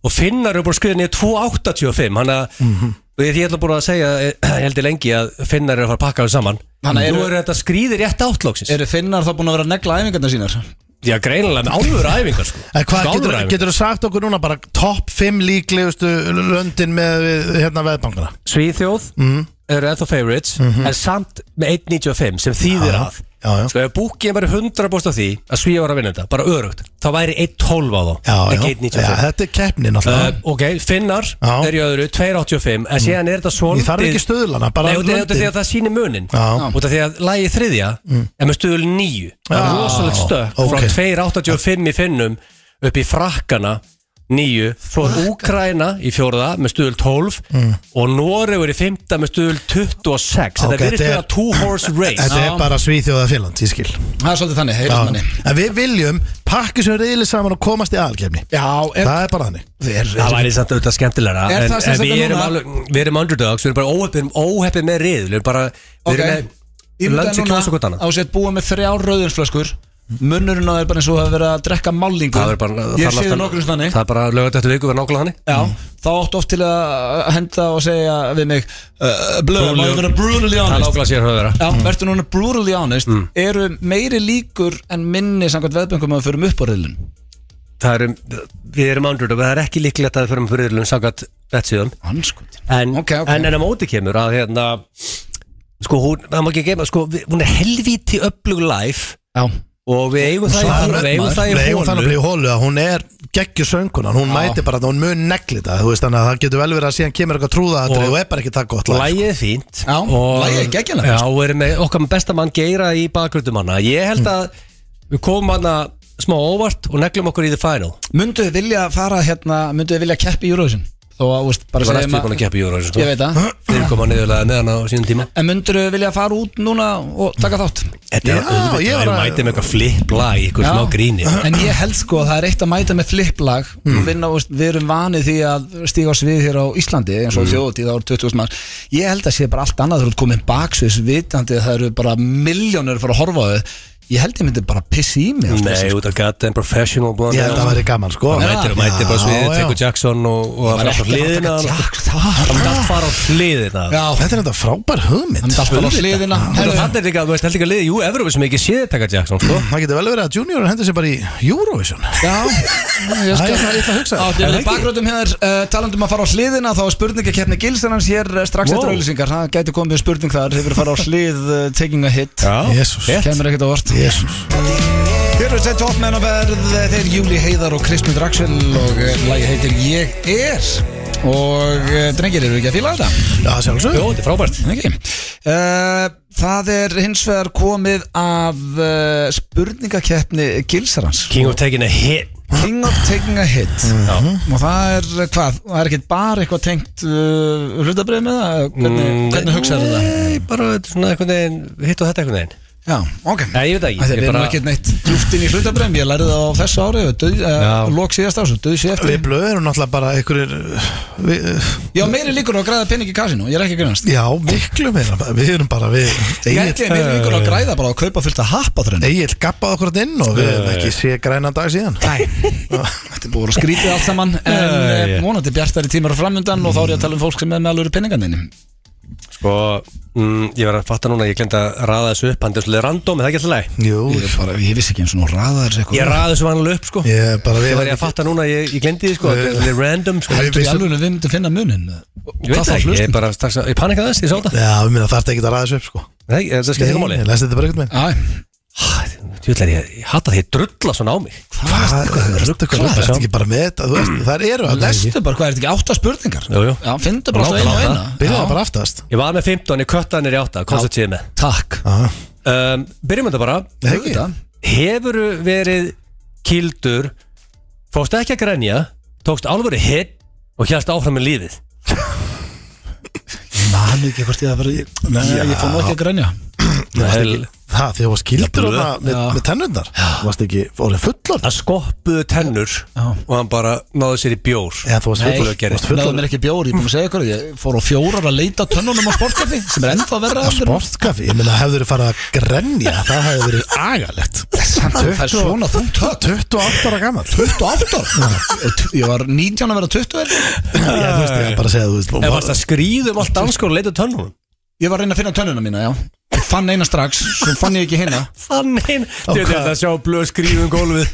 [SPEAKER 3] og finnar eru búin að skriða niður 2.85, hann að,
[SPEAKER 2] Mhm.
[SPEAKER 3] og ég, ég ætla búin að segja, eh, ég held ég lengi að finnar eru að fara að pakka þessu saman.
[SPEAKER 1] Þannig að
[SPEAKER 3] nú
[SPEAKER 1] eru-
[SPEAKER 3] eru þetta skrýðir rétt átlóksins.
[SPEAKER 1] Eru finnar þá búin að vera að negla æfingarnar sínar?
[SPEAKER 3] Já, greinilega með álfur æfingar, sko.
[SPEAKER 2] En hvað
[SPEAKER 3] Sko,
[SPEAKER 2] getur,
[SPEAKER 3] alvöru æfingar.
[SPEAKER 2] getur þú sagt okkur núna bara topp 5 líklegustu löndin með við- hérna veðbankana?
[SPEAKER 3] Svíþjóð eru ennþá favorites en samt með 1.95 sem þýðir að
[SPEAKER 2] Mhm. Já, já.
[SPEAKER 3] Sko ef búkið væri 100% á því að Svíja var að vinna þetta, bara örugt Þá væri 1.12 á þá,
[SPEAKER 2] Já,
[SPEAKER 3] ekki
[SPEAKER 2] já, já,
[SPEAKER 3] 1.95
[SPEAKER 2] þetta er keppnin
[SPEAKER 3] Uh,
[SPEAKER 2] alltaf
[SPEAKER 3] ok, finnar
[SPEAKER 2] Já. Mm.
[SPEAKER 3] er í öðru 2.85 en síðan er þetta svolítið
[SPEAKER 2] Ég þarf ekki stöðlana, bara
[SPEAKER 3] Nei, út af- út af
[SPEAKER 2] löndin.
[SPEAKER 3] því að það sýnir munin
[SPEAKER 2] Já. Mm.
[SPEAKER 3] Út af því að lagið þriðja er með stöðul 9 Það er
[SPEAKER 2] Já,
[SPEAKER 3] rosalegt stökk
[SPEAKER 2] ok.
[SPEAKER 3] frá 2.85 í finnum upp í frakkana 9 Svo er Úkraina í fjórða með stöðul 12 og Noregur í fimmta með stöðul
[SPEAKER 2] Mm. Ok,
[SPEAKER 3] 26 Þetta
[SPEAKER 2] þetta
[SPEAKER 3] virðist
[SPEAKER 2] er-
[SPEAKER 3] vera two horse race
[SPEAKER 2] Þetta er bara Svíþjóða Finland, ég skil
[SPEAKER 1] Það er svolítið þannig, heyrðist
[SPEAKER 2] Já.
[SPEAKER 1] manni
[SPEAKER 2] En við viljum pakki sem reyðileg saman og komast í aðalkefni
[SPEAKER 1] Já, er,
[SPEAKER 2] Það er bara þannig
[SPEAKER 1] er,
[SPEAKER 3] Það væri samt auðvitað skemmtilegra
[SPEAKER 1] Er
[SPEAKER 3] en,
[SPEAKER 1] það sem
[SPEAKER 3] en
[SPEAKER 1] sagt
[SPEAKER 3] við,
[SPEAKER 1] að
[SPEAKER 3] erum
[SPEAKER 1] núna-
[SPEAKER 3] alveg, við erum underdogs, við erum bara óheppin, óheppin með rið Við erum bara, við
[SPEAKER 1] Ok. Ég
[SPEAKER 3] erum með
[SPEAKER 1] myndi að
[SPEAKER 3] lunch í
[SPEAKER 1] núna
[SPEAKER 3] klós og gott annað
[SPEAKER 1] ásett búið með þrjá rauðinsflöskur Munnurinn á þér er bara eins og að vera að drekka málingu
[SPEAKER 3] Það er bara,
[SPEAKER 1] Ég sé
[SPEAKER 3] þarf
[SPEAKER 1] það
[SPEAKER 3] alltaf-
[SPEAKER 1] nokkur þannig
[SPEAKER 3] Það er bara lögat eftir viku verið nákvæmlega þannig
[SPEAKER 1] Já, þá áttu oft til að henda og segja við mig uh, Blöð, má ég vera brutally
[SPEAKER 3] Það er
[SPEAKER 1] honest
[SPEAKER 3] nákvæmlega sér höfðara
[SPEAKER 1] Já, verður núna brutally honest
[SPEAKER 3] Mm.
[SPEAKER 1] Eru meiri líkur en minni samkvæmt veðböngum að við förum upp á riðlun
[SPEAKER 3] Það er, um- við erum underdog, það er ekki líklegt að við förum fyrir ylun samkvæmt bettsíðan
[SPEAKER 1] Hanskot
[SPEAKER 3] en,
[SPEAKER 1] Ok, ok.
[SPEAKER 3] en en að móti kemur að hérna Sko, hún, það má ekki geima, sko, við- hún er helvíti öflug live
[SPEAKER 1] Já,
[SPEAKER 3] og við eigum það,
[SPEAKER 2] Sara
[SPEAKER 3] í- við eigum
[SPEAKER 2] Rögnmar,
[SPEAKER 3] það
[SPEAKER 2] Við
[SPEAKER 3] í
[SPEAKER 2] eigum þannig að
[SPEAKER 3] hólu
[SPEAKER 2] bli í hólu að hún er geggjur söngunan, hún mæti bara að hún mun negli þetta, þú veist þannig að það getur vel verið að síðan kemur eitthvað trúða að
[SPEAKER 3] Og-
[SPEAKER 2] þetta og er bara ekki það gott lag.
[SPEAKER 3] Lægið er fínt
[SPEAKER 1] Já,
[SPEAKER 3] og-
[SPEAKER 1] lagið er geggjað lag.
[SPEAKER 3] Já, og erum með okkar besta mann geira í bakgröndum hana Ég
[SPEAKER 1] Mm.
[SPEAKER 3] held að við komum hana smá óvart og neglum okkur í the final
[SPEAKER 1] Munduð þið vilja fara hérna, munduð þið vilja keppi í Eurovision? Þó að, úst, bara
[SPEAKER 3] Það var
[SPEAKER 1] segjum
[SPEAKER 3] næstu
[SPEAKER 1] að-
[SPEAKER 3] búin að keppa í Eurovision sko.
[SPEAKER 1] Ég veit það
[SPEAKER 3] Þeir koma niðurlega neðan á sínum tíma
[SPEAKER 1] En munduð þið vilja fara út núna og
[SPEAKER 3] Mm.
[SPEAKER 1] taka þátt?
[SPEAKER 3] Þetta
[SPEAKER 2] Já,
[SPEAKER 3] er auðvitað,
[SPEAKER 2] ég
[SPEAKER 3] ég
[SPEAKER 2] var að-
[SPEAKER 3] mæti með eitthvað flip lag í eitthvað
[SPEAKER 1] Já.
[SPEAKER 3] smá gríni
[SPEAKER 1] En ég held sko að það er eitt að mæta með flipplag mm. vinna, úst, Við erum vanið því að stíga á svið hér á Íslandi eins og mm. þjóðutíð ára 20.000 mann Ég held að sé bara allt annað þegar þú ert komin baksviðs vitandi að það eru bara miljónir að fara að horfa á þau Ég held ég myndi bara pissi í mig allt
[SPEAKER 3] Nei,
[SPEAKER 1] þessu.
[SPEAKER 3] út af goddamn professional blonde.
[SPEAKER 2] Ég held að það væri gaman sko
[SPEAKER 3] Hann mætir,
[SPEAKER 2] Já,
[SPEAKER 3] mætir bara sviðið,
[SPEAKER 2] já.
[SPEAKER 3] tekur Jackson og, og
[SPEAKER 1] Það
[SPEAKER 3] að
[SPEAKER 1] var
[SPEAKER 3] fara á
[SPEAKER 1] ekki að
[SPEAKER 3] hliðina
[SPEAKER 1] taka
[SPEAKER 3] Hann
[SPEAKER 1] tjakk það
[SPEAKER 3] myndi allt fara á hliðina
[SPEAKER 1] Já,
[SPEAKER 2] Þetta er þetta frábær
[SPEAKER 1] hann
[SPEAKER 2] hugmynd
[SPEAKER 1] myndi alltaf á hliðina
[SPEAKER 3] Þannig
[SPEAKER 1] Herðu,
[SPEAKER 3] að er líka, þú veist, held ekki að liðið, jú, Evrópi sem ekki séð taka Jackson, sko
[SPEAKER 2] Það getur vel verið að junior hendur sér bara í Eurovision
[SPEAKER 1] Já, ég
[SPEAKER 2] Það
[SPEAKER 1] skal
[SPEAKER 2] er það ég ætla að hugsa
[SPEAKER 1] Áttu við bakgrótum hér, uh, talandum að fara á hliðina þá er spurningakefni Gilsanans hér uh, strax
[SPEAKER 3] Wow.
[SPEAKER 1] eftir auðlýsingar, það gæti komið spurning þar hefur farið á hlið uh, taking a hit
[SPEAKER 2] Jesús.
[SPEAKER 3] rétt.
[SPEAKER 1] kemur ekkert á vort
[SPEAKER 2] Jesus.
[SPEAKER 1] Hér eru þetta toppmenn að verð eh, þeir Júli Heiðar og Kristmund Raxel og uh, lagi heitir Ég er og uh, drengir eru ekki að fíla þetta
[SPEAKER 2] Já, sjálfsög
[SPEAKER 3] Jó, þetta er frábært
[SPEAKER 1] okay. uh, Það er hins vegar komið af uh, spurningakefni Gilsarans
[SPEAKER 3] King of Taking a Hit
[SPEAKER 1] King of Taking a Hit
[SPEAKER 3] Mhm.
[SPEAKER 1] og það er eh, hvað, það er ekkert bara eitthvað tengt uh, hlutabrið með það hvernig,
[SPEAKER 3] Mm,
[SPEAKER 1] hvernig hugsaðu það?
[SPEAKER 3] Nei, bara þetta er svona einhvern veginn, hitt og þetta einhvern veginn
[SPEAKER 1] Já, ok
[SPEAKER 3] Nei, ég veit það ekki,
[SPEAKER 1] Þetta er
[SPEAKER 3] ég
[SPEAKER 1] bara...
[SPEAKER 3] bara-
[SPEAKER 1] ekkert neitt djúftin í hlutabrið ég lærði það á þessu ári döð, uh,
[SPEAKER 3] Já.
[SPEAKER 1] lók síðast árs og döð sér eftir
[SPEAKER 2] Við blöðum náttúrulega bara einhverjir við,
[SPEAKER 1] Já, meiri líkur á að græða pening í kasinu, ég er ekki að grænast
[SPEAKER 2] Já, miklu meira Við erum bara við
[SPEAKER 1] Gæti er meiri líkur á að græða bara á að kaupa fullt að happa þrenn
[SPEAKER 2] Egil gabbað okkur þarna inn og við hefum ekki sé grænan dag síðan
[SPEAKER 1] Nei, þetta er búin að skrítið allt saman en
[SPEAKER 3] Nei,
[SPEAKER 1] eh,
[SPEAKER 3] ég-
[SPEAKER 1] vonandi bjartari tímar á framundan og þá er ég að tala um fólk sem er með alveg peningarninni
[SPEAKER 3] Sko, mm, ég var að fatta núna, ég glemt að raða þessu upp Hann er svolítið random, er það ekki alltaf leið
[SPEAKER 2] Jú,
[SPEAKER 1] Ég, bara, ég vissi ekki eins og nú raða þessu eitthvað
[SPEAKER 3] Ég raði þessu vanlega upp, sko
[SPEAKER 2] ég bara við
[SPEAKER 3] Ég var ég að fatta núna, ég, ég glemt því, sko Þetta er svolítið random, sko
[SPEAKER 1] Heldur ég
[SPEAKER 2] vissum-
[SPEAKER 1] alveg að við myndum finna munin
[SPEAKER 3] Ég veit það ekki, ég er bara strax að, ég panika þess, ég sá það
[SPEAKER 2] Já, við minna þarf ekki að ræða þessu upp sko
[SPEAKER 3] Nei, það skiptir ekki máli
[SPEAKER 2] Ég lesi þetta bara ekkert með
[SPEAKER 3] Tjóðlega, ég, ég hatta því að drulla svona á mig
[SPEAKER 2] Hvað er þetta?
[SPEAKER 3] ruglaður?
[SPEAKER 2] Hvað er ekki bara með þetta? þú veist, Þar eru að
[SPEAKER 1] Lestu bara hvað er þetta ekki átta spurningar
[SPEAKER 3] Jú, jú.
[SPEAKER 1] Já, finnstu bara alltaf
[SPEAKER 3] Nákvæmlega
[SPEAKER 1] einu og
[SPEAKER 3] átta.
[SPEAKER 1] eina
[SPEAKER 2] Byrjaði bara aftast
[SPEAKER 3] Ég var með 15, ég kötta hann er í 8, komst þetta séð með
[SPEAKER 1] Takk
[SPEAKER 2] Aha.
[SPEAKER 3] um, Byrjum þetta bara
[SPEAKER 2] Nei, ekki.
[SPEAKER 3] Hefur verið kildur Fórstu ekki að grenja Tókst alvöru hit Og hjálst áfram með lífið
[SPEAKER 1] Man ekki hvort ég að vera Nei, ég fór nú ekki að grænja
[SPEAKER 3] Nei,
[SPEAKER 2] Það, því þú varst kildur
[SPEAKER 3] Það blöð.
[SPEAKER 2] þarna með,
[SPEAKER 1] Já.
[SPEAKER 2] með tennundar Þú varst ekki orðin fullor
[SPEAKER 3] Það skoppuðu tennur Og hann bara náðu sér í bjór
[SPEAKER 2] Já, þú varst
[SPEAKER 3] Nei,
[SPEAKER 2] fullor-
[SPEAKER 3] gerist.
[SPEAKER 2] þú varst
[SPEAKER 1] Náðu
[SPEAKER 2] fullor
[SPEAKER 1] mér ekki bjór, ég er búin að segja ykkur Ég fór á fjórar að leita tönnunum á sportkaffi Sem er ennþá verra
[SPEAKER 2] á
[SPEAKER 1] heldur en-
[SPEAKER 2] sportkaffi, ég meina hefur þið farið að grenja það hefur verið agalegt
[SPEAKER 1] Það er svona þungt högg
[SPEAKER 2] 28 ára gammal
[SPEAKER 1] 28 ára Ég var 19 að vera 20 held ég.
[SPEAKER 2] ég þú veist ég bara að segja þú veist
[SPEAKER 3] um En varst að skrýðum allt danskóla og leita tönnum
[SPEAKER 1] Ég var að reyna að finna tönnuna mína, já fann eina strax Svo fann ég ekki hinna
[SPEAKER 3] Þannig Þetta
[SPEAKER 2] hvað?
[SPEAKER 3] er þetta að sjá blöð skrifum gólfið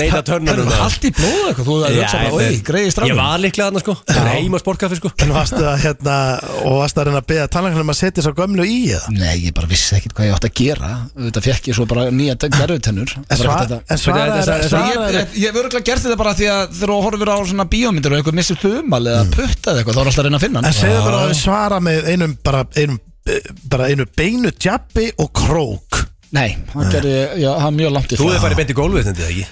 [SPEAKER 3] Leita tönnunum
[SPEAKER 1] Herru, Allt í blóðu eitthvað Þú hefði hugsað bara, oi, greiði
[SPEAKER 3] Ég
[SPEAKER 1] strafnum
[SPEAKER 3] var líklega þarna sko Það er heima sportkaffi sko
[SPEAKER 2] En varstu að hérna Og varstu að reyna að beða tannlæknum að setja svo gömlu í eða
[SPEAKER 1] Nei, ég bara vissi ekkert hvað ég átt að gera Þetta fekk ég svo bara nýja gerðutennur
[SPEAKER 2] En svar- en svaraðir-
[SPEAKER 1] Ég, ég,
[SPEAKER 2] svaraðir
[SPEAKER 1] ég, ég hef örgulega gert þetta bara því að þegar þú horfir á svona bíómyndir og eitthvað missir þumal eða puttað eitthvað þá er alltaf að reyna að finna
[SPEAKER 2] En
[SPEAKER 1] hann
[SPEAKER 2] segðu bara að svara með einum bara, einum, eh, bara einu beinu djabbi og krók
[SPEAKER 1] Nei, hann gerði, já, hann er mjög langt í
[SPEAKER 3] Þú hefði farið beint í gólfið þetta ekki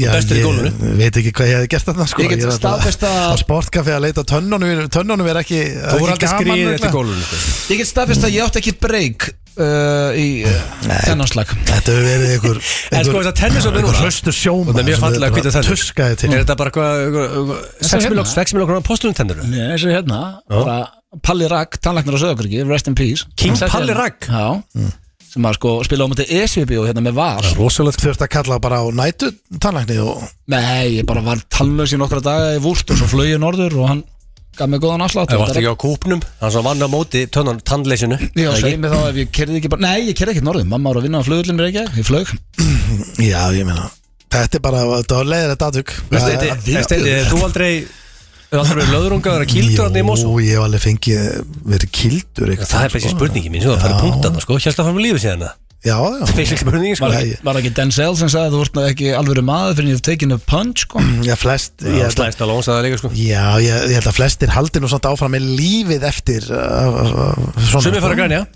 [SPEAKER 2] Já,
[SPEAKER 3] Bestur í
[SPEAKER 2] ég
[SPEAKER 3] gólfinu.
[SPEAKER 2] veit ekki hvað ég hefði gert þarna sko.
[SPEAKER 1] Ég get
[SPEAKER 2] er alltaf-
[SPEAKER 1] staðfest að-
[SPEAKER 2] Á sportkafi að leita tönnunum Tönnunum er ekki
[SPEAKER 3] Þú
[SPEAKER 2] ekki
[SPEAKER 3] voru aldrei
[SPEAKER 2] gaman
[SPEAKER 3] skriðið
[SPEAKER 2] örugglega.
[SPEAKER 3] eftir gólfinu sko.
[SPEAKER 1] Ég get staðfist að ég átti ekki break uh, í uh, þennan slag
[SPEAKER 2] Þetta hefur verið einhver
[SPEAKER 3] En sko þess að tennisöfni núna
[SPEAKER 2] Hlaustu sjóma
[SPEAKER 3] Og það er mjög fallega að hvita þennur
[SPEAKER 2] Tuskaði til
[SPEAKER 3] Er þetta bara eitthvað
[SPEAKER 1] hérna.
[SPEAKER 3] 6 miljón 6 miljón krónar postulun tennur
[SPEAKER 1] Nei, þessi er hérna, bara Palli Ragg, tannlæknar á Söðakriki, rest in peace
[SPEAKER 3] King
[SPEAKER 1] Setti
[SPEAKER 3] Palli
[SPEAKER 1] hérna-
[SPEAKER 3] Ragg? Mm.
[SPEAKER 1] Já, sem að sko spila á mútið ECB og hérna með var
[SPEAKER 3] Rosalegt
[SPEAKER 2] Þurft að kalla bara á nætu tannlækni og
[SPEAKER 1] Nei, ég bara var tannlaus í nokkra daga í vúrt og svo flög ég norður og hann gaf mig góðan afslátt
[SPEAKER 3] Það var ekki á kúpnum Hann svona vann á móti tönnan tannleysinu
[SPEAKER 1] Já, segi mig þá ef ég kerði ekki bara Nei, ég kerði ekki norður, mamma var að vinna á flugullin með Reykjavík, ég flög
[SPEAKER 2] Já, ég meina Þetta er bara, þetta var leiðir þetta aðtök
[SPEAKER 3] Þú aldrei Þú aldrei verið löðrungaður að kýldur hann í mosu
[SPEAKER 2] Jú, ég hef alveg fengið verið kildur eitthvað sko.
[SPEAKER 3] Það er bara þessi spurningi mín sem það farið punkt að það sko Hjálst að fara með lífið síðan það
[SPEAKER 2] Já, já
[SPEAKER 3] Basic spurningi sko
[SPEAKER 1] Var,
[SPEAKER 2] Nei.
[SPEAKER 1] ekki- var ekki Denzel sem sagði að þú vart nú ekki alvöru maður fyrir en ég hef tekinu punch, sko
[SPEAKER 3] Mm,
[SPEAKER 2] Já, flest ég
[SPEAKER 3] Já,
[SPEAKER 2] held að-
[SPEAKER 3] Slæðist að lónsa það líka sko
[SPEAKER 2] Já, ég, ég held að flestir haldi nú samt áfram með lífið eftir uh, uh, svona
[SPEAKER 3] Sumir fara að grænja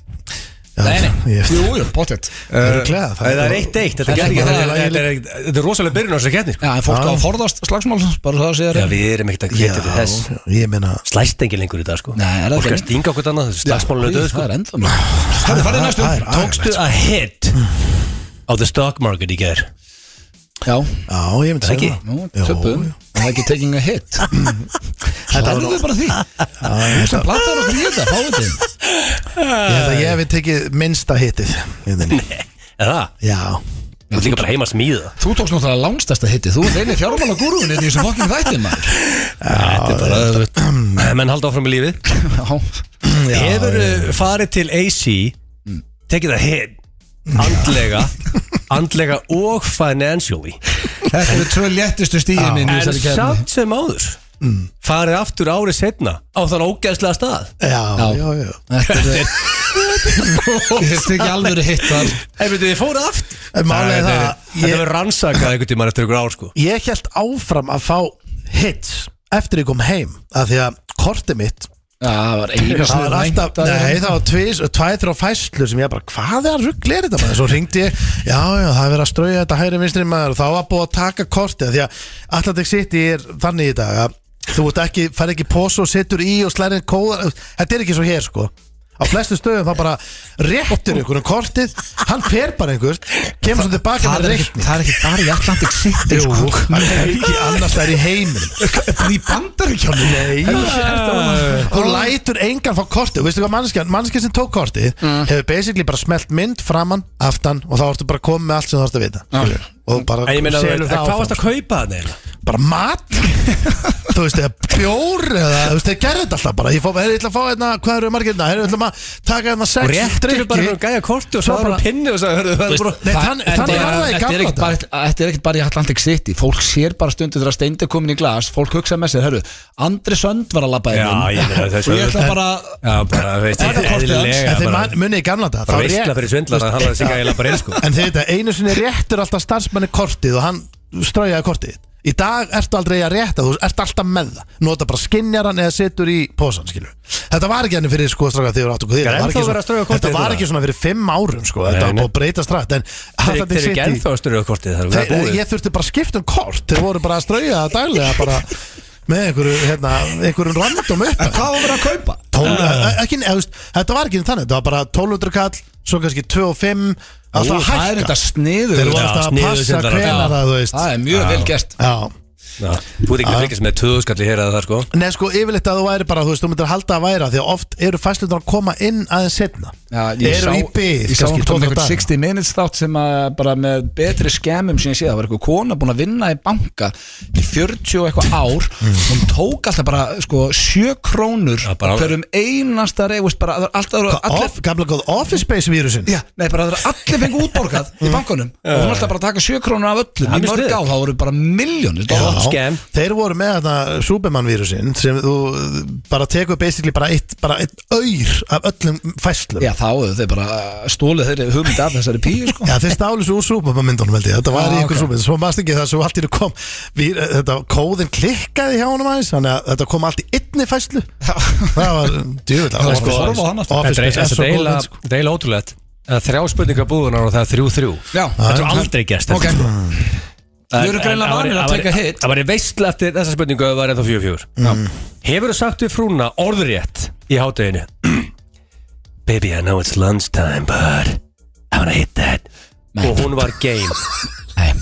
[SPEAKER 2] Já,
[SPEAKER 1] Nei, nei,
[SPEAKER 2] ég-
[SPEAKER 1] jú, jú, pottet
[SPEAKER 2] Örugglega, það-
[SPEAKER 3] Eh, Það er eitt eitt Þetta
[SPEAKER 1] Það er
[SPEAKER 3] er,
[SPEAKER 1] bara-
[SPEAKER 3] er, er, er, er, er rosalega byrjun á þessari keppni sko.
[SPEAKER 1] Já, en fólk
[SPEAKER 2] Já.
[SPEAKER 1] á að forðast slagsmál, bara það sé
[SPEAKER 3] Já,
[SPEAKER 1] þér
[SPEAKER 3] við erum ekkert að
[SPEAKER 2] Já,
[SPEAKER 3] hvetja til þess
[SPEAKER 2] ég meina
[SPEAKER 3] Slæst engin lengur í dag sko
[SPEAKER 1] Nei, er það
[SPEAKER 3] Fólk er að
[SPEAKER 1] ekki?
[SPEAKER 3] stinga okkur annað Slagsmálun er döð sko
[SPEAKER 1] Það er ennþá mér Það er farið næstu
[SPEAKER 2] Það er agalegt.
[SPEAKER 3] Tókstu að hit á the stock market í ger
[SPEAKER 1] Já,
[SPEAKER 2] Já, ég myndi
[SPEAKER 3] Ekki?
[SPEAKER 2] segja
[SPEAKER 1] nú,
[SPEAKER 2] Jú,
[SPEAKER 1] töpum
[SPEAKER 2] jú.
[SPEAKER 1] Það er ekki taking a hit Það er nú bara því Þú sem plattar okkur í þetta, fáið þig
[SPEAKER 2] Ég held að ég hef tekið minnsta hittið Nei
[SPEAKER 3] Er það?
[SPEAKER 2] Já
[SPEAKER 3] Þú ert líka bara heima að smíða
[SPEAKER 1] Þú tókst náttúrulega lánstasta hitti Þú er eini fjármála gúrúin í þessum fokkin þættin maður
[SPEAKER 3] Þetta er bara öðvöld Eh, Menn halda áfram í lífið
[SPEAKER 1] Já,
[SPEAKER 3] Hefur farið til AC Tekið það hit Andlega Andlega og financially
[SPEAKER 1] Þetta eru tvö léttustu stíðin minn í
[SPEAKER 3] En
[SPEAKER 1] þessari kefni
[SPEAKER 3] samt sem áður Mm. Farið aftur árið setna Á þann ógæðslega stað
[SPEAKER 2] Já,
[SPEAKER 1] Já.
[SPEAKER 2] já, já
[SPEAKER 1] Þetta er Ég hef ekki alveg hitt þar
[SPEAKER 3] Ef þið fóru aftur
[SPEAKER 2] En málið er það
[SPEAKER 3] Þetta er-
[SPEAKER 2] að
[SPEAKER 3] þetta
[SPEAKER 2] ég,
[SPEAKER 3] verður rannsakað einhvern tímann eftir ykkur ár sko
[SPEAKER 2] ég held áfram að fá hits Eftir ég kom heim Af því að kortið mitt
[SPEAKER 1] Já, það var einu
[SPEAKER 2] Það var
[SPEAKER 1] sinni
[SPEAKER 2] alltaf,
[SPEAKER 1] vænt að-
[SPEAKER 2] nei það var tvis, tvæð þrjá fæslur sem ég bara, hvað er að ruggla er þetta maður? Svo ringdi ég, já já það er verið að strauja þetta hægri vinstri maður og þá var búið að taka kortið því að Atlantic City er þannig í dag að þú ert ekki, fær ekki pós og setur í og slærið kóðar, þetta er ekki svo hér sko á flestu stöðum þá bara réttur ykkur um kortið, hann fer bara einhvert, kemur svo tilbaka
[SPEAKER 1] Það
[SPEAKER 2] með
[SPEAKER 1] er
[SPEAKER 2] reikning
[SPEAKER 1] ekki- það er ekki bara í Atlantic City
[SPEAKER 2] Jú,
[SPEAKER 1] sko.
[SPEAKER 2] það er ekki annars það er í heiminum Í bandaríkjónu? Nei Þú lætur engan fá kortið Veistu hvað mannskjan, mannskjan sem tók kortið Hefur basically bara smelt mynd framann, aftan Og þá ertu bara komið með allt sem þú þarfst að vita skilurðu. Og bara
[SPEAKER 3] En ég meina, þú
[SPEAKER 2] selur
[SPEAKER 3] veist,
[SPEAKER 2] það
[SPEAKER 3] hvað
[SPEAKER 2] áfram
[SPEAKER 3] varst að kaupa það neina?
[SPEAKER 2] Bara mat Þú veist, eða bjór eða, Þú veist, þeir gerðu þetta alltaf bara Ég fó, heyrðu, ég ætla að fá hérna, hvað eru margir hérna Heyrðu, ég ætla að taka hérna
[SPEAKER 3] Og
[SPEAKER 2] sex
[SPEAKER 3] réttir bara
[SPEAKER 2] drykki.
[SPEAKER 3] einhverjum gæja korti og
[SPEAKER 2] Svo
[SPEAKER 3] svo bara
[SPEAKER 2] bara-
[SPEAKER 3] pinni og sagði, hörðu, það er bara
[SPEAKER 2] Nei, þann-
[SPEAKER 1] Þetta
[SPEAKER 2] þannig
[SPEAKER 1] er-
[SPEAKER 2] var það í
[SPEAKER 1] þetta er
[SPEAKER 2] gamla
[SPEAKER 1] ekkert bara- Þetta er ekkert bara í Atlantic City Fólk sér bara stundu þegar steindi er komin í glas Fólk hugsa með sér, herru, Andri Sönd var að labba
[SPEAKER 3] Já, ég
[SPEAKER 1] inn um."
[SPEAKER 3] meina, þessu
[SPEAKER 1] Og ég ætla bara
[SPEAKER 3] Já, bara, veist,
[SPEAKER 1] Þetta er kostið hans.
[SPEAKER 3] eðlilega
[SPEAKER 2] En þeir
[SPEAKER 3] bara
[SPEAKER 2] man- munið í gamla þetta
[SPEAKER 3] Bara veistla fyrir svindlar að hann laði sig gæla bara eins sko
[SPEAKER 2] En þetta, einu sinni réttur alltaf starfsmanni kortið og hann straujaði kortið Í dag ertu aldrei að rétta, þú ert alltaf með það Nota bara skinnjaran eða setur í posan, skilur Þetta var ekki henni fyrir sko stráka þegar áttu hvað því
[SPEAKER 3] Ennþá verið að strauja kortið
[SPEAKER 2] Þetta var
[SPEAKER 3] þetta?
[SPEAKER 2] ekki svona fyrir fimm árum sko
[SPEAKER 3] Nei,
[SPEAKER 2] Þetta var
[SPEAKER 3] nei.
[SPEAKER 2] búið að breyta strætt En
[SPEAKER 3] Þeir
[SPEAKER 2] Atlantic
[SPEAKER 3] þeir eru ekki
[SPEAKER 2] City-
[SPEAKER 3] ennþá styrðu kortið þar, það er
[SPEAKER 2] Þeir-
[SPEAKER 3] búið
[SPEAKER 2] Ég þurfti bara að skipta um kort Þeir voru bara að strauja það daglega bara með einhverju, hérna, einhverjum random upp En hvað var verið að kaupa? Tól, uh. ekki, eða, þú veist, þetta var ekki þannig, þetta var bara 1200 kall, svo kannski 2 og 5
[SPEAKER 1] Ú,
[SPEAKER 2] alltaf
[SPEAKER 1] Það er
[SPEAKER 2] hækka
[SPEAKER 1] þetta sniður
[SPEAKER 2] Þeir voru
[SPEAKER 3] Já,
[SPEAKER 2] alltaf að
[SPEAKER 3] sniðuð
[SPEAKER 2] passa
[SPEAKER 3] sem þeir
[SPEAKER 2] hvena
[SPEAKER 3] alltaf.
[SPEAKER 2] það, þú veist
[SPEAKER 1] Það er mjög vel gert
[SPEAKER 2] Já
[SPEAKER 3] Já, Þú ert ekki að fylgjast með töðuskalli hér að það sko
[SPEAKER 2] Nei, sko, yfirleitt að þú væri bara, þú veist, þú myndir halda að væra Því að oft eru fæslunar að koma inn aðeins setna
[SPEAKER 1] Já, ég
[SPEAKER 2] Eru
[SPEAKER 1] sá-
[SPEAKER 2] í byð,
[SPEAKER 1] Ég sá hann komið
[SPEAKER 2] kannski 12
[SPEAKER 1] einhvern
[SPEAKER 2] daga
[SPEAKER 1] 60 minutes þátt sem að bara með betri skemmum sem ég sé það var eitthvað kona búin að vinna í banka í 40 og eitthvað ár
[SPEAKER 2] Mm.
[SPEAKER 1] hún tók alltaf bara sko 7 krónur
[SPEAKER 3] Ja, bara
[SPEAKER 1] á hverjum einasta reyfust bara það er alltaf allir
[SPEAKER 2] Off, gamla góð Office Space vírusin
[SPEAKER 1] Já, nei, bara það er allir fengið útborgað í bankunum og hún alltaf bara að taka 7 krónur af öllum
[SPEAKER 3] Það
[SPEAKER 1] í
[SPEAKER 3] er
[SPEAKER 1] mörg
[SPEAKER 3] sniðugt.
[SPEAKER 1] á, þá voru bara miljónir
[SPEAKER 3] Já. Scam.
[SPEAKER 2] þeir voru með þetta Superman vírusin sem þú bara tekur basically bara eitt, bara eitt auður af öllum fæslum
[SPEAKER 1] Já, þá hefur þeir bara stólið þeirri hugmynd af þessari píu, sko
[SPEAKER 2] Já, þeir stálu svo úr súpamamyndunum held ég Þetta
[SPEAKER 1] Já,
[SPEAKER 2] var í ykkur
[SPEAKER 1] ok.
[SPEAKER 2] súpamynd Svo maður ekki það svo allt í nú kom við, Þetta kóðin klikkaði hjá honum aðeins Þannig að þetta kom allt í einni fæslu Það var djúvill Það
[SPEAKER 1] var sko- horfa á hann aftur.
[SPEAKER 2] Office
[SPEAKER 3] Þetta
[SPEAKER 2] Space
[SPEAKER 3] er-
[SPEAKER 2] er
[SPEAKER 3] þetta
[SPEAKER 2] svo góð
[SPEAKER 3] er
[SPEAKER 2] mynd,
[SPEAKER 3] eiginlega-
[SPEAKER 2] sko.
[SPEAKER 3] þetta er eiginlega ótrúlegt að þrjá spurningar búðunar og það er þrjú þrjú
[SPEAKER 1] Já,
[SPEAKER 3] Þetta er aldrei gæst
[SPEAKER 1] ok Þau eru greinlega vanir að taka hit
[SPEAKER 3] Það var veistlega eftir þessa spurningu að það var ennþá fjögur fjögur Hefur þú sagt við frúna orðrétt í hátteginu Baby I know it's lunchtime but I wanna hit that Og hún var game
[SPEAKER 1] Nei, nei,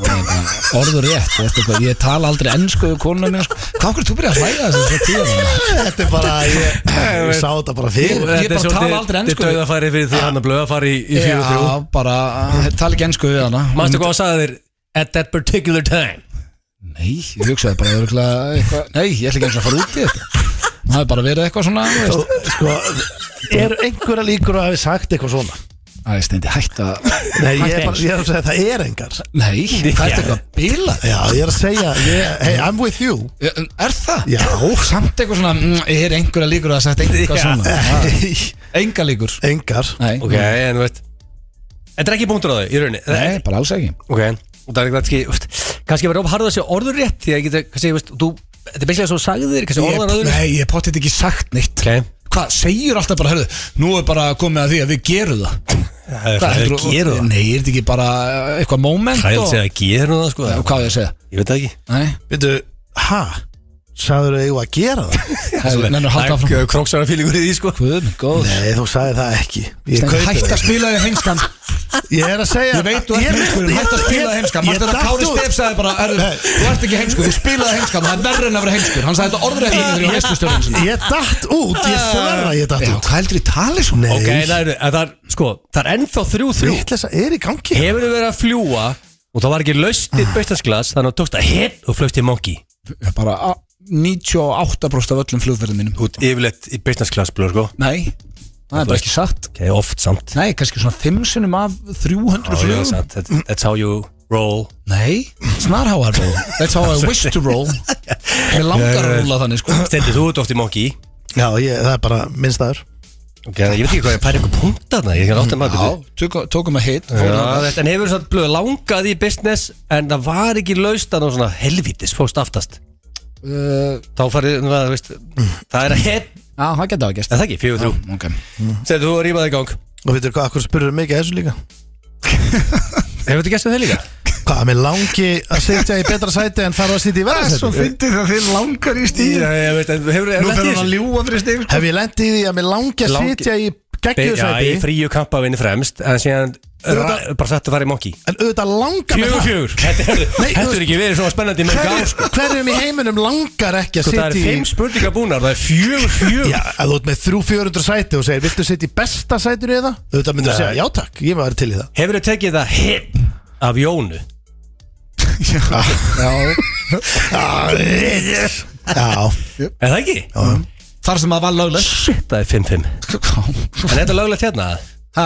[SPEAKER 1] bara orður rétt þú veist eitthvað, Ég tala aldrei ennsku við konuna mín sko. Hvað okkur þú byrjar að hlæða þessu svo tíu
[SPEAKER 2] Þetta er bara Ég, ég sá þetta bara fyrir
[SPEAKER 1] Ég bara tala aldrei ensku. Ah.
[SPEAKER 3] Þetta er döðafæri fyrir því hann að blöða fari í fjögur
[SPEAKER 1] Já,
[SPEAKER 3] fjögur
[SPEAKER 1] bara, eh, tala ekki ennsku við hana
[SPEAKER 3] Manstu hvað hann sagði þér At that particular time
[SPEAKER 1] Nei, ég hugsaði bara örugglega eitthvað Nei, ég ætla ekki eins og að fara út í þetta Það hefur bara verið eitthvað svona þú veist.
[SPEAKER 2] Sko, eru einhverja líkur að hafi sagt eitthvað svona?
[SPEAKER 1] Æ, steindi, hætt að
[SPEAKER 2] Nei, ég er bara Ég er að segja það er engar
[SPEAKER 1] Nei, það er eitthvað bílað
[SPEAKER 2] Já, ég er að segja ég, Hey, I'm with you
[SPEAKER 1] um, Er það?
[SPEAKER 2] Já.
[SPEAKER 1] Samt eitthvað svona, mm, er einhverja líkur að það sagt eitthvað svona Enga líkur
[SPEAKER 2] Engar
[SPEAKER 1] Ah. Nei,
[SPEAKER 3] Ok, en þú veist Þetta er ekki punktur á þau í rauninni
[SPEAKER 1] Nei, bara alls ekki
[SPEAKER 3] Ok, og það er kannski veist, kannski verið of harð að segja orður rétt því að ég geta, kannski, veist, þú, þetta er beinslega svo sagði þér kannski
[SPEAKER 1] Ég,
[SPEAKER 3] orðan öðru
[SPEAKER 1] nei, ég potið ekki sagt neitt
[SPEAKER 3] Ok.
[SPEAKER 1] Hvað, segjur alltaf bara, herðu, nú er bara komið að því að við gerum það Hvað,
[SPEAKER 3] Það er
[SPEAKER 1] heldurðu-
[SPEAKER 3] geru það
[SPEAKER 1] Nei, er þetta ekki bara uh, eitthvað moment
[SPEAKER 3] Það er að
[SPEAKER 1] og-
[SPEAKER 3] segja að geru það sko
[SPEAKER 1] Og Hvað á ég að segja?
[SPEAKER 3] Ég veit það ekki
[SPEAKER 1] Nei,
[SPEAKER 2] Veitu, ha? Sagður þau að gera það?
[SPEAKER 1] það er nennur halda áfram
[SPEAKER 3] Króksara fílingur í því sko
[SPEAKER 1] Guð, minn góð
[SPEAKER 2] Nei, þú sagði það ekki Ég kaupi
[SPEAKER 1] Hætt
[SPEAKER 2] það
[SPEAKER 1] að spila þig heimskan
[SPEAKER 2] Ég er að segja
[SPEAKER 1] sko. Ég veit þú ert heimskur, hætt að spila þig heimskan Mætti þetta Kári Stef sagði bara, herðu, þú ert ekki heimskur, þú spilaði heimskan Það er verri en að vera heimskur Hann sagði þetta orðrætt í því á vestustjórnum sinni
[SPEAKER 2] Ég datt út, ég sverra ég datt
[SPEAKER 1] Já,
[SPEAKER 2] út
[SPEAKER 1] hvað heldur í tali sko. svona?
[SPEAKER 3] Ok, það er, en það er, sko, það er ennþá þrjú þrjú
[SPEAKER 2] Vittlesa er í gangi
[SPEAKER 3] Hefur verið að fljúa og það var ekki laust í bautasglas þannig að þú tókst að hit og flögt í monkey
[SPEAKER 1] Ég Bara á, 98% af öllum flugverðum mínum
[SPEAKER 3] Út yfirleitt í businessglas blöð sko
[SPEAKER 1] Nei, það er bara ekki satt
[SPEAKER 3] Ok, oft samt
[SPEAKER 1] Nei, kannski svona 5 sinum af 300
[SPEAKER 3] Já, já,
[SPEAKER 1] flugum
[SPEAKER 3] samt. That- That's how you roll
[SPEAKER 1] Nei, snarháar roll That's how I wish to roll Mér langar að rúla þannig sko
[SPEAKER 3] Stendur þú út oft í monkey
[SPEAKER 2] Já, ég, það er bara minnstæður
[SPEAKER 3] Ok, ég veit ekki hvað ég færi ykkur punkt að það Ég er átt að maður
[SPEAKER 1] Já, tökum- tókum að hit
[SPEAKER 3] Já, þetta- en hefur satt blöð langað í business en það var ekki laust að ná svona helvitis fóst aftast
[SPEAKER 1] Uh,
[SPEAKER 3] þá farið, nú, það, veist, það er að hit
[SPEAKER 1] Já, það geta það gerst
[SPEAKER 3] en það ekki, fjögur þrjú
[SPEAKER 1] Ok
[SPEAKER 3] Segðu þú að rýma það í gang
[SPEAKER 2] Og veitur hvað, akkur spurður mikið að þessu líka?
[SPEAKER 3] Hefur þetta gæst það líka?
[SPEAKER 2] Hvað, mér langi að sitja í betra sæti en fara að sitja í verra sæti?
[SPEAKER 1] fyndið það þið langar í
[SPEAKER 3] Já, ég veit, en hefur
[SPEAKER 1] Nú
[SPEAKER 3] lent í
[SPEAKER 1] fyrir hann að
[SPEAKER 3] þessu?
[SPEAKER 1] ljúa fyrir stig sko.
[SPEAKER 2] Hef ég lendið í því að mér langi að
[SPEAKER 3] Langi-
[SPEAKER 2] sitja í
[SPEAKER 3] Be-
[SPEAKER 2] geggjöðu
[SPEAKER 3] Já, í
[SPEAKER 2] sæti
[SPEAKER 3] fríu kampavinni fremst en síðan ra- bara satt að fara í mokki
[SPEAKER 2] En auðvitað langar mér
[SPEAKER 3] Fjögur
[SPEAKER 2] það
[SPEAKER 3] fjögur Þetta hefur-
[SPEAKER 2] Nei,
[SPEAKER 3] þetta hefur ekki verið svona spennandi í mörg ár sko.
[SPEAKER 2] Hverju- Hverjum í heiminum langar ekki að
[SPEAKER 3] Sko, Það er
[SPEAKER 2] sitja í
[SPEAKER 3] fimm spurningar búnar, það er fjögur fjögur
[SPEAKER 2] Já, að þú ert með 300-400 sæti og segir Viltu sitja í besta sætinu eða? Þú veit að myndu að segja, já takk, ég var til í það
[SPEAKER 3] Hefur þetta tekið það hit af Jónu?
[SPEAKER 2] Já,
[SPEAKER 3] Er það ekki?
[SPEAKER 1] Þar sem það var löglegt
[SPEAKER 3] Shit, það er 5-5 En er þetta löglegt hérna?
[SPEAKER 1] Ha,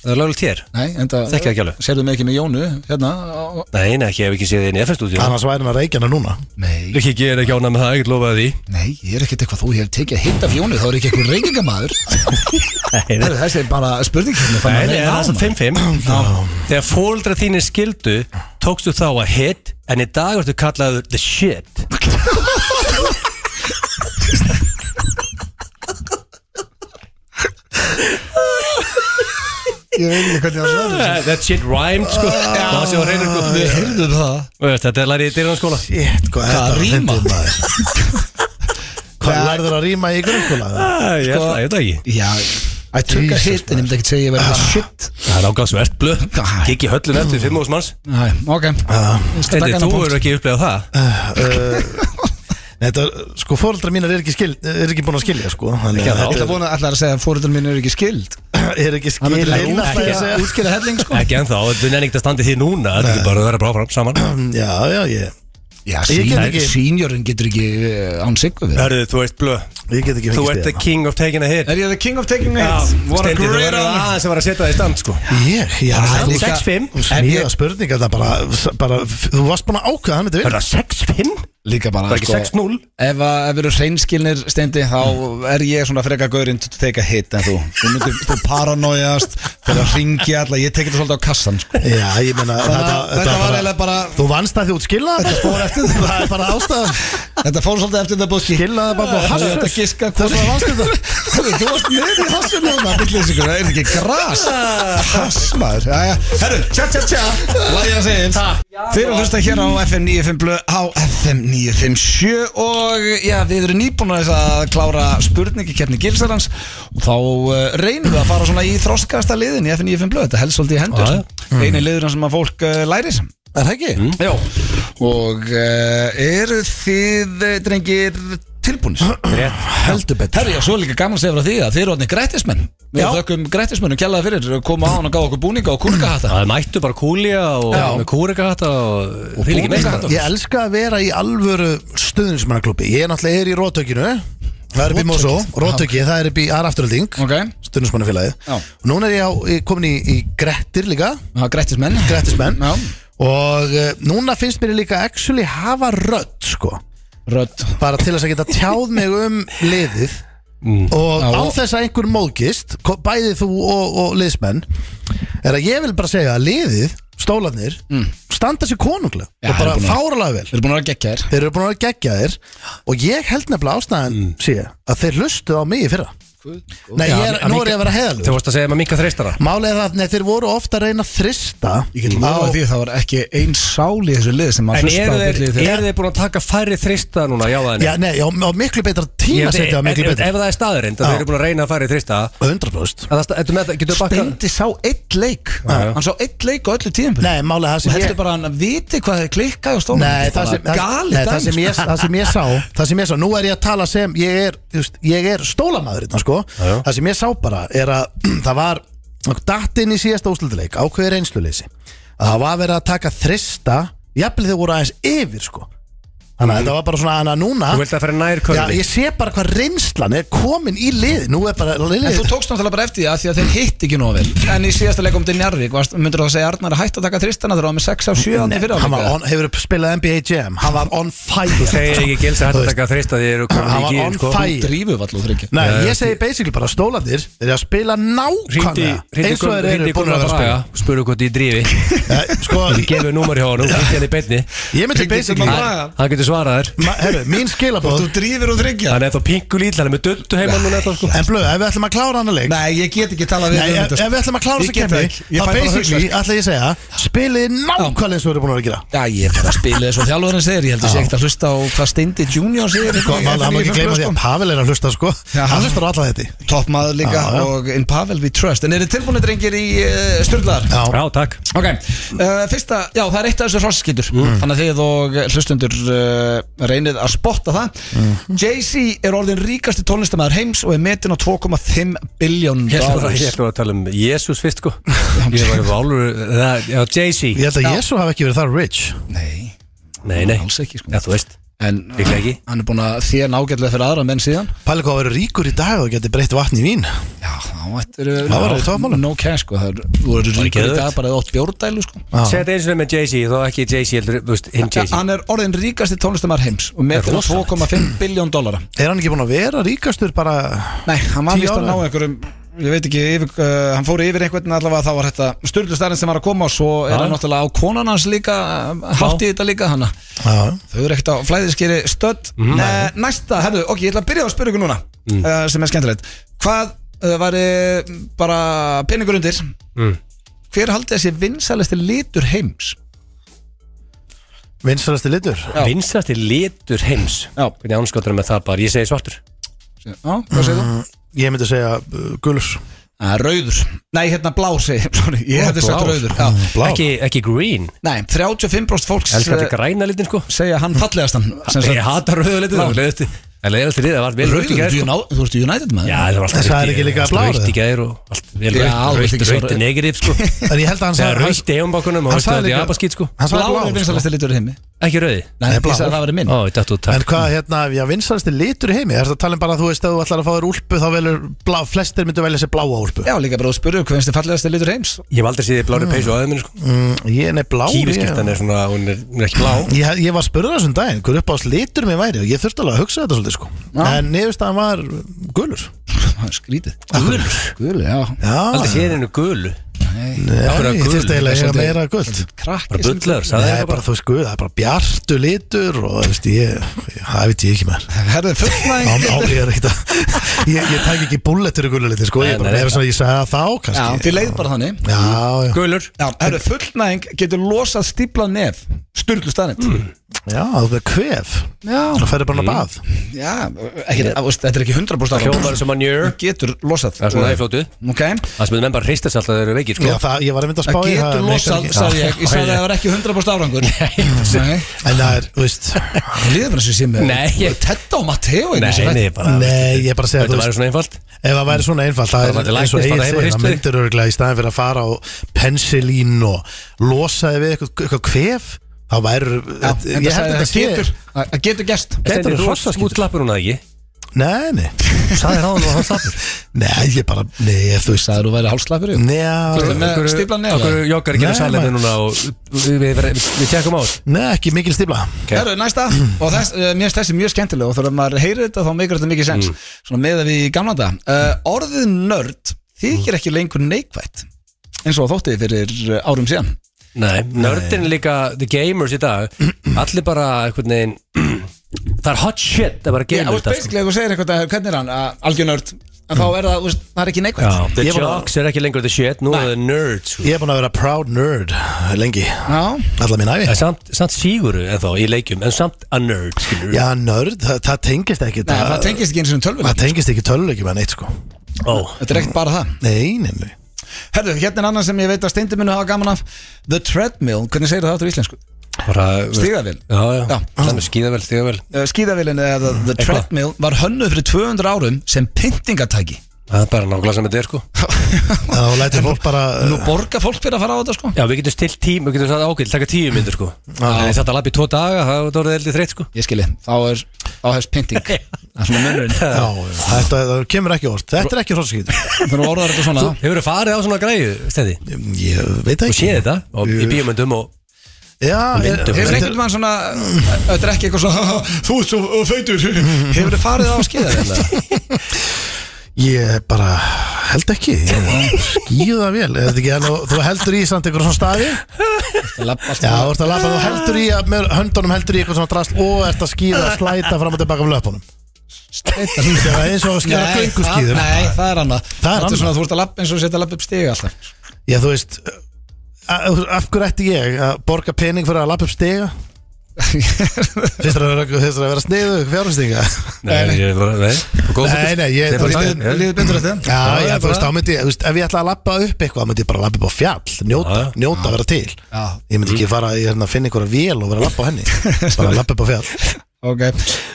[SPEAKER 3] Það er löglegt hér?
[SPEAKER 1] nei, enda
[SPEAKER 3] Þekki það ekki alveg.
[SPEAKER 1] Serðu mig ekki með Jónu hérna á-
[SPEAKER 3] Nei, nei, ekki, ég hef ekki séð þið inn í FN-stúdíu
[SPEAKER 2] annars væri hann að reykja hana núna
[SPEAKER 1] Nei,
[SPEAKER 3] Rikki, ég er ekki ánað með það, ég get lofaði því
[SPEAKER 1] nei, ég er ekkert eitthvað þú Ég hef tekið að hita af Jónu Þá er ekki eitthvað reykingamæður
[SPEAKER 3] Nei,
[SPEAKER 1] Þessi er bara spurning hérna, fann að
[SPEAKER 3] nei,
[SPEAKER 1] reyna á
[SPEAKER 3] það er samt
[SPEAKER 1] hana.
[SPEAKER 3] 5-5 Þegar fóldra þínir skildu Tókstu þá að hit En í dag ertu kallaður the shit
[SPEAKER 2] Ég veit ekki hvernig það svarði
[SPEAKER 3] Ah, That shit rhymed, sko Það sé á reynir, sko
[SPEAKER 1] Við heyrðum það
[SPEAKER 3] Þú veist, Þetta er lærið í sko. dyrunarskóla
[SPEAKER 2] Shit, hvað
[SPEAKER 1] sko, Hvað
[SPEAKER 2] er
[SPEAKER 1] að rýma?
[SPEAKER 2] þetta? Hvað lærður að rýma í grunnskóla? eða?
[SPEAKER 3] Ég held það, Sko, ég held það ekki
[SPEAKER 1] Já, I took a
[SPEAKER 2] Jesus,
[SPEAKER 1] hit En ég myndi ekki segja ég
[SPEAKER 3] Ah.
[SPEAKER 1] verið það shit
[SPEAKER 3] Það er ágafsvert blöð Kikki höllin eftir fimm hús manns
[SPEAKER 1] Nei, ok Ég skal taka
[SPEAKER 3] Þetta,
[SPEAKER 1] hana
[SPEAKER 3] þú
[SPEAKER 1] punkt.
[SPEAKER 3] eru ekki upplegað það
[SPEAKER 2] Nei, Þetta, sko, fóreldrar mínar er ekki, skil, er ekki búin að skilja, sko Þannig
[SPEAKER 3] Ekki
[SPEAKER 2] að
[SPEAKER 3] að
[SPEAKER 1] Ætla
[SPEAKER 2] þetta
[SPEAKER 1] vona ætlar að segja að fóruðan mín eru ekki skild
[SPEAKER 2] er ekki
[SPEAKER 1] Það myndi
[SPEAKER 2] skilja inn að
[SPEAKER 1] útskýra,
[SPEAKER 2] segja
[SPEAKER 1] útskýra helling sko
[SPEAKER 3] Ekki ennþá, þú nefnir ekkert að standi því núna Þetta er bara að vera bara áfram saman
[SPEAKER 2] Já, já, ég
[SPEAKER 1] Já,
[SPEAKER 2] Ég get
[SPEAKER 1] senior-
[SPEAKER 2] ekki-
[SPEAKER 1] seniorin getur ekki eh, án siggu við
[SPEAKER 3] Hörðu, þú ert blöð
[SPEAKER 2] Ég get ekki
[SPEAKER 3] Þú
[SPEAKER 2] fengið
[SPEAKER 3] ert the
[SPEAKER 2] stiga.
[SPEAKER 3] king of taking a hit
[SPEAKER 1] Er ég the king of taking
[SPEAKER 3] Já,
[SPEAKER 1] it? What a
[SPEAKER 3] Steindi, þú
[SPEAKER 1] great
[SPEAKER 3] verður
[SPEAKER 1] honor
[SPEAKER 3] aðeins að vera að setja það í stand sko
[SPEAKER 2] Ég, ég
[SPEAKER 3] Það er
[SPEAKER 2] þú-
[SPEAKER 3] líka- 6'5.
[SPEAKER 2] Þú
[SPEAKER 1] En
[SPEAKER 2] smíða
[SPEAKER 1] ég-
[SPEAKER 2] spurninga það bara, bara Þú varst búin að ákveða hann þetta
[SPEAKER 3] Er
[SPEAKER 2] vinna
[SPEAKER 3] það 6-5?
[SPEAKER 1] Líka bara sko-
[SPEAKER 3] Það er ekki 6-0
[SPEAKER 1] Ef að- ef við erum hreinskilnir steindi þá er ég svona freka gaurinn to take a hit en þú þú myndir þú paranoiast fyrir að ringja alla ég tekið þetta svolítið á kassan sko.
[SPEAKER 2] Já, ég meina
[SPEAKER 1] Þannig að þetta var eiginlega bara-
[SPEAKER 2] Þú vannst það því út skilna Þetta fór eftir Það er bara ástæðan
[SPEAKER 1] Þetta fór svolítið eftir þetta bóki
[SPEAKER 2] Skilnaði bara og
[SPEAKER 1] Þú
[SPEAKER 2] hassus.
[SPEAKER 1] ert að giska
[SPEAKER 2] Þess vegna varstu þetta.
[SPEAKER 1] þetta Þú varst niður í hassunum Það er bygglið sigur, það er ekki gras Hass maður Jæja, herru, tja tja tja Læði að segja eins Þeir eru að hlusta hér á FM 95 blöð Á FM 957 Og já, við erum nýbúin að þess að klára spurningi Kefni Gilsarans Og þá uh, reynum við að fara svona í þroskaðasta liðin Í FM 95 blöð, þetta helst svolítið í hendur mm. Einu liðurinn sem að fólk uh, lærir Er það ekki? Mm. Já Og uh, eru þið, eh, drengir, tilbúinir? heldur betur Herri, já, svo er líka gaman að segja frá því að þið eru orðinir grættismenn Við þökkum grættismennum kjallaði fyrir koma á hann og gá okkur búninga og kúrkahatta
[SPEAKER 3] Það er mættu bara kúlja og
[SPEAKER 2] Já.
[SPEAKER 3] með kúrikahatta og því líka
[SPEAKER 1] búninga.
[SPEAKER 3] meira
[SPEAKER 2] Ég elska að vera í alvöru stuðnismannaklubbi Ég er náttúrulega er í rótökinu Það er upp í Mosó, rótöki, það er upp í Arafturölding
[SPEAKER 1] Ok,
[SPEAKER 2] Stuðnismannafélagið
[SPEAKER 1] Já.
[SPEAKER 2] Og núna er ég, á, ég komin í, í Grettir líka
[SPEAKER 1] það er grættismenn
[SPEAKER 2] Grettismenn
[SPEAKER 1] Já.
[SPEAKER 2] Og uh, núna finnst mér ég líka actually hafa rödd sko
[SPEAKER 1] Rödd
[SPEAKER 2] bara til þess að geta tjáð mig um liðið og
[SPEAKER 1] Mm. Já,
[SPEAKER 2] á
[SPEAKER 1] og-
[SPEAKER 2] þess að einhver móðgist ko- bæði þú og, og liðsmenn er að ég vil bara segja að liðið stólanir standa sér konunglega
[SPEAKER 1] Mm. Já,
[SPEAKER 2] og bara
[SPEAKER 1] þeir eru búin að-
[SPEAKER 2] fáralega vel
[SPEAKER 1] Við erum búin að vera gegja þér
[SPEAKER 2] þeir eru búin að vera geggja þér og ég held nefnilega ástæðan sé að þeir hlustuð á mig í fyrra Nei, ég er,
[SPEAKER 3] Mm. Já,
[SPEAKER 2] nú er ég að vera
[SPEAKER 3] Þú
[SPEAKER 2] heðalug
[SPEAKER 3] varst að segja maður minka þreistara
[SPEAKER 2] Málið er það að nei, þeir voru ofta að reyna að þrista á-
[SPEAKER 1] því að það var ekki ein sál í þessu lið sem
[SPEAKER 3] En eru þeir, eru þeir búin að taka færri þrista núna, já það
[SPEAKER 2] Já, nei, já, og miklu betra
[SPEAKER 3] Ég
[SPEAKER 2] tíma
[SPEAKER 3] veit-
[SPEAKER 2] setja miklu
[SPEAKER 3] ef-
[SPEAKER 2] betra
[SPEAKER 3] Ef það er staðurind,
[SPEAKER 2] Já.
[SPEAKER 3] þeir eru búin að reyna að fara í þrista
[SPEAKER 2] 100%
[SPEAKER 3] að það sta- ertu með það- Getur bakka
[SPEAKER 1] Steindi sá eitt leik Hann sá eitt leik á öllu tíðum
[SPEAKER 2] Nei, málið er það
[SPEAKER 1] Þú
[SPEAKER 2] sem
[SPEAKER 1] heldur bara að hann viti hvað þið klikkaði og stóð
[SPEAKER 2] Nei, það sem, það,
[SPEAKER 1] Gali
[SPEAKER 2] nei, það, sem ég, það sem ég sá Það sem ég sá, nú er ég að tala sem Ég er, just, ég er stólamaður hérna, sko. Það sem ég sá bara er að Það var datt inn í síðasta úslutuleik Ákveður einsluleysi að Það var verið að taka þrista Jafnvel þeir voru aðeins yfir sko. Þannig að
[SPEAKER 1] Mhm.
[SPEAKER 2] þetta var bara svona hana, núna
[SPEAKER 3] Þú vilt að fara nær
[SPEAKER 2] Já,
[SPEAKER 3] körli
[SPEAKER 2] ég sé bara hvað reynslan er komin í lið Nú er bara
[SPEAKER 1] En
[SPEAKER 2] lið
[SPEAKER 1] þú tókst náttúrulega bara eftir því að því að þeir hitt ekki nóg vel En í síðasta leikum til Njarvík varst, myndir þú að segja Arnar að hætta að taka Tristana þegar það var með 6 af 7 átti fyrir
[SPEAKER 2] Hann var on, hefur spilað NBA Jam Hann var on fire
[SPEAKER 3] Segir ekki gils að
[SPEAKER 2] Þú
[SPEAKER 3] hættu að
[SPEAKER 2] veist,
[SPEAKER 3] taka þrista Þeir eru
[SPEAKER 2] Hann
[SPEAKER 3] komin í
[SPEAKER 2] var
[SPEAKER 3] gýr
[SPEAKER 2] on
[SPEAKER 3] sko.
[SPEAKER 2] fire
[SPEAKER 1] Drífu vall og þryggja
[SPEAKER 2] Nei, ég segi basically bara stólandir Þeir eru að spila
[SPEAKER 3] Hringdi
[SPEAKER 2] nákvæmlega
[SPEAKER 3] hringdi
[SPEAKER 2] eins og þeir
[SPEAKER 3] Gunnar-
[SPEAKER 2] eru
[SPEAKER 3] hringdi
[SPEAKER 2] búin að
[SPEAKER 3] Gunnar
[SPEAKER 2] vera að
[SPEAKER 3] Braga
[SPEAKER 2] spila
[SPEAKER 3] Spurðu hvort ég drífi
[SPEAKER 2] Eh, Sko,
[SPEAKER 3] Gefið númar hjá honum, hringdi hann í beinni
[SPEAKER 2] ég myndi
[SPEAKER 1] Hringdi
[SPEAKER 2] basically
[SPEAKER 1] Gunnar Braga.
[SPEAKER 3] Hann hann getur svarað þér
[SPEAKER 2] Ma- Herru, mín skilabóð
[SPEAKER 1] drífur og þryggja
[SPEAKER 3] Hann er þá pingu lítil, hann er með döldu heima núna ennþá, sko.
[SPEAKER 2] En blöð, ef við ætlum að klára hann að leik
[SPEAKER 1] Nei, ég get ekki talað við um sko.
[SPEAKER 2] Nei, ef, ef við ætlum að klára
[SPEAKER 1] Ég
[SPEAKER 2] þess að
[SPEAKER 1] get það
[SPEAKER 2] kemni
[SPEAKER 1] ekki. Ég fæ
[SPEAKER 2] Þá
[SPEAKER 1] bara
[SPEAKER 2] basically,
[SPEAKER 1] hausverk.
[SPEAKER 2] ætla ég að segja Spilið nákvæmlega eins og þeir eru búin að vera að gera
[SPEAKER 1] Já, ég er bara að spila þess og þjálfurinn segir Ég held að sé ekkert að hlusta á hvað Steindi Junior segir
[SPEAKER 2] Sko, mála, hann má ekki gleyma því að Pavel er að hlusta, sko
[SPEAKER 1] um- Já.
[SPEAKER 2] Hann hlustar á alla þetta
[SPEAKER 1] Toppmaður líka
[SPEAKER 2] Já, já.
[SPEAKER 1] og in Pavel we trust En eru tilbúinir drengir í uh, styrlaðar?
[SPEAKER 2] Já,
[SPEAKER 3] Já, takk
[SPEAKER 1] Ok, uh, fyrsta, já það er eitt af þessu hrossskýtur
[SPEAKER 2] Mm.
[SPEAKER 1] Þannig að þið og hlustundur uh, reynið að spotta það
[SPEAKER 2] Mm.
[SPEAKER 1] Jay-Z er orðin ríkasti tónlistamæður heims og er metin á 2,5 biljón
[SPEAKER 3] Ég ætlum að,
[SPEAKER 1] dollars
[SPEAKER 3] ég ætla að tala um Jésús fyrst sko Ég var eitthvað álur það- Já, Jay-Z
[SPEAKER 2] ég held að Jésu hafi ekki verið það rich
[SPEAKER 1] Nei,
[SPEAKER 3] Nei, nei
[SPEAKER 1] alls ekki sko
[SPEAKER 3] Já, þú veist
[SPEAKER 1] En
[SPEAKER 3] Líklega ekki.
[SPEAKER 1] hann er búin að þér nágætlega fyrir aðra menn síðan
[SPEAKER 2] Pavel, hvað verið ríkur í dag og geti breytt vatn í vín
[SPEAKER 1] Já, þá er
[SPEAKER 2] Það var á toppmálum.
[SPEAKER 1] No cash sko, það er, þú eru ríkur í
[SPEAKER 3] geðveikt.
[SPEAKER 1] dag bara eða ótt bjórdælu sko
[SPEAKER 3] Segð þetta eins og með Jay-Z Þá ekki Jay-Z, heldur, þú veist, hinn Jay-Z
[SPEAKER 1] Hann er orðin ríkasti tónlistamæður heims og metin á 2,5 biljón dollara
[SPEAKER 2] Er hann ekki búin að vera ríkastur bara
[SPEAKER 1] Nei, hann var
[SPEAKER 2] Tíu
[SPEAKER 1] vist að
[SPEAKER 2] ára?
[SPEAKER 1] ná einhverjum ég veit ekki, yfir, uh, hann fór yfir einhvern allavega þá var þetta styrlustarinn sem var að koma og svo er hann náttúrulega á konan hans líka uh, hátt í þetta líka hana
[SPEAKER 2] Já,
[SPEAKER 1] þau eru ekkert á flæðiskeri stödd mm. næsta, hefðu, ok, ég ætla að byrja á að spyrja ykkur núna uh, sem er skemmtilegt hvað uh, var bara peningur undir
[SPEAKER 3] Mm.
[SPEAKER 1] hver haldi þessi vinsælisti litur heims
[SPEAKER 2] vinsalasti litur
[SPEAKER 1] Já.
[SPEAKER 3] Vinsasti litur heims
[SPEAKER 1] Já.
[SPEAKER 3] Hvernig anskotur með það bara Ég segi svartur
[SPEAKER 1] Já, hvað segir þú?
[SPEAKER 2] Ég myndi segja uh, gulur
[SPEAKER 1] Uh, rauður, nei hérna blár segi, ég. sorry, ég hefði sagt
[SPEAKER 3] blár.
[SPEAKER 1] rauður Já.
[SPEAKER 2] Blá.
[SPEAKER 3] ekki, ekki green
[SPEAKER 1] Nei, 35% fólks
[SPEAKER 3] Elskar
[SPEAKER 1] eh,
[SPEAKER 3] þetta græna litin sko
[SPEAKER 1] segja hann fallegastan sem
[SPEAKER 3] Ég
[SPEAKER 1] sagt,
[SPEAKER 3] hata rauðu litin
[SPEAKER 1] Blá.
[SPEAKER 3] Þú veist, En leiðilegt fyrir þig, það var vel rautt í
[SPEAKER 1] Rauður,
[SPEAKER 3] gær,
[SPEAKER 1] þú
[SPEAKER 3] sko.
[SPEAKER 1] ná- þú ert United maður
[SPEAKER 3] Já, það var alltaf
[SPEAKER 2] En það er
[SPEAKER 3] rautt í-
[SPEAKER 2] ekki líka
[SPEAKER 3] alltaf
[SPEAKER 2] blár,
[SPEAKER 3] Rautt í
[SPEAKER 2] eða?
[SPEAKER 3] gær og allt vel
[SPEAKER 1] Já, þú
[SPEAKER 3] rautt
[SPEAKER 1] veist ekki
[SPEAKER 3] Rautt
[SPEAKER 1] svo
[SPEAKER 3] rautt
[SPEAKER 1] rautt.
[SPEAKER 3] er negativ, sko
[SPEAKER 2] En ég held að hann
[SPEAKER 3] Það er
[SPEAKER 2] sagði
[SPEAKER 3] rautt í eionbakkunum og
[SPEAKER 2] Hann
[SPEAKER 3] veist
[SPEAKER 2] sagði
[SPEAKER 3] það er
[SPEAKER 2] líka-
[SPEAKER 3] abaskýt, sko
[SPEAKER 2] Hann sagði
[SPEAKER 1] Blár
[SPEAKER 2] blá
[SPEAKER 1] er vinsalasta litur í heimi
[SPEAKER 3] Ekki rauði
[SPEAKER 1] Nei,
[SPEAKER 2] Nei,
[SPEAKER 1] ég
[SPEAKER 2] blár.
[SPEAKER 1] sagði að það væri minn
[SPEAKER 3] Ó, þetta þú
[SPEAKER 2] En
[SPEAKER 3] takk
[SPEAKER 2] hvað, hérna, já, vinsalasti litur í heimi Er þetta að tala um bara að þú veist að þú ætlar að fá þér úlpu Þá velur blá, flestir myndu velja sér bláa úlpu
[SPEAKER 1] Já, líka bara að spyrja hvað finnst þið fallegasti litur heims
[SPEAKER 3] Ég hef aldrei séð þið blári peysu á aðeins minni, sko
[SPEAKER 2] mm, Ég er nefn blá
[SPEAKER 3] Kífiskirtan er svona, hún er hún er ekki blá
[SPEAKER 2] Ég, ég, ég var spurður þessum daginn Hver upp á litur mér væri Og ég þurfti alveg að hugsa þetta svolítið sko En niðurstaðan var gulur
[SPEAKER 1] Skrítið Gul Gul, já
[SPEAKER 2] Já,
[SPEAKER 3] Aldrei séð hennu gulu
[SPEAKER 2] nei,
[SPEAKER 3] af hverju
[SPEAKER 2] ég
[SPEAKER 3] gul?
[SPEAKER 2] þurfti eiginlega að eiga
[SPEAKER 1] Svolítið-
[SPEAKER 2] meira gult
[SPEAKER 1] Krakki
[SPEAKER 3] Bara bullaður,
[SPEAKER 2] Það er
[SPEAKER 3] sagði það
[SPEAKER 2] bara, þú veist, guð, það er bara bjartu litur og þú veist, ég, ég- það veit ég ekki mér
[SPEAKER 1] Herðu
[SPEAKER 2] Á,
[SPEAKER 1] fullnæðing
[SPEAKER 2] á, ég er ekkert að, ég, ég tæk ekki bulletur í gullu litur, sko, ég
[SPEAKER 3] Nei,
[SPEAKER 2] er bara
[SPEAKER 3] nei,
[SPEAKER 2] meira
[SPEAKER 3] nei.
[SPEAKER 2] svona, ég sagði það þá,
[SPEAKER 1] Já,
[SPEAKER 2] kannski
[SPEAKER 1] þið leið bara þannig
[SPEAKER 2] Já, já,
[SPEAKER 3] Gulur
[SPEAKER 1] Já, herðu fullnæðing getur losað stíplað nef Sturlu staðnitt
[SPEAKER 2] já, þú veist, kvef
[SPEAKER 1] Já
[SPEAKER 2] Það ferði bara að bað
[SPEAKER 1] Já, ekki, að, veist, þetta er ekki 100% ára
[SPEAKER 3] Hljómar sem að njör
[SPEAKER 1] Getur losað
[SPEAKER 3] Það er svona það í flótu
[SPEAKER 1] Ok
[SPEAKER 3] Það sem við menn bara hreistast alltaf þegar þeir eru veikir sko
[SPEAKER 2] Já, það, ég var einmitt að spá
[SPEAKER 1] Það
[SPEAKER 2] í
[SPEAKER 1] getur
[SPEAKER 2] meikar
[SPEAKER 1] losað,
[SPEAKER 2] ekki.
[SPEAKER 1] sagði ég Ég sagði að það var ekki 100% árangur Nei
[SPEAKER 2] En það er, þú veist
[SPEAKER 1] Það líður bara sem sé með
[SPEAKER 3] Nei, ég-
[SPEAKER 1] Tetta og Matteo
[SPEAKER 3] Nei, nei, bara
[SPEAKER 2] Nei, ég er bara að segja,
[SPEAKER 3] Þetta
[SPEAKER 2] þú
[SPEAKER 3] væri
[SPEAKER 2] veist
[SPEAKER 3] svona einfalt
[SPEAKER 2] Ef það væri svona einfalt,
[SPEAKER 3] Bara
[SPEAKER 2] það
[SPEAKER 3] mætti
[SPEAKER 2] er eins og
[SPEAKER 3] læknist,
[SPEAKER 2] eigið
[SPEAKER 3] bara heima
[SPEAKER 2] segir Það
[SPEAKER 3] hristi.
[SPEAKER 2] myndir örgulega í staðin fyrir að fara á pensilín og losaði við eitthvað, eitthvað kvef þá væri,
[SPEAKER 1] Já,
[SPEAKER 2] ég held að þetta
[SPEAKER 1] það
[SPEAKER 2] sé
[SPEAKER 1] getur Það það getur gæst
[SPEAKER 2] Gæti
[SPEAKER 3] Stendur
[SPEAKER 2] verið
[SPEAKER 3] þú
[SPEAKER 2] hrossaskítur.
[SPEAKER 3] útlappur hún að ekki
[SPEAKER 2] Nei, nei Sæði ráðan og hann slappur Nei, ég bara, nei, ég, þú veist
[SPEAKER 1] Sæður þú væri hálslapur
[SPEAKER 2] Nei,
[SPEAKER 1] Þú-
[SPEAKER 2] já,
[SPEAKER 1] með stíflan nef,
[SPEAKER 3] Okkur
[SPEAKER 1] eða?
[SPEAKER 3] joggar ekki inn á
[SPEAKER 2] Nei,
[SPEAKER 3] salinu
[SPEAKER 2] maður.
[SPEAKER 3] núna og við, við, við, við tekum á þetta
[SPEAKER 2] nei, ekki mikil stífla
[SPEAKER 1] Herru, næsta
[SPEAKER 3] Mm.
[SPEAKER 1] Og þess, uh, mér finnst þessi mjög skemmtileg Og þegar maður heyrir þetta þá meikar þetta mikið sens
[SPEAKER 3] Mm.
[SPEAKER 1] Svona með að við í gamla dag uh, Orðið nörd þykir ekki lengur neikvætt eins og þóttið fyrir uh, árum síðan
[SPEAKER 3] Nei, nördin er líka the gamers í dag Allir bara einhvern veginn Það er hot shit að bara
[SPEAKER 1] Ég
[SPEAKER 3] gamer
[SPEAKER 1] veist
[SPEAKER 3] þetta sko.
[SPEAKER 1] basically að þú segir eitthvað hvernig er hann, uh, algjör nörd en þá er það, þú veist, það er ekki neikvætt
[SPEAKER 3] Já, The
[SPEAKER 2] Ég bara-
[SPEAKER 3] jocks er ekki lengur the shit, nú er það nerds sko.
[SPEAKER 2] Ég er búin að vera proud nerd lengi
[SPEAKER 1] Já,
[SPEAKER 2] Alla mín æfi
[SPEAKER 3] En Samt, samt síguru en þá í leikjum En samt a nerd skilur
[SPEAKER 2] Já, nörd, það, það tengist ekki
[SPEAKER 1] Nei, það tengist ekki eins og tölvun
[SPEAKER 2] það tengist ekki töluleiki með neitt, sko
[SPEAKER 3] Ó,
[SPEAKER 1] Þetta er ekkert bara það
[SPEAKER 2] Nei, nei, nei
[SPEAKER 1] Herðu, hérna er annan sem ég veit að steindi muni hafa gaman af The Treadmill, hvernig segir það áttur í íslensku?
[SPEAKER 3] bara
[SPEAKER 1] Stígavél
[SPEAKER 3] Já, já,
[SPEAKER 1] Já.
[SPEAKER 3] það með skíðavel, stígavel
[SPEAKER 1] Uh, Skíðavélin eða The Treadmill var hönnuð fyrir 200 árum sem pyntingatæki
[SPEAKER 3] Það er bara nákvæmlega sem þetta er sko
[SPEAKER 2] Það þá lætur fólk bara
[SPEAKER 1] Nú borga fólk fyrir að fara á þetta sko
[SPEAKER 3] Já, við getum stilt tím, við getum sagt ákveð, taka tíu myndir sko En ég satt að lappa í tvo daga, það það voruð eldið þreitt sko
[SPEAKER 1] Ég skilji, þá er áhefst pynting Það er svona munurinn
[SPEAKER 2] Já, þetta það kemur ekki orð Þetta er ekki hrósaskýtur
[SPEAKER 1] Þú erum orðað þetta svona
[SPEAKER 3] Hefur farið á svona græðu, stendi?
[SPEAKER 2] Ég veit það
[SPEAKER 3] Þú
[SPEAKER 2] ekki
[SPEAKER 3] séð þetta, og í
[SPEAKER 2] Ég-
[SPEAKER 3] bíómyndum og
[SPEAKER 2] Já, er-
[SPEAKER 3] Myndum.
[SPEAKER 1] Hefur
[SPEAKER 2] þetta
[SPEAKER 1] einhvern mann svona Þetta er ekki eitthvað svona Þú ert svo feitur Hefur þið farið á skíðavélina?
[SPEAKER 2] Ég bara held ekki Skýða vel Er þetta ekki hann og- Þú heldur í samt einhver svona staði Já, þú ert að lappa, þú heldur í að með höndunum heldur í eitthvað svona drast og ert að skýða að slæta fram og tilbaka af löpunum Þegar það er eins og að skýða
[SPEAKER 1] Nei, það-
[SPEAKER 2] gönguskýður
[SPEAKER 1] nei, það er annað
[SPEAKER 2] Það er
[SPEAKER 1] Þetta
[SPEAKER 2] annað.
[SPEAKER 1] svona Þú ert að lappa eins og setja að lappa upp stiga alltaf
[SPEAKER 2] Já, þú veist a- af hverju ætti ég að borga pening fyrir að lappa upp stiga? Finnst þér að vera- finnst þér að vera sniðu fjárhundstinga?
[SPEAKER 3] Nei, ég er bara, nei
[SPEAKER 2] Nei, nei, ég
[SPEAKER 3] Nei, bara
[SPEAKER 2] þú veist,
[SPEAKER 3] staðið.
[SPEAKER 1] Mér Líður betur eftir það?
[SPEAKER 2] Já, já, þú
[SPEAKER 1] bara-
[SPEAKER 2] veist, þá myndi ég, þú veist, ef ég ætla að lappa upp eitthvað, þá myndi ég bara lappa upp á fjall, njóta,
[SPEAKER 3] Já, já.
[SPEAKER 2] njóta að vera til.
[SPEAKER 1] Já.
[SPEAKER 2] Ég myndi ekki fara, ég hérna, finna einhverja vél og vera að lappa á henni, bara lappa upp á fjall.
[SPEAKER 1] Ok uh,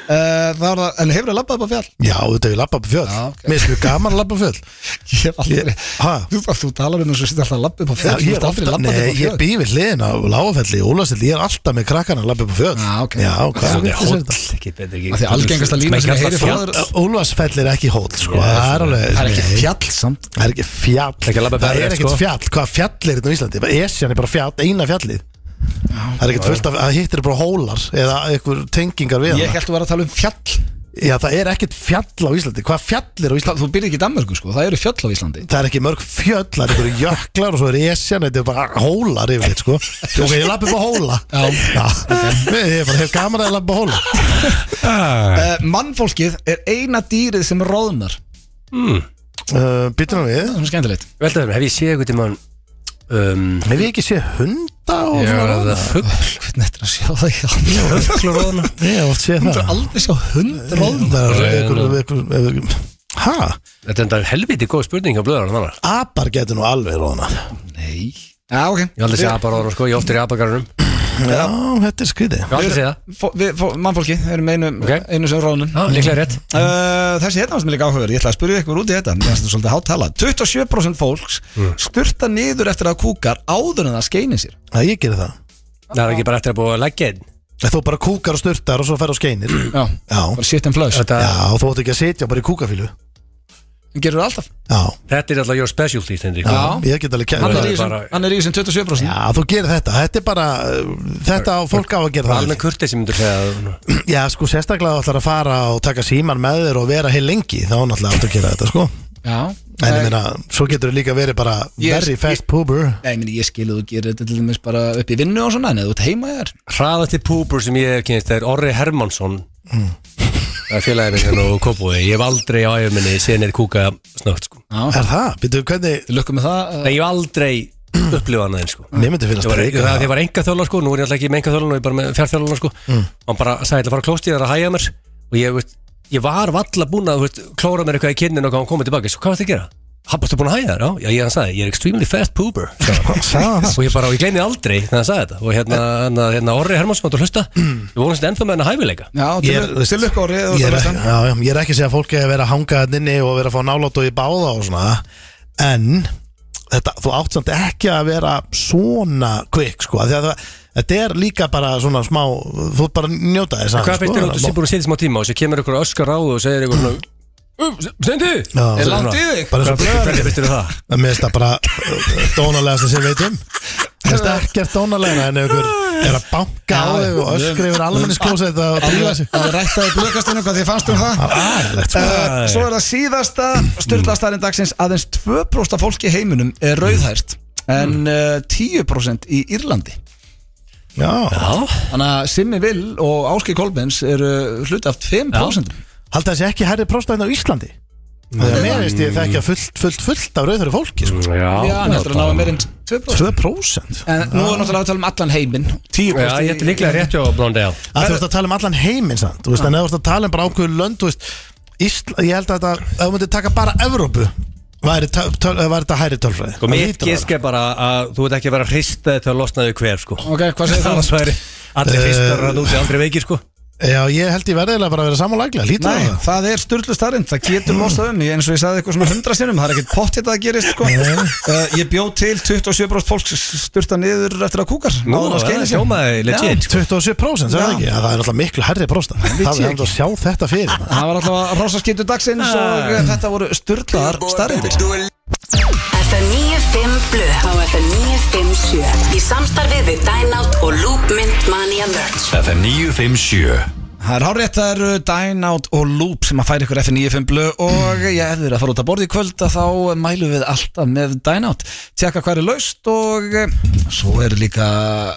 [SPEAKER 1] Það var það En hefur það lappað upp á fjall?
[SPEAKER 2] Já, þetta er lappa upp á fjall.
[SPEAKER 1] Já, ok.
[SPEAKER 2] Mér finnst mjög gaman að lappa á fjall.
[SPEAKER 1] Ég hef aldrei
[SPEAKER 2] Ég- Ha?
[SPEAKER 1] Þú, þú talar um þess að setja alltaf að lappa upp á
[SPEAKER 2] Já,
[SPEAKER 1] fjall
[SPEAKER 2] ég er
[SPEAKER 1] aldrei
[SPEAKER 2] ofta,
[SPEAKER 1] lappað
[SPEAKER 2] nei,
[SPEAKER 1] upp á
[SPEAKER 2] ég
[SPEAKER 1] fjall
[SPEAKER 2] bý við hliðin á Lágafelli, Úlafelli, ég er alltaf með krakkana að lappa upp á fjall.
[SPEAKER 1] Já, ok.
[SPEAKER 2] Já, hvað
[SPEAKER 3] Þetta
[SPEAKER 2] er
[SPEAKER 3] er
[SPEAKER 2] þetta?
[SPEAKER 3] hóll, ekki betur ekki
[SPEAKER 1] Af því algengasta línan sem ég heyri frá þér-
[SPEAKER 2] Úlfarsfell er ekki hóll, sko, það er alveg...
[SPEAKER 1] Það er ekki
[SPEAKER 2] Nei,
[SPEAKER 1] fjall samt
[SPEAKER 2] Það er ekki fjall
[SPEAKER 3] Ekki að labba
[SPEAKER 2] Það
[SPEAKER 3] berja,
[SPEAKER 2] er ekkert
[SPEAKER 3] sko.
[SPEAKER 2] fjall, hvað fjall er þetta á Íslandi? Bara Esjan er bara fjall, eina fjallið Það er ekkert fullt af, það hittir bara hólar eða einhver tengingar við
[SPEAKER 1] Ég
[SPEAKER 2] hana
[SPEAKER 1] held þú var að tala um fjall
[SPEAKER 2] Já, það er ekkert fjall á Íslandi Hvað fjall er á
[SPEAKER 1] Það-
[SPEAKER 2] Íslandi?
[SPEAKER 1] Þú byrðir ekki í Danmörku sko Það eru fjöll á Íslandi
[SPEAKER 2] Það er ekki mörg fjöll, það er einhverju jöklar og svo er Esjan, þetta er bara hólar yfir þitt, sko Ok, ég lappi upp á hóla
[SPEAKER 1] Já.
[SPEAKER 2] Ég er bara hef gaman að lappa á hóla
[SPEAKER 1] uh, Mannfólkið er eina dýrið sem róðnar
[SPEAKER 2] uh, Býtum við,
[SPEAKER 1] Það er svona skemmtilegt
[SPEAKER 3] Veltaðum, hef ég séð eitthvað tímann um,
[SPEAKER 2] hef ég ekki sé hunda og
[SPEAKER 3] Ég var
[SPEAKER 2] svona
[SPEAKER 3] að
[SPEAKER 2] ráðna?
[SPEAKER 3] það fugg
[SPEAKER 1] Hvernig eftir að sjá það í alveg
[SPEAKER 3] Höglur og hana
[SPEAKER 2] Ég hef oft sé
[SPEAKER 1] Þú
[SPEAKER 2] það
[SPEAKER 1] er aldrei sjá hund róðnar
[SPEAKER 2] Það er
[SPEAKER 3] Nei,
[SPEAKER 2] einhver-
[SPEAKER 3] nú.
[SPEAKER 2] einhver- einhver- Ha?
[SPEAKER 3] Þetta er enda helviti góð spurning á blöðar hann annar
[SPEAKER 2] Apar getur nú alveg róna
[SPEAKER 1] Nei Já ok
[SPEAKER 3] Ég hef aldrei séð abarorðan sko, ég hef oft er í abagarunum
[SPEAKER 2] Já, þetta er skrítið
[SPEAKER 3] Ég ætla að segja það
[SPEAKER 1] Fó- Við, fó- mannfólki, erum einu,
[SPEAKER 3] Ok.
[SPEAKER 1] einu sem ráðunum
[SPEAKER 3] Já, líklega rétt
[SPEAKER 1] Uh, þessi hérna varst mér líka áhugaður, ég ætla að spyrja ykkur út í þetta mér finnst þetta svolítið hátala 27% fólks styrta niður eftir að kúkar áður en það skeinir sér
[SPEAKER 2] Það ég gerir það
[SPEAKER 3] Það er ekki bara eftir að búa að leggja einn
[SPEAKER 2] Þú bara kúkar og sturtar og svo fer á skeinir
[SPEAKER 1] Já,
[SPEAKER 2] Já,
[SPEAKER 1] bara shit and flush
[SPEAKER 3] þetta,
[SPEAKER 2] já þú átt ekki að sitja bara í kúkafílu
[SPEAKER 1] Gerur það alltaf
[SPEAKER 2] Já,
[SPEAKER 3] þetta er alltaf your specialty Steindrik.
[SPEAKER 2] já,
[SPEAKER 1] Já.
[SPEAKER 2] ég get alveg
[SPEAKER 1] Hann
[SPEAKER 2] kæður
[SPEAKER 1] er í
[SPEAKER 3] er
[SPEAKER 1] þessum,
[SPEAKER 3] bara-
[SPEAKER 1] hann er í þessum 27%
[SPEAKER 2] Já, þú gerir þetta, þetta er bara uh, Þetta á fólk á að gera það
[SPEAKER 3] Almenn kurtið sem myndur segja það.
[SPEAKER 2] Já, sko, sérstaklega þú ætlar að fara og taka síman með þér og vera heil lengi Þá náttúrulega áttu að gera þetta, sko
[SPEAKER 1] Já
[SPEAKER 2] En ég
[SPEAKER 1] Nei,
[SPEAKER 2] meina, svo getur þú líka verið bara
[SPEAKER 1] Ég-
[SPEAKER 2] Very fast pooper
[SPEAKER 1] Nei, ég meina, ég skilu þú gerir þetta til dæmis bara upp í vinnu og svona en eða þú ert heima þér
[SPEAKER 3] Hraðasti púpur sem ég hef kynist er Orri Hermansson Það er félagið minn hérna og kopuði Ég hef aldrei á æfuminni síðan er kúka snögt sko.
[SPEAKER 1] Já,
[SPEAKER 2] Er það? Býtu, hvernig
[SPEAKER 1] til lukkum með það uh,
[SPEAKER 3] Nei, ég hef aldrei upplifað hann aðeins sko.
[SPEAKER 2] Mér myndi finnast
[SPEAKER 3] Ég var,
[SPEAKER 2] reika
[SPEAKER 3] það að ég var enga þjóla sko, nú er ég alltaf ekki með enga þjóla nú er ég bara með fjárþjóla sko og hann bara sagði ætla að fara klóst í það að hæja mér og ég, veist, ég var valla búin að veist, klóra mér eitthvað í kynnin og hann komið tilbaka svo hvað var það að gera? Hann bara, ertu búin að hæja þér? Já, já, ég hann sagði, ég er extremely fast pooper sagði hann. og ég bara, og ég gleymi því aldrei þegar hann sagði þetta og hérna, hérna, hérna Orri Hermansson átt að hlusta ég vonast ennþá með hennar hæfileika
[SPEAKER 1] Já, til,
[SPEAKER 2] Ég er-
[SPEAKER 1] til lukku ári
[SPEAKER 2] Ég er, ekki, já, já, ég er ekki að segja að fólki að vera að hanga hann inni og vera að fá nálátt og í báða og svona en þetta, þú átt samt ekki að vera svona kvikk sko af því að það, þetta er líka bara svona smá þú ert bara að njóta þess
[SPEAKER 3] Hvað finnst þér um að þú sé búin að setja smá tíma og svo kemur ykkur öskar á þig og segir ykkur svona "Uh, Steindi!
[SPEAKER 1] Er
[SPEAKER 2] Já,
[SPEAKER 1] langt í þig?
[SPEAKER 2] bara svo
[SPEAKER 3] Hvernig finnst þér um það?
[SPEAKER 2] að mér finnst það bara uh, dónalegast sem ég veit um Mér finnst það ekkert dónalega en ef ykkur er að banka á þig og öskri yfir almenniskjósið það að drífa sig
[SPEAKER 1] Það rættaði blökastinu hvað þið fannst um það
[SPEAKER 2] Ægilegt sko
[SPEAKER 1] Uh, Svo er það síðasta styrlaðastærin dagsins aðeins 2% af fólki í heiminum er rauðhært en uh, 10% í Írlandi
[SPEAKER 2] Já,
[SPEAKER 3] Já,
[SPEAKER 1] Þannig að Simmi Vill og Áskei Kolbens eru hluti af 5%
[SPEAKER 2] Haldið þessi ekki herri próstæðin á Íslandi? Þegar mér veist ég þekkja fullt, fullt, fullt af rauðhverju fólki
[SPEAKER 3] Mm.
[SPEAKER 2] sko.
[SPEAKER 1] Já, hann heldur að náða meir en 2%
[SPEAKER 2] 2%
[SPEAKER 1] En nú er náttúrulega að tala um allan heiminn 10%
[SPEAKER 3] Já, ég ætti líklega rétt hjá
[SPEAKER 2] að
[SPEAKER 3] Blondale
[SPEAKER 2] Þú veist að tala um allan heiminn sann Þú veist að þú veist að tala um bara ákveðu lönd þú veist, Ísla, Ég held að þetta, ef þú myndir taka bara Evrópu væri, töl, töl, væri þetta hæri tölfræði
[SPEAKER 3] Sko,
[SPEAKER 2] Það
[SPEAKER 3] mitt
[SPEAKER 2] hlýtur að
[SPEAKER 3] gísk er bara að þú veit ekki að vera hristaði til að losna þig hver, sko.
[SPEAKER 1] Ok, hvað segir þú?
[SPEAKER 3] Annars væri allir
[SPEAKER 2] Eh,
[SPEAKER 3] hristar að úti aldrei veikir, sko.
[SPEAKER 2] vera. Já, ég held ég verðilega bara að vera samanlæglega Lítur
[SPEAKER 1] Nei,
[SPEAKER 2] það
[SPEAKER 1] það er styrlu starrend, það getur losað um ég- eins og ég sagði eitthvað svona 100 sinnum, það er ekkert pott þetta að gerist sko. uh, Ég bjó til 27% fólk styrta niður eftir að kúkar áður en það skeinir sér.
[SPEAKER 3] sjómaði
[SPEAKER 1] Já.
[SPEAKER 3] legit, sko.
[SPEAKER 2] 27% sem
[SPEAKER 1] Já.
[SPEAKER 2] það ekki, ja, það er alltaf miklu herri prósta Það
[SPEAKER 1] veit
[SPEAKER 2] er
[SPEAKER 1] ég
[SPEAKER 2] hægt að sjá þetta fyrir maður.
[SPEAKER 1] Það var alltaf rosaskiptu dagsins og eh, þetta voru styrlaðar starrendir
[SPEAKER 5] FM 95 Blu á FM 957 í samstarfið við Dynout og Loopmynd Mania Merch
[SPEAKER 9] FM 957
[SPEAKER 1] Það er hárétt, það eru Dynout og Loop sem að færa ykkur F95 blö og ég hefur að fara út að borða í kvöld að þá mælum við alltaf með Dynout tjekka hvað er laust og eh, svo er líka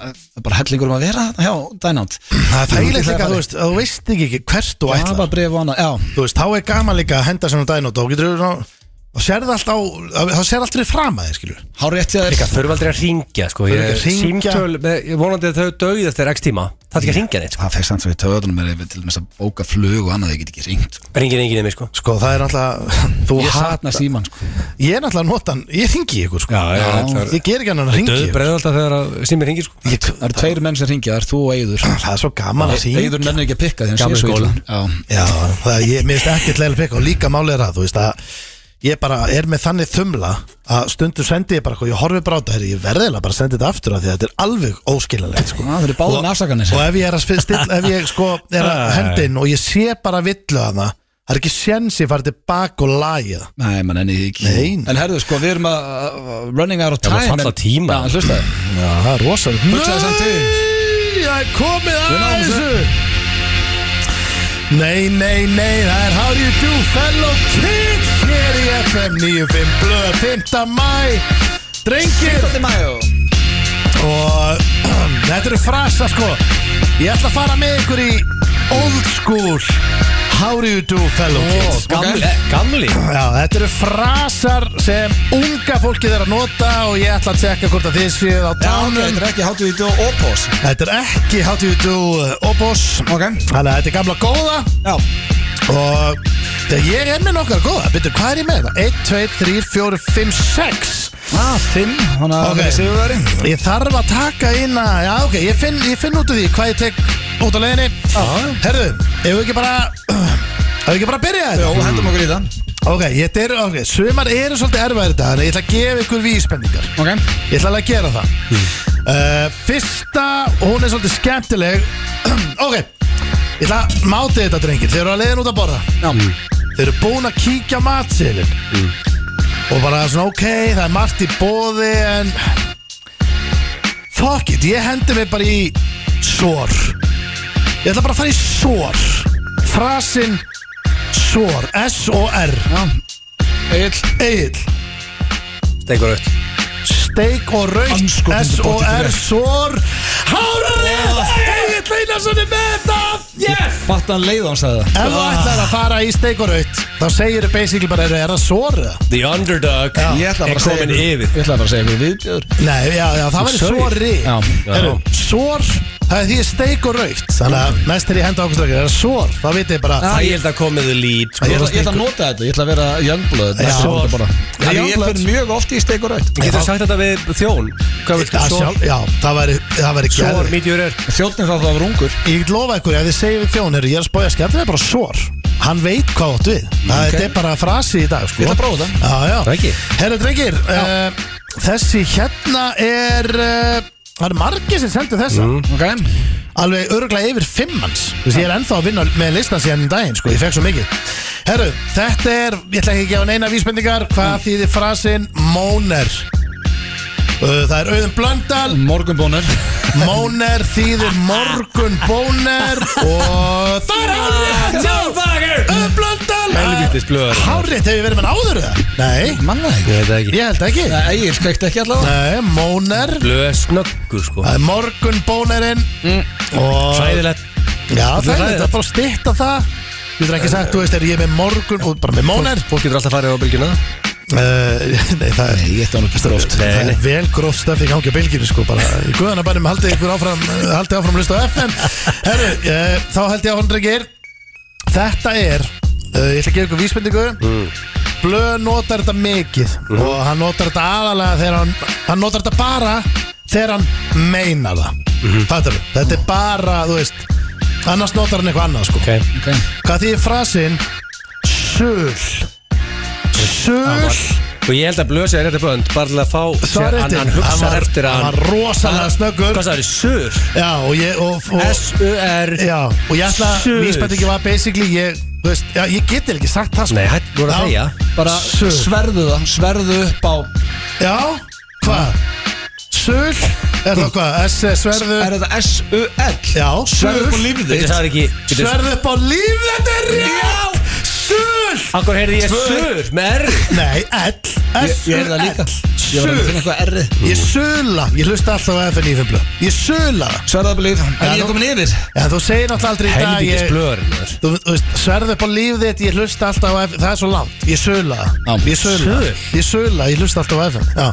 [SPEAKER 1] eh, bara hellingur um að vera þarna hjá Dynout
[SPEAKER 2] Það er þægilegt líka,
[SPEAKER 1] Það er
[SPEAKER 2] þú veist, að þú veist ekki hvert þú ætlar
[SPEAKER 1] Það var bref og annað, já
[SPEAKER 2] þú veist, þá er gaman líka að henda sem á daginn og þá getur þú svona- þá sérðu allt á, þá sérðu allt fyrir fram að þið skilur
[SPEAKER 1] Hárétt hjá þér
[SPEAKER 3] Líka þurfa aldrei að ringja, sko.
[SPEAKER 2] Þurfa
[SPEAKER 3] Ég
[SPEAKER 2] ekki að hringja.
[SPEAKER 3] símtöl, með- ég vonandi að þau döið eftir x tíma. Það er ekki að ringja neitt, sko.
[SPEAKER 1] Það fekk samt fyrir töðunum er til þess að bóka flug og annað, ég get ekki ringt
[SPEAKER 3] Ringin enginn nefnir, sko.
[SPEAKER 2] sko, það er náttúrulega, þú
[SPEAKER 1] Ég
[SPEAKER 2] hat-
[SPEAKER 1] satna síman sko
[SPEAKER 2] ég er náttúrulega notan, ég ringi ykkur sko,
[SPEAKER 3] Já, já, þetta er-
[SPEAKER 2] ég ger ekki annan að ringi
[SPEAKER 3] Döð
[SPEAKER 2] ykkur
[SPEAKER 3] breið alltaf þegar að sími ringir, sko.
[SPEAKER 2] ég,
[SPEAKER 1] Það eru tveir menn sem ringja, það er þú og Eyður
[SPEAKER 2] það er svo gaman að sín
[SPEAKER 1] Eyður nennir ekki að pikka því hann sé
[SPEAKER 3] Gamli
[SPEAKER 1] svo illa
[SPEAKER 3] skólinn.
[SPEAKER 1] Já.
[SPEAKER 2] já, það er, ég minnst ekkert leiðilega pekka og líka málið er að, þú veist að ég bara er með þannig þumla að stundum sendi ég bara, eitthvað, ég horfi bara á þetta herri, ég verðilega bara að sendi þetta aftur að því að þetta er alveg óskiljanlegt sko.
[SPEAKER 1] Já, það Ah, eru báðin
[SPEAKER 2] Og-
[SPEAKER 1] afsakanir.
[SPEAKER 2] og ef ég er að spil- still, ef ég sko er að hendin og ég sé bara villu að það það er ekki séns ég farið tilbaka og lagið
[SPEAKER 1] Nei, mann, enni ekki
[SPEAKER 2] Nei.
[SPEAKER 1] En herðu, sko, við erum að uh, running out of time
[SPEAKER 3] Já, maður falla
[SPEAKER 1] en-
[SPEAKER 3] á tíma.
[SPEAKER 1] Já, en hlustaði
[SPEAKER 2] já, það er rosalega
[SPEAKER 1] Hugsaði samt til
[SPEAKER 2] Nei, það er komið
[SPEAKER 1] náðum
[SPEAKER 2] að þessu Nei, nei, nei, það er How Do You Do Fellow Kids hér í FM 95 blöð 5. mæ drengir
[SPEAKER 1] 15. maí og-
[SPEAKER 2] og þetta eru frasa sko ég ætla að fara með ykkur í old school How Do You Do Fellow Kids
[SPEAKER 3] Gamli, eh, gamli.
[SPEAKER 2] Já, þetta eru frasar sem unga fólkið er að nota og ég ætla að tekka hvort að þið séu á
[SPEAKER 1] Já, ok,
[SPEAKER 2] tánum
[SPEAKER 1] þetta er ekki hátu í dó og pós
[SPEAKER 2] Þetta er ekki How Do You Do uh, Opus
[SPEAKER 1] Ok.
[SPEAKER 2] Þannig að þetta er gamla góða
[SPEAKER 1] Já,
[SPEAKER 2] Og ég er með nokkar góða Býttu, hvað er ég með það? 1, 2, 3, 4, 5, 6
[SPEAKER 1] Ah, fimm, þannig að
[SPEAKER 2] Ok.
[SPEAKER 1] það er sigurveri
[SPEAKER 2] Ég þarf að taka inn að Já, ok, ég finn, ég finn út af því hvað ég tek út á leiðinni Herðu, ef við ekki bara Ef við ekki bara byrja
[SPEAKER 1] Jó,
[SPEAKER 2] þetta
[SPEAKER 1] hendum okkur í það
[SPEAKER 2] Ok, þetta er, ok, sumar eru svolítið erfæðir þetta Þannig að ég ætla að gefa ykkur vísbendingar
[SPEAKER 1] Ok
[SPEAKER 2] Ég ætla alveg að gera það uh, Fyrsta, hún er svolítið skemmtileg Ok Ég ætla að máti þetta drengir Þeir eru að leiðin út að borða Hmm.
[SPEAKER 1] Já
[SPEAKER 2] Þeir eru búin að kíkja á matseðilinn Og bara svona ok Það er margt í bóði en Fuck it Ég hendi mig bara í Sor Ég ætla bara að fara í sor Frasin Sor S-O-R
[SPEAKER 1] Já Egil
[SPEAKER 2] Egil
[SPEAKER 3] Steik og raut
[SPEAKER 2] Steik og raukt
[SPEAKER 1] Andskotinn
[SPEAKER 2] S-O-R
[SPEAKER 1] pottur.
[SPEAKER 2] Sor Hárið Egil Leynarsson er með þetta
[SPEAKER 1] Yes Fatt hann leið á hann sagði það
[SPEAKER 2] Ef þú ætlar að fara í steik og raukt Þá segir þau basically bara Er það sor eða?
[SPEAKER 3] The underdog
[SPEAKER 1] Ég ætla bara
[SPEAKER 3] er
[SPEAKER 1] að segja
[SPEAKER 3] komin yfir
[SPEAKER 1] Ég ætla bara að segja ykkur viðbjöður
[SPEAKER 2] Nei, já, já, það væri
[SPEAKER 3] Sorry.
[SPEAKER 2] sori
[SPEAKER 1] Já, já.
[SPEAKER 2] Heru, Sor, það er því steik og raukt Þannig að næst er ég henda okkur strakir Það er sor, þá vitið ég bara
[SPEAKER 3] Það ég held að komið þið lít
[SPEAKER 1] Ég ætla, ég ætla að nota þetta, ég ætla að vera jöngblöð
[SPEAKER 2] Já.
[SPEAKER 1] Þannig að ég fyrir mjög oft í steik og rætt
[SPEAKER 3] Getur sagt þetta við þjón Hvað viltu?
[SPEAKER 2] Það
[SPEAKER 3] Svo-
[SPEAKER 2] sjálf, já, það væri, það væri
[SPEAKER 3] Sjór,
[SPEAKER 2] geðveikt.
[SPEAKER 3] mítjur er
[SPEAKER 1] Þjóttin þá það var ungur
[SPEAKER 2] Ég get lofa ykkur, ef þið segir við þjón heru, Ég er að spója skemmt, það er bara sor Hann veit hvað átt við Það
[SPEAKER 1] Ok.
[SPEAKER 2] þetta er bara frasi í dag sko.
[SPEAKER 1] Ég ætla að prófa það.
[SPEAKER 2] Já, já
[SPEAKER 3] Takk.
[SPEAKER 2] Herru, drengir uh, Þessi hérna er uh, Það er margir sem sendur þessa
[SPEAKER 1] okay.
[SPEAKER 2] alveg örglega yfir fimmans þú veist ég er ennþá að vinna með listan síðan um daginn sko, ég fekk svo mikið herru, þetta er, ég ætla ekki að gefa neina vísbendingar hvað
[SPEAKER 1] Mm.
[SPEAKER 2] þýðir frasin móner Uh, það er auðum blöndal
[SPEAKER 1] Morgunbónur
[SPEAKER 2] móner þýðir morgun bóner og það er hárrétt auðum blöndal
[SPEAKER 3] Helvítis blöðar
[SPEAKER 2] hárrétt hefur verið með áður það nei,
[SPEAKER 1] Manna það ekki
[SPEAKER 3] Ég veit það ekki
[SPEAKER 2] ég held ekki
[SPEAKER 1] Nei, Egil kveikt ekki allavega
[SPEAKER 2] nei, móner
[SPEAKER 3] Blöð snöggur sko
[SPEAKER 2] það er morgun bónerinn og
[SPEAKER 3] Sæðilegt
[SPEAKER 2] Já, það er
[SPEAKER 3] hræðilegt.
[SPEAKER 2] þetta bara að styrta það Þú getur ekki sagt, þú veist, er ég með morgun og bara með mónar
[SPEAKER 3] Fólk getur alltaf farið á bylgjuna
[SPEAKER 2] uh, Nei, það er
[SPEAKER 1] Ég ætti hann ekki stróft
[SPEAKER 2] Það
[SPEAKER 3] Nei,
[SPEAKER 2] er
[SPEAKER 3] nei.
[SPEAKER 2] vel gróft stöfi í gangi á bylginu sko bara í guðana bænum haldið ykkur áfram eh, haldið áfram að hlusta á FM Herru, uh, þá held ég áfram drengir Þetta er uh, ég ætla að gefa ykkur vísbendingu Blöð notar þetta mikið og hann notar þetta aðalega þegar hann hann notar þetta bara þegar hann meina það mm Þetta er bara, þú veist annars notar hann eitthvað annað sko
[SPEAKER 3] Ok
[SPEAKER 2] Hvað því frasin Söl Söl
[SPEAKER 3] Og ég held að blöð sér rétti bönd Bara til að fá
[SPEAKER 2] Það er
[SPEAKER 3] hann,
[SPEAKER 2] réttin
[SPEAKER 3] hann
[SPEAKER 2] Hann
[SPEAKER 3] hugsa
[SPEAKER 2] var-
[SPEAKER 3] eftir að
[SPEAKER 2] Hann var rosalega snöggur
[SPEAKER 3] Hvað það er? Sur
[SPEAKER 2] Já og ég og, og,
[SPEAKER 3] S-U-R
[SPEAKER 2] Já og ég ætla
[SPEAKER 3] Suð.
[SPEAKER 2] Vísbendingi var basically Ég þú veist Já ég get ekki sagt það sko
[SPEAKER 3] Nei, hætt voru
[SPEAKER 2] Já.
[SPEAKER 3] að þegja
[SPEAKER 1] Bara
[SPEAKER 2] Suð.
[SPEAKER 1] sverðu það, sverðu upp á
[SPEAKER 2] Já Hvað Söl Er það hvað S er sverðu
[SPEAKER 1] Er þetta S-U-L?
[SPEAKER 2] Já
[SPEAKER 1] Sverðu upp á
[SPEAKER 2] Söl
[SPEAKER 1] lífið
[SPEAKER 3] Þetta
[SPEAKER 1] þitt
[SPEAKER 3] það er ekki getur-
[SPEAKER 2] Sverðu upp á líf Þetta er rétt Söl
[SPEAKER 3] Akkur heyrði ég
[SPEAKER 1] Svör.
[SPEAKER 3] sur með R
[SPEAKER 2] Nei L S
[SPEAKER 1] Ég er það líka Ég var að finna
[SPEAKER 2] Söl
[SPEAKER 1] eitthvað erri
[SPEAKER 2] Ég söla Ég hlusta alltaf á FN í fimmlu Ég söla það
[SPEAKER 1] Sverðu upp á líf En ég
[SPEAKER 2] nú-
[SPEAKER 1] er komin yfir
[SPEAKER 2] Já, þú segir náttúrulega aldrei í dag
[SPEAKER 3] Helvítis
[SPEAKER 2] ég,
[SPEAKER 3] blöðar maður.
[SPEAKER 2] þú, þú veist, sverð upp á líf þitt Ég hlusta alltaf á FM, það er svo langt Ég söla,
[SPEAKER 1] Já.
[SPEAKER 2] það. ég söla,
[SPEAKER 3] Söl.
[SPEAKER 2] ég söla Ég hlusta alltaf á FM Já.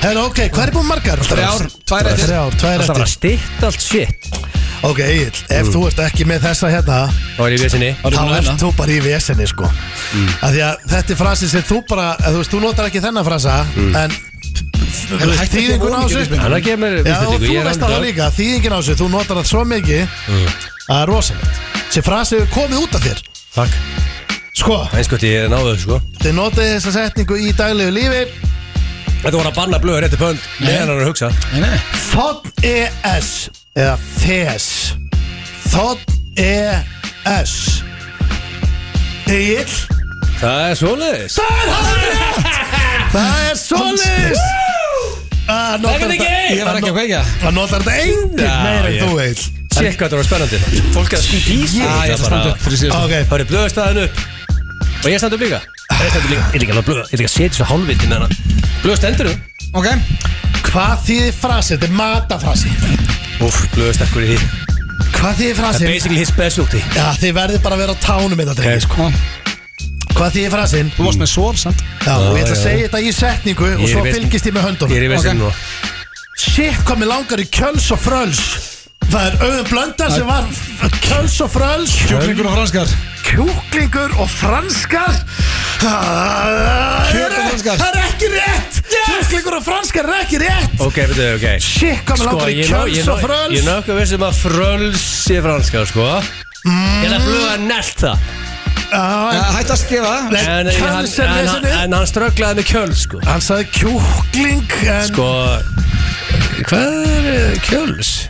[SPEAKER 2] Herra, ok, hvað er búin margar?
[SPEAKER 1] Þrjár, tvær eftir.
[SPEAKER 2] Þrjár, tvær
[SPEAKER 3] Það var að
[SPEAKER 2] eftir
[SPEAKER 3] stitt allt shit
[SPEAKER 2] Ok, Egil, ef þú ert ekki með þessa hérna
[SPEAKER 3] Þá er ég við sinni
[SPEAKER 1] Mm. Eh, Var ég búin
[SPEAKER 2] Þá
[SPEAKER 1] að
[SPEAKER 2] ert
[SPEAKER 1] vinna? Mm.
[SPEAKER 2] þú bara í vesenni, sko Af því að þetta er frasi sem þú bara eh, Þú veist, þú notar ekki þennan frasa
[SPEAKER 1] Mm.
[SPEAKER 2] En, þú veist,
[SPEAKER 1] hættu ekki
[SPEAKER 2] þýðingun á
[SPEAKER 1] að
[SPEAKER 2] þessu
[SPEAKER 1] vona
[SPEAKER 3] Hann er að gefa mér
[SPEAKER 2] Já, og
[SPEAKER 3] vísbendingu,
[SPEAKER 2] þú
[SPEAKER 3] ég er Mm.
[SPEAKER 2] veist það
[SPEAKER 3] underdog.
[SPEAKER 2] líka, þýðingin á þessu, þú notar það svo mikið að það er rosalegt sem frasi hefur komið út af þér
[SPEAKER 3] Takk
[SPEAKER 2] Sko,
[SPEAKER 3] Eins gott ég náðu þessu sko
[SPEAKER 2] þið notið þessa setningu í daglegu lífi
[SPEAKER 3] Þetta voru að banna blöð rétti pönd Meðan hann er að hugsa
[SPEAKER 1] Nei, nei
[SPEAKER 2] Þotn ES E-, eða FES E-, Þotn ES Egil
[SPEAKER 3] Það er svoleiðis
[SPEAKER 2] Það er hárið Það er svoleiðis Ah, Það
[SPEAKER 3] er ekki Egil.
[SPEAKER 1] Ég var ekki að kveikja
[SPEAKER 2] Það Ah, notar þetta engin
[SPEAKER 3] Já,
[SPEAKER 2] meira en
[SPEAKER 3] ég-
[SPEAKER 2] þú Egil
[SPEAKER 3] Sér hvað þetta var spennandi Fólk er að skýta í sig
[SPEAKER 1] Æ, ég ætla að standa upp fyrir síðast
[SPEAKER 2] Ok,
[SPEAKER 3] Það eru blöðu staðin upp Og ég stendur upp líka Ég stendur líka Ég er líka alveg blöð Ég er líka að setja svo hálfviti með hana Blöðu stendur upp
[SPEAKER 1] Ok
[SPEAKER 2] hvað þýðir frasi? Þetta er matafrasi
[SPEAKER 3] Úf, blöðu sterkur í því
[SPEAKER 2] Hvað þýðir
[SPEAKER 3] Það er
[SPEAKER 2] frasi?
[SPEAKER 3] basically his specialty
[SPEAKER 2] Já, þið verðið bara að vera á tánum þetta drengi sko. Hvað þýðir frasin?
[SPEAKER 1] Þú varst með sór, sant?
[SPEAKER 2] Já, og ég ætla að
[SPEAKER 3] já.
[SPEAKER 2] segja þetta í setningu og
[SPEAKER 3] Ég er
[SPEAKER 2] svo
[SPEAKER 3] í vesni.
[SPEAKER 2] fylgist ég með höndunum
[SPEAKER 3] Ég er í vesinu núna
[SPEAKER 2] Shit, hvað mér langar í kjöls og fröls Það er auðvitað blöndar sem var kjöls og fröls
[SPEAKER 1] Kjúklingur og franskar
[SPEAKER 2] kjúklingur og franskar Það
[SPEAKER 1] Kjöt
[SPEAKER 2] er,
[SPEAKER 1] og franskar.
[SPEAKER 2] það er ekki rétt Kjúklingur og franskar er ekki rétt
[SPEAKER 3] Ok, betur þau, ok
[SPEAKER 2] Shit, hvað með
[SPEAKER 3] Sko,
[SPEAKER 2] langar í
[SPEAKER 3] ég ná- ég
[SPEAKER 2] kjöls
[SPEAKER 3] ná-
[SPEAKER 2] og fröls
[SPEAKER 3] Ég nokkuð vissum að fröls sé franska, sko
[SPEAKER 2] Mm.
[SPEAKER 3] Ég er að fluga nelt það
[SPEAKER 2] Já, en-
[SPEAKER 1] Hætt að skrifa
[SPEAKER 2] Nei,
[SPEAKER 3] En, en, hann,
[SPEAKER 2] kjöls er
[SPEAKER 3] en, hann,
[SPEAKER 2] lesinni
[SPEAKER 3] en hann strögglaði með kjöl, sko
[SPEAKER 2] Hann sagði kjúkling en
[SPEAKER 3] Sko, hvað er eh, kjöls?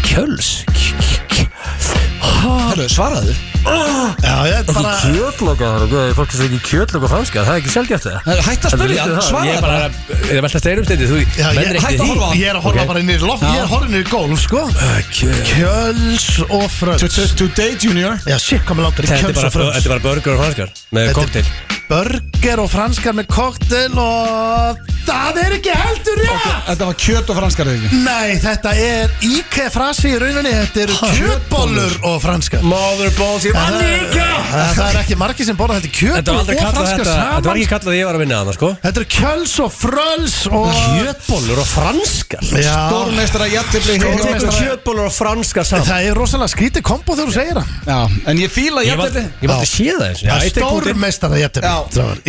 [SPEAKER 3] Kjöls? K- k- k-
[SPEAKER 1] Hættu, svaraðu
[SPEAKER 2] Já, ég er bara
[SPEAKER 3] Kjötlöka, það er fólk sem ekki kjötlöka franska Það er ekki sjálfgeft það
[SPEAKER 1] Hætt að spyrja,
[SPEAKER 3] Ég
[SPEAKER 1] svaraðu
[SPEAKER 3] er bara, ég er veltast einum stendi Þú
[SPEAKER 2] Já, ég,
[SPEAKER 3] mennir
[SPEAKER 1] hættu
[SPEAKER 3] ekki
[SPEAKER 1] að horfa.
[SPEAKER 2] ég er að horfa bara inn í loft Ég er að horfa inn í gólf, sko
[SPEAKER 3] Kjöl
[SPEAKER 2] Kjöls og fröls
[SPEAKER 1] Today Junior
[SPEAKER 2] Já, shit, hvað með langar í
[SPEAKER 3] Þetta er
[SPEAKER 2] kjöls
[SPEAKER 3] bara,
[SPEAKER 2] og fröls
[SPEAKER 3] þetta er bara burger og franskar Með
[SPEAKER 2] Þetta
[SPEAKER 3] koktel
[SPEAKER 2] er Burger og franskar með koktel og það er ekki heldur rétt
[SPEAKER 1] Þetta var kjöt og franskar eða ekki
[SPEAKER 2] Nei, þetta er IKEA frasi í rauninni Þetta eru kjötbólur og franskar
[SPEAKER 3] Mother balls, ég vann í IKEA
[SPEAKER 2] Það það er ekki margir sem borða þetta er
[SPEAKER 3] Þetta var
[SPEAKER 2] kjötbólur
[SPEAKER 3] aldrei
[SPEAKER 2] og
[SPEAKER 3] kallað
[SPEAKER 2] franskar
[SPEAKER 3] þetta Þetta var
[SPEAKER 2] saman
[SPEAKER 3] ekki kallað að ég var að vinna þarna sko
[SPEAKER 2] Þetta eru kjöls og fröls og
[SPEAKER 3] Kjötbólur og franskar
[SPEAKER 2] Já,
[SPEAKER 1] Stórmeistara, jættibli,
[SPEAKER 3] Ég tekur
[SPEAKER 1] heimmeistara
[SPEAKER 3] kjötbólur og franskar saman
[SPEAKER 2] það er rosalega skrítið kombo þegar þú segir það
[SPEAKER 1] Já, en ég fíla
[SPEAKER 3] Ég var
[SPEAKER 1] jættibli
[SPEAKER 3] ég var aldrei séð það eins og- Já,
[SPEAKER 2] Það er
[SPEAKER 3] ég tek
[SPEAKER 2] stór
[SPEAKER 3] punktinn.
[SPEAKER 2] mestara
[SPEAKER 1] Já.
[SPEAKER 2] jæftið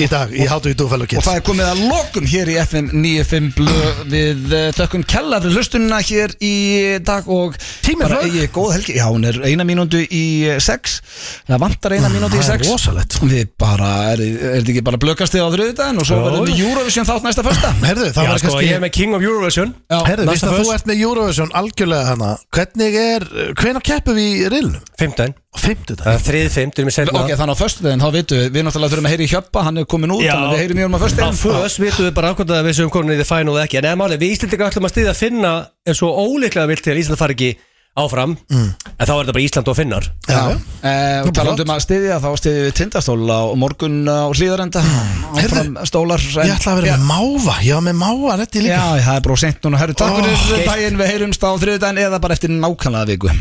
[SPEAKER 2] Í dag, í hátu í dúfæl og
[SPEAKER 1] Og
[SPEAKER 2] kitt
[SPEAKER 1] það er komið að lokum hér í FM 95 blöð Við uh, þökkum kella fyrir hlustunina hér í dag og
[SPEAKER 2] Tíminn
[SPEAKER 1] bara
[SPEAKER 2] flaug.
[SPEAKER 1] eigi góð helgi Já, hún er eina mínúndu í eh, sex Það vantar eina mínúndu í
[SPEAKER 2] það er
[SPEAKER 1] sex
[SPEAKER 2] rosalegt.
[SPEAKER 1] Við bara, er, er þetta ekki bara blökastið á þriðudaginn og svo
[SPEAKER 3] Jó.
[SPEAKER 1] verðum við Eurovision þátt næsta fyrsta
[SPEAKER 2] Herðu, það
[SPEAKER 3] Já
[SPEAKER 2] var
[SPEAKER 3] sko, ég er
[SPEAKER 2] kannski
[SPEAKER 3] með King of Eurovision
[SPEAKER 2] Herðu,
[SPEAKER 3] næsta
[SPEAKER 2] víst að þú
[SPEAKER 3] föst.
[SPEAKER 2] ert með Eurovision algjörlega hana Hvernig er, hvenar keppum við í rilnum?
[SPEAKER 3] 15
[SPEAKER 2] Fymtudag
[SPEAKER 3] Það er 3-5, þú erum
[SPEAKER 1] Ok,
[SPEAKER 3] við setna
[SPEAKER 1] þannig á föstudaginn, þá vitum við, við náttúrulega þurfum að heyri í hjöppa, hann er komin út,
[SPEAKER 3] Já.
[SPEAKER 1] þannig að við heyrim í honum á
[SPEAKER 3] Á
[SPEAKER 1] föstudaginn
[SPEAKER 3] fös vitum við bara ákvæmt að við séum konunni í the final eða ekki En eða máli, við Íslandingar ætlum að stýða að finna En svo óleiklega vilt til að Ísland fari ekki áfram En þá er þetta bara Ísland og finnar
[SPEAKER 2] Já,
[SPEAKER 1] Eh, og talandum að styðja, þá styðjum við tindastól á morgun á hlýðarenda áfram stólar
[SPEAKER 2] Hmm. Ég ætla að vera með máva, ég var með máva rétti líka
[SPEAKER 1] Já, það er bara sent núna, herru, takk
[SPEAKER 2] Ó,
[SPEAKER 1] fyrir daginn, við heyrumst á þriðdaginn eða bara eftir nákvæmlega viku